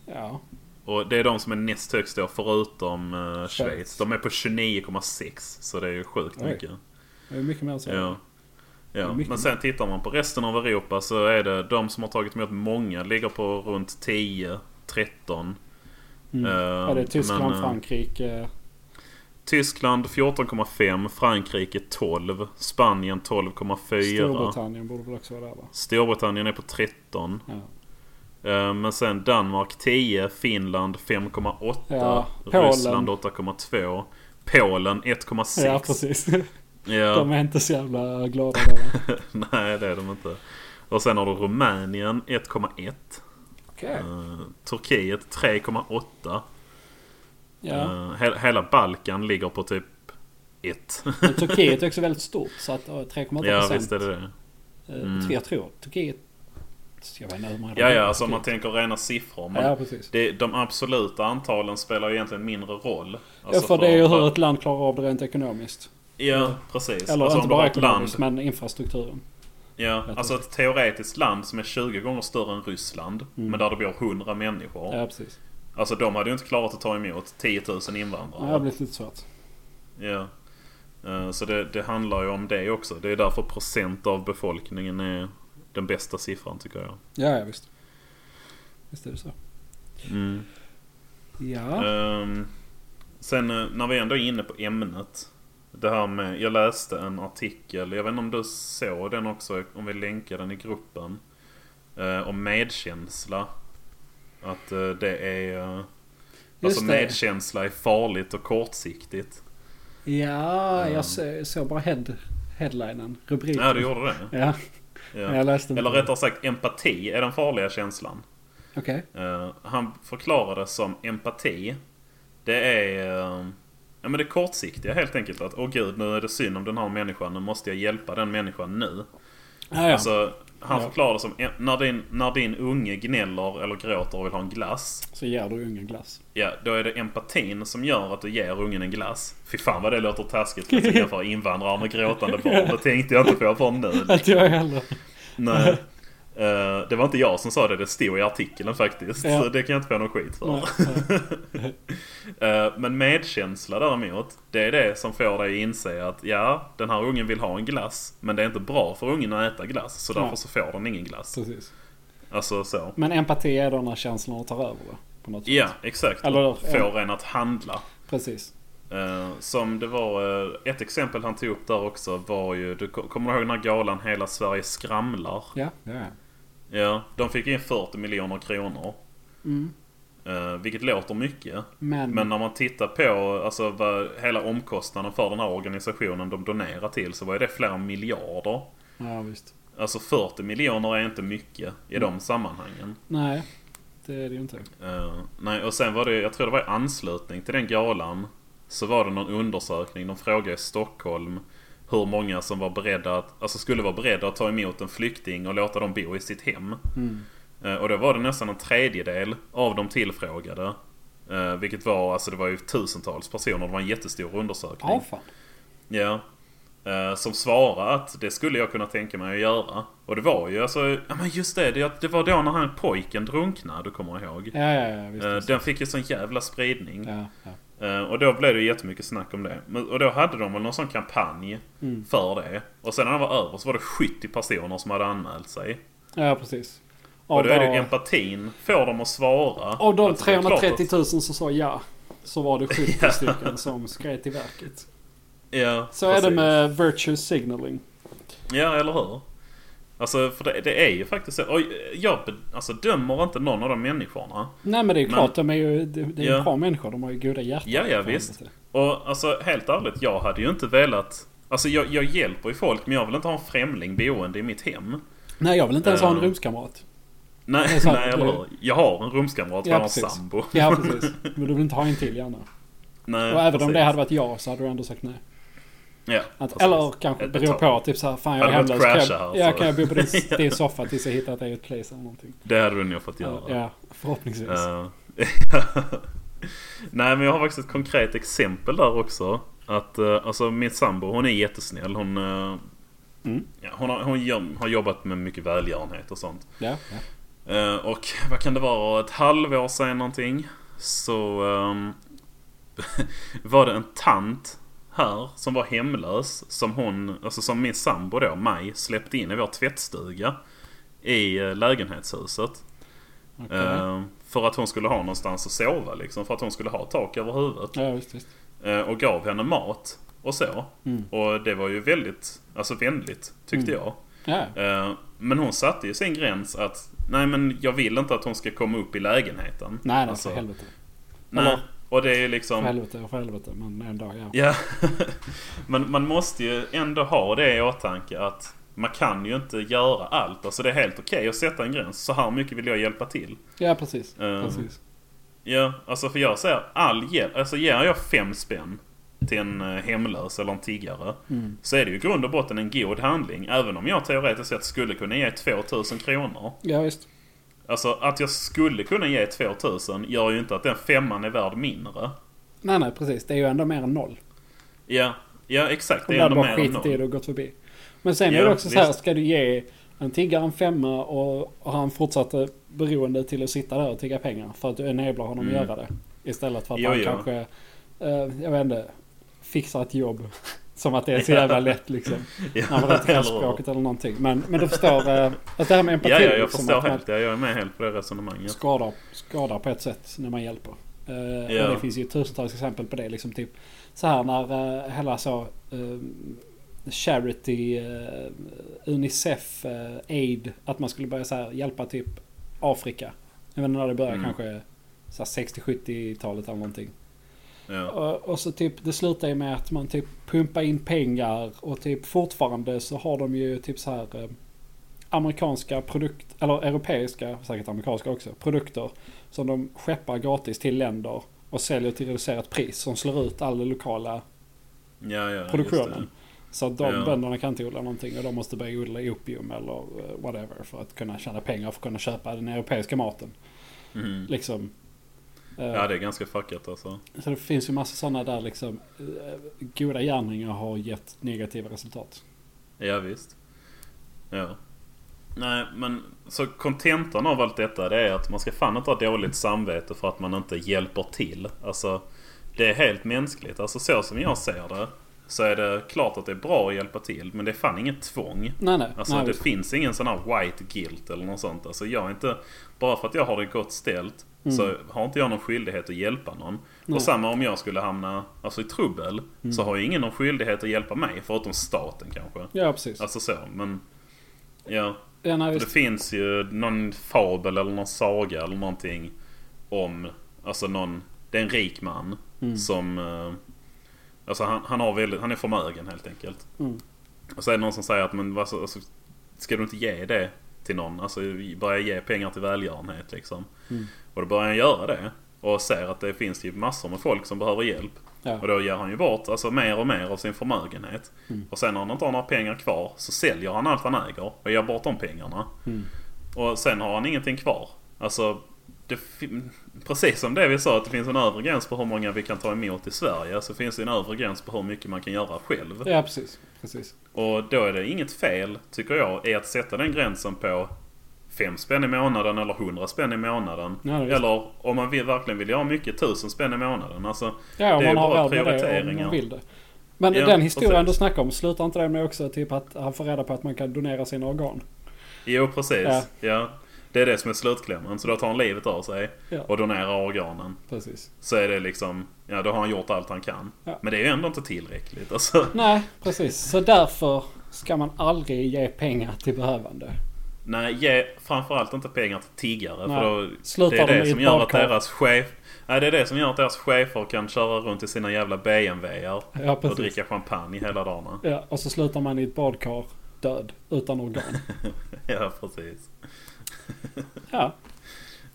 [SPEAKER 1] Ja.
[SPEAKER 2] Och det är de som är näst högst då förutom eh,
[SPEAKER 1] Schweiz.
[SPEAKER 2] Schweiz. De är på 29,6 så det är ju sjukt
[SPEAKER 1] Oj.
[SPEAKER 2] mycket.
[SPEAKER 1] Det är mycket mer än så.
[SPEAKER 2] Ja. Ja.
[SPEAKER 1] mycket
[SPEAKER 2] Men sen tittar man på resten av Europa så är det de som har tagit emot många ligger på runt 10, 13.
[SPEAKER 1] Mm.
[SPEAKER 2] Eh,
[SPEAKER 1] Ja, det är Tyskland,
[SPEAKER 2] men, eh,
[SPEAKER 1] Frankrike.
[SPEAKER 2] Tyskland 14,5, Frankrike 12, Spanien 12,4.
[SPEAKER 1] Storbritannien borde väl också vara där va?
[SPEAKER 2] Storbritannien är på 13.
[SPEAKER 1] Ja.
[SPEAKER 2] Eh, Men sen Danmark 10, Finland 5,8,
[SPEAKER 1] Ja, Polen.
[SPEAKER 2] Ryssland 8,2, Polen 1,6.
[SPEAKER 1] Ja, precis. *laughs*
[SPEAKER 2] Ja.
[SPEAKER 1] De är inte så jävla glada där va?
[SPEAKER 2] *laughs* Nej, det är de inte. Och sen har du Rumänien 1,1.
[SPEAKER 1] Okej.
[SPEAKER 2] Eh, Turkiet 3,8.
[SPEAKER 1] Ja.
[SPEAKER 2] Eh, he- hela Balkan ligger på typ 1.
[SPEAKER 1] Men Turkiet är också väldigt stort så att ja, 3,8
[SPEAKER 2] *laughs* ja,
[SPEAKER 1] procent.
[SPEAKER 2] visst är det det.
[SPEAKER 1] Eh,
[SPEAKER 2] Mm.
[SPEAKER 1] Jag tror Turkiet... Jag vet inte hur många
[SPEAKER 2] Ja,
[SPEAKER 1] de
[SPEAKER 2] ja,
[SPEAKER 1] har.
[SPEAKER 2] alltså om man tänker rena siffror. Men
[SPEAKER 1] typ. Ja, precis.
[SPEAKER 2] det, de absoluta antalen spelar ju egentligen mindre roll.
[SPEAKER 1] Ja,
[SPEAKER 2] Alltså
[SPEAKER 1] för det är ju hur ett land klarar av det rent ekonomiskt.
[SPEAKER 2] Ja, precis.
[SPEAKER 1] Eller
[SPEAKER 2] alltså om
[SPEAKER 1] inte
[SPEAKER 2] du har
[SPEAKER 1] bara
[SPEAKER 2] ett land.
[SPEAKER 1] ekonomiskt, men infrastrukturen.
[SPEAKER 2] Ja,
[SPEAKER 1] Jag
[SPEAKER 2] alltså ett teoretiskt land som är 20 gånger större än Ryssland. Men där det bor 100 människor.
[SPEAKER 1] Mm. Ja, precis.
[SPEAKER 2] Alltså de hade ju inte klarat att ta emot 10 000
[SPEAKER 1] Ja, det har
[SPEAKER 2] invandrare.
[SPEAKER 1] blivit lite svårt.
[SPEAKER 2] Ja. Eh, Så det, det handlar ju om det också. Det är därför procent av befolkningen är den bästa siffran tycker jag.
[SPEAKER 1] Ja, ja, visst. Visst är det så.
[SPEAKER 2] Mm.
[SPEAKER 1] Ja.
[SPEAKER 2] Ehm, sen eh, när vi ändå är inne på ämnet. Det här med, jag läste en artikel, jag vet inte om du såg den också, om vi länkar den i gruppen. eh, om medkänsla. Att eh, det är... eh,
[SPEAKER 1] Just
[SPEAKER 2] alltså
[SPEAKER 1] det.
[SPEAKER 2] medkänsla är farligt och kortsiktigt.
[SPEAKER 1] Ja, jag så- såg bara head, headlinen. Rubriken.
[SPEAKER 2] Ja, du gjorde det?
[SPEAKER 1] Ja,
[SPEAKER 2] Ja.
[SPEAKER 1] men jag läste inte.
[SPEAKER 2] Eller rättare sagt, empati är den farliga känslan.
[SPEAKER 1] Okej.
[SPEAKER 2] Eh, han förklarade som empati. Det är eh, ja, men det kortsiktiga helt enkelt. Att åh gud, nu är det synd om den här människan. Nu måste jag hjälpa den människan nu.
[SPEAKER 1] Ja, ja.
[SPEAKER 2] Alltså, han
[SPEAKER 1] Ja.
[SPEAKER 2] förklarade som eh, när din, när din unge gnäller eller gråter och vill ha en glass.
[SPEAKER 1] Så ger du ungen glass.
[SPEAKER 2] Ja, då är det empatin som gör att du ger ungen en glass. Fy fan vad det låter taskigt för att jämföra invandrare med gråtande
[SPEAKER 1] *laughs*
[SPEAKER 2] barn. Det tänkte jag inte på förrän nu.
[SPEAKER 1] Inte jag heller.
[SPEAKER 2] Nej.
[SPEAKER 1] *laughs*
[SPEAKER 2] Eh, det var inte jag som sa det, det stod i artikeln faktiskt.
[SPEAKER 1] Ja.
[SPEAKER 2] Så det kan jag inte få någon skit för.
[SPEAKER 1] Nej, nej.
[SPEAKER 2] *laughs* Eh, Men medkänsla däremot, det är det som får dig att inse att ja, den här ungen vill ha en glass. Men det är inte bra för ungen att äta glass, så
[SPEAKER 1] Nej.
[SPEAKER 2] därför så får den ingen glass.
[SPEAKER 1] Precis.
[SPEAKER 2] Alltså så.
[SPEAKER 1] Men empati är då när känslorna tar över då. På något sätt.
[SPEAKER 2] Ja, exakt.
[SPEAKER 1] Eller-
[SPEAKER 2] får en att handla.
[SPEAKER 1] Precis.
[SPEAKER 2] Eh, som det var, eh, ett exempel han tog upp där också var ju, du ko- kommer du ihåg den här galan Hela Sverige skramlar?
[SPEAKER 1] Ja. ja.
[SPEAKER 2] Ja, de fick in 40 miljoner kronor.
[SPEAKER 1] Mm.
[SPEAKER 2] Eh, Eh, vilket låter mycket.
[SPEAKER 1] Men,
[SPEAKER 2] Men när man tittar på alltså, vad hela omkostnaden för den här organisationen de donerar till så var det flera miljarder.
[SPEAKER 1] ja visst.
[SPEAKER 2] Alltså 40 miljoner är inte mycket i de sammanhangen.
[SPEAKER 1] Nej, det är det ju inte.
[SPEAKER 2] Eh, nej, och sen var det, jag tror det var i anslutning till den galan Så var det någon undersökning, de frågade i Stockholm Hur många som var beredda att, alltså skulle vara beredda att ta emot en flykting och låta dem bo i sitt hem Eh, Och då var det nästan en tredjedel av de tillfrågade eh, Vilket var, alltså det var ju tusentals personer, det var en jättestor undersökning
[SPEAKER 1] Ja, fan.
[SPEAKER 2] Ja. Eh, Som svarade att det skulle jag kunna tänka mig att göra. Och det var ju alltså, ja men just det, det, det var då när han pojken drunknade, du kommer ihåg.
[SPEAKER 1] Ja, ja, ja visst.
[SPEAKER 2] Eh,
[SPEAKER 1] visst.
[SPEAKER 2] Den fick ju sån jävla spridning.
[SPEAKER 1] Ja, ja.
[SPEAKER 2] Eh, Och då blev det jättemycket snack om det. Men- Och då hade de väl någon sån kampanj
[SPEAKER 1] Mm.
[SPEAKER 2] för det. Och sen när det var över så var det 70 personer som hade anmält sig.
[SPEAKER 1] ja, precis.
[SPEAKER 2] Och då är det ju
[SPEAKER 1] bara-
[SPEAKER 2] empatin, får dem att svara.
[SPEAKER 1] Av de
[SPEAKER 2] Alltså, det är klart
[SPEAKER 1] 330
[SPEAKER 2] att-
[SPEAKER 1] 000 som sa ja, så var
[SPEAKER 2] *laughs*
[SPEAKER 1] det 70 stycken som skret i verket.
[SPEAKER 2] Ja,
[SPEAKER 1] Så är det med virtue signaling.
[SPEAKER 2] Ja, eller hur? Alltså, för det, det är ju faktiskt så. Och jag be- alltså, dömer inte någon av de människorna.
[SPEAKER 1] Nej men det är
[SPEAKER 2] Men-
[SPEAKER 1] klart, de är ju det, det är ju
[SPEAKER 2] Ja.
[SPEAKER 1] bra människor. De har ju goda hjärtan.
[SPEAKER 2] Ja, ja,
[SPEAKER 1] Fan,
[SPEAKER 2] visst.
[SPEAKER 1] vet
[SPEAKER 2] Och alltså, helt ärligt, jag hade ju inte velat... Alltså, jag, jag hjälper ju folk, men jag vill inte ha en främling boende i mitt hem.
[SPEAKER 1] du. Nej, jag vill inte ens ha en
[SPEAKER 2] Ja.
[SPEAKER 1] rumskamrat. Det är
[SPEAKER 2] Nej,
[SPEAKER 1] sant,
[SPEAKER 2] nej eller
[SPEAKER 1] det-
[SPEAKER 2] hur? Jag har en rumskamrat,
[SPEAKER 1] Ja,
[SPEAKER 2] jag har en
[SPEAKER 1] precis.
[SPEAKER 2] sambo.
[SPEAKER 1] Ja,
[SPEAKER 2] *laughs*
[SPEAKER 1] precis. Men du vill inte ha en till gärna.
[SPEAKER 2] Nej,
[SPEAKER 1] Och även om
[SPEAKER 2] precis.
[SPEAKER 1] det hade varit jag så hade du ändå sagt nej.
[SPEAKER 2] Ja,
[SPEAKER 1] Att,
[SPEAKER 2] precis.
[SPEAKER 1] eller kanske
[SPEAKER 2] Ett tag.
[SPEAKER 1] beror på, typ såhär, fan jag är
[SPEAKER 2] Hade det
[SPEAKER 1] hemlös.
[SPEAKER 2] varit
[SPEAKER 1] Kan
[SPEAKER 2] crasha här,
[SPEAKER 1] jag, ja,
[SPEAKER 2] så-
[SPEAKER 1] kan jag bo
[SPEAKER 2] *laughs*
[SPEAKER 1] på din, din soffa tills jag hittar ett eget place eller någonting?
[SPEAKER 2] Det hade du nog fått göra.
[SPEAKER 1] Ja, ja förhoppningsvis.
[SPEAKER 2] Eh, *laughs* Nej men jag har faktiskt ett konkret exempel där också. Att eh, alltså min sambo hon är jättesnäll. Hon, eh,
[SPEAKER 1] Mm.
[SPEAKER 2] ja, hon, har, hon gör- har jobbat med mycket välgörenhet och sånt.
[SPEAKER 1] Ja, ja.
[SPEAKER 2] Eh, och vad kan det vara? Ett halvår sedan någonting. Så ehm, *laughs* var det en tant här som var hemlös. Som hon, alltså som min sambo då, Maj, släppte in i vår tvättstuga. I eh, lägenhetshuset.
[SPEAKER 1] Okej.
[SPEAKER 2] Eh, För att hon skulle ha någonstans att sova liksom. För att hon skulle ha tak över huvudet.
[SPEAKER 1] ja, visst, visst.
[SPEAKER 2] Eh, Och gav henne mat och så.
[SPEAKER 1] Mm.
[SPEAKER 2] Och det var ju väldigt alltså vänligt tyckte jag.
[SPEAKER 1] Ja,
[SPEAKER 2] Eh, Men hon satte ju sin gräns att nej men jag vill inte att hon ska komma upp i lägenheten.
[SPEAKER 1] nej, nej,
[SPEAKER 2] Alltså,
[SPEAKER 1] för helvete.
[SPEAKER 2] nej.
[SPEAKER 1] Eller-
[SPEAKER 2] Och det är ju
[SPEAKER 1] För
[SPEAKER 2] liksom...
[SPEAKER 1] helvete och för helvete. Men en dag, ja.
[SPEAKER 2] Ja. *laughs* men man måste ju ändå ha det i åtanke att man kan ju inte göra allt. Alltså det är helt okej att sätta en gräns. Så här mycket vill jag hjälpa till.
[SPEAKER 1] Ja, precis.
[SPEAKER 2] Eh,
[SPEAKER 1] precis.
[SPEAKER 2] Ja, alltså för jag säger all hjälp. Alltså ger jag fem spänn till en eh, hemlös eller en tiggare.
[SPEAKER 1] Mm.
[SPEAKER 2] Så är det ju i grund och botten en god handling. Även om jag teoretiskt sett skulle kunna ge 2000 kronor.
[SPEAKER 1] Ja, visst.
[SPEAKER 2] Alltså att jag skulle kunna ge 2000 gör ju inte att den femman är värd mindre.
[SPEAKER 1] Nej, nej, precis. Det är ju ändå mer än noll.
[SPEAKER 2] Ja, ja exakt.
[SPEAKER 1] Om
[SPEAKER 2] Det
[SPEAKER 1] du
[SPEAKER 2] är
[SPEAKER 1] hade
[SPEAKER 2] ändå
[SPEAKER 1] bara
[SPEAKER 2] mer än
[SPEAKER 1] skitit i
[SPEAKER 2] noll.
[SPEAKER 1] det och gått förbi. Men sen är
[SPEAKER 2] Ja,
[SPEAKER 1] det också så här,
[SPEAKER 2] visst.
[SPEAKER 1] ska du ge en tiggare en femma och och han fortsatte beroende till att sitta där och tigga pengar för att du enablar honom
[SPEAKER 2] Mm.
[SPEAKER 1] att göra det. Istället för att
[SPEAKER 2] Jo,
[SPEAKER 1] han
[SPEAKER 2] jo.
[SPEAKER 1] kanske, eh, jag vet inte, fixar ett jobb. *laughs* Som att det är så jävla lätt liksom. När
[SPEAKER 2] *laughs*
[SPEAKER 1] man inte
[SPEAKER 2] eller
[SPEAKER 1] kan
[SPEAKER 2] hur?
[SPEAKER 1] språket eller någonting. Men, men du förstår, eh, att det här med empati.
[SPEAKER 2] Ja, ja, jag
[SPEAKER 1] liksom,
[SPEAKER 2] förstår
[SPEAKER 1] att man
[SPEAKER 2] helt. Ja, jag är med helt på det resonemanget.
[SPEAKER 1] skadar, skadar på ett sätt när man hjälper. Eh,
[SPEAKER 2] Ja.
[SPEAKER 1] och det finns ju tusentals exempel på det. Liksom typ så här när eh, hela så eh, Charity, eh, Unicef, eh, Aid. Att man skulle börja så här hjälpa typ Afrika. Jag vet inte när det började
[SPEAKER 2] Mm.
[SPEAKER 1] kanske så här 60-70-talet eller någonting.
[SPEAKER 2] Ja.
[SPEAKER 1] Och, och så typ det slutar ju med att man typ pumpar in pengar och typ fortfarande så har de ju typ så här eh, amerikanska produkt eller europeiska, säkert amerikanska också, produkter som de skeppar gratis till länder och säljer till reducerat pris som slår ut all den lokala
[SPEAKER 2] Ja, ja,
[SPEAKER 1] produktionen. Så att de
[SPEAKER 2] Ja.
[SPEAKER 1] bönderna kan inte odla någonting och de måste börja odla opium eller eh, whatever för att kunna tjäna pengar för att kunna köpa den europeiska maten.
[SPEAKER 2] just det. Mm.
[SPEAKER 1] Liksom. Eh,
[SPEAKER 2] Ja, det är ganska fuckat alltså.
[SPEAKER 1] så det finns ju massa sådana där liksom eh, goda gärningar har gett negativa resultat.
[SPEAKER 2] Ja visst. Ja. Nej men så kontentan av allt detta det är att man ska fan inte ha dåligt samvete för att man inte hjälper till. Alltså det är helt mänskligt. Alltså så som jag ser det så är det klart att det är bra att hjälpa till men det är fan inget tvång.
[SPEAKER 1] Nej, nej.
[SPEAKER 2] Alltså
[SPEAKER 1] nej,
[SPEAKER 2] det
[SPEAKER 1] visst.
[SPEAKER 2] finns ingen sån här white guilt eller något sånt. Alltså jag är inte... Bara för att jag har det gott ställt så har inte jag någon skyldighet att hjälpa någon.
[SPEAKER 1] Mm. Nej. Mm.
[SPEAKER 2] Och samma om jag skulle hamna alltså, i trubbel så har ju ingen någon skyldighet att hjälpa mig förutom staten kanske.
[SPEAKER 1] ja, precis.
[SPEAKER 2] Alltså så, men... Ja,
[SPEAKER 1] ja, nej,
[SPEAKER 2] för det
[SPEAKER 1] visst.
[SPEAKER 2] finns ju någon fabel eller någon saga eller någonting om, alltså någon, det är en rik man
[SPEAKER 1] Mm.
[SPEAKER 2] som, eh, alltså han, han, har väldigt, han är förmögen helt enkelt.
[SPEAKER 1] Mm.
[SPEAKER 2] Och så är det någon som säger att men vad så- alltså, ska du inte ge det till någon? Alltså börja ge pengar till välgörenhet liksom.
[SPEAKER 1] Mm.
[SPEAKER 2] Och då börjar han göra det. Och ser att det finns ju massor med folk som behöver hjälp.
[SPEAKER 1] Ja.
[SPEAKER 2] Och då ger han ju bort alltså, mer och mer av sin förmögenhet.
[SPEAKER 1] Mm.
[SPEAKER 2] Och sen när han inte har några pengar kvar så säljer han allt han äger och ger bort de pengarna.
[SPEAKER 1] Mm.
[SPEAKER 2] Och sen har han ingenting kvar. Alltså, det, fin- precis som det vi sa att det finns en övre gräns på hur många vi kan ta emot i Sverige så finns det en övre gräns på hur mycket man kan göra själv.
[SPEAKER 1] Ja, precis. precis.
[SPEAKER 2] Och då är det inget fel, tycker jag, i att sätta den gränsen på 5 spänn i månaden eller 100 spänn i månaden.
[SPEAKER 1] Ja, visst.
[SPEAKER 2] eller om man vill, verkligen vill göra mycket, 1000 spänn i månaden. Alltså,
[SPEAKER 1] Ja, om
[SPEAKER 2] det är
[SPEAKER 1] man har
[SPEAKER 2] bara
[SPEAKER 1] råd med det om
[SPEAKER 2] prioriteringar.
[SPEAKER 1] man vill det. Men
[SPEAKER 2] Ja,
[SPEAKER 1] den historien
[SPEAKER 2] precis.
[SPEAKER 1] du snackar om, slutar inte det med också typ att han får reda på att man kan donera sina organ?
[SPEAKER 2] Jo, precis.
[SPEAKER 1] Ja.
[SPEAKER 2] Ja. Det är det som är slutklämmen. Så då tar han livet av sig
[SPEAKER 1] Ja.
[SPEAKER 2] och donerar organen.
[SPEAKER 1] Precis.
[SPEAKER 2] Så är det liksom, ja då har han gjort allt han kan.
[SPEAKER 1] Ja.
[SPEAKER 2] Men det är ju ändå inte tillräckligt. Alltså,
[SPEAKER 1] *laughs* Nej, precis. Så därför ska man aldrig ge pengar till behövande.
[SPEAKER 2] nej, ge framförallt inte pengar till tiggare.
[SPEAKER 1] Nej.
[SPEAKER 2] För då,
[SPEAKER 1] Slutar
[SPEAKER 2] det är
[SPEAKER 1] de
[SPEAKER 2] det
[SPEAKER 1] i
[SPEAKER 2] som
[SPEAKER 1] ett
[SPEAKER 2] gör att
[SPEAKER 1] badkar.
[SPEAKER 2] deras chef... Nej, det är det som gör att deras chefer kan köra runt i sina jävla BMWer
[SPEAKER 1] Ja,
[SPEAKER 2] och
[SPEAKER 1] precis.
[SPEAKER 2] dricka champagne hela dagarna.
[SPEAKER 1] Ja, och så slutar man i ett badkar död utan organ.
[SPEAKER 2] Ja, precis.
[SPEAKER 1] Ja,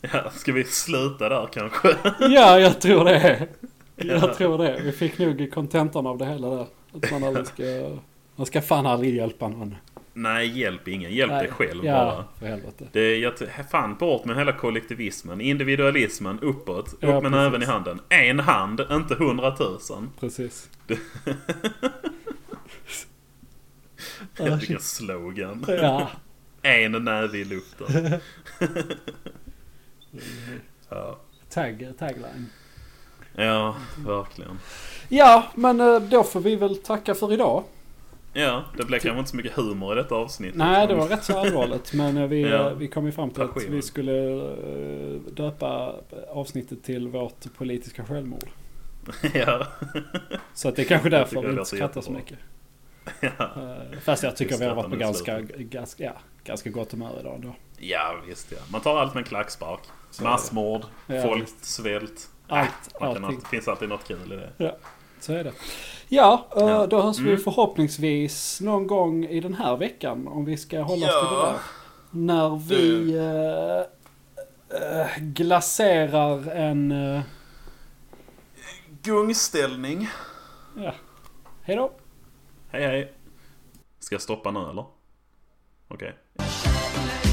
[SPEAKER 2] Ja, ska vi sluta där kanske? *laughs*
[SPEAKER 1] ja jag tror det. Jag tror det. Vi fick nog kontentan av det hela där. Att man aldrig ska... Man ska fan aldrig hjälpa någon.
[SPEAKER 2] Nej, hjälp ingen. Hjälp dig själv
[SPEAKER 1] ja,
[SPEAKER 2] bara.
[SPEAKER 1] för helvete.
[SPEAKER 2] Det är jag t- fan bort med hela kollektivismen, individualismen, uppåt, upp
[SPEAKER 1] Ja,
[SPEAKER 2] med
[SPEAKER 1] precis.
[SPEAKER 2] näven i handen. En hand, inte hundratusen.
[SPEAKER 1] Precis.
[SPEAKER 2] Jag tycker slogan.
[SPEAKER 1] Ja.
[SPEAKER 2] En näve
[SPEAKER 1] *laughs*
[SPEAKER 2] i luften. ja.
[SPEAKER 1] Tag, tagline.
[SPEAKER 2] ja, verkligen.
[SPEAKER 1] Ja, men eh, då får vi väl tacka för idag.
[SPEAKER 2] Ja, det blev kanske inte så mycket humor i detta avsnitt.
[SPEAKER 1] Nej, det var rätt så allvarligt. Men eh, vi,
[SPEAKER 2] Ja.
[SPEAKER 1] eh, vi kom ju fram till att
[SPEAKER 2] Passion.
[SPEAKER 1] vi skulle eh, döpa avsnittet till vårt politiska självmord.
[SPEAKER 2] *laughs* ja.
[SPEAKER 1] Så att det är kanske
[SPEAKER 2] Jag
[SPEAKER 1] därför
[SPEAKER 2] tycker
[SPEAKER 1] vi inte
[SPEAKER 2] det låter
[SPEAKER 1] skrattar så
[SPEAKER 2] jättebra.
[SPEAKER 1] mycket. Eh, Fast jag tycker
[SPEAKER 2] Just
[SPEAKER 1] vi har
[SPEAKER 2] att
[SPEAKER 1] varit på
[SPEAKER 2] den är
[SPEAKER 1] ganska, ganska, ja, ganska gott humör idag ändå.
[SPEAKER 2] ja, visst ja. Man tar allt med en klackspark.
[SPEAKER 1] Så är det.
[SPEAKER 2] Massmord,
[SPEAKER 1] Ja,
[SPEAKER 2] folk,
[SPEAKER 1] visst. typ.
[SPEAKER 2] svält.
[SPEAKER 1] Allt,
[SPEAKER 2] Man kan
[SPEAKER 1] allting.
[SPEAKER 2] alltid, det finns alltid något kul i det.
[SPEAKER 1] Ja, så är det. Ja, eh,
[SPEAKER 2] Ja.
[SPEAKER 1] då hörs vi
[SPEAKER 2] Mm.
[SPEAKER 1] förhoppningsvis någon gång i den här veckan om vi ska hålla oss till det
[SPEAKER 2] Ja.
[SPEAKER 1] där. När vi eh, eh, glaserar en... eh,
[SPEAKER 2] Gungställning.
[SPEAKER 1] ja. Hej då!
[SPEAKER 2] Hej hej. Ska jag stoppa nu eller? Okej.
[SPEAKER 4] Chevrolet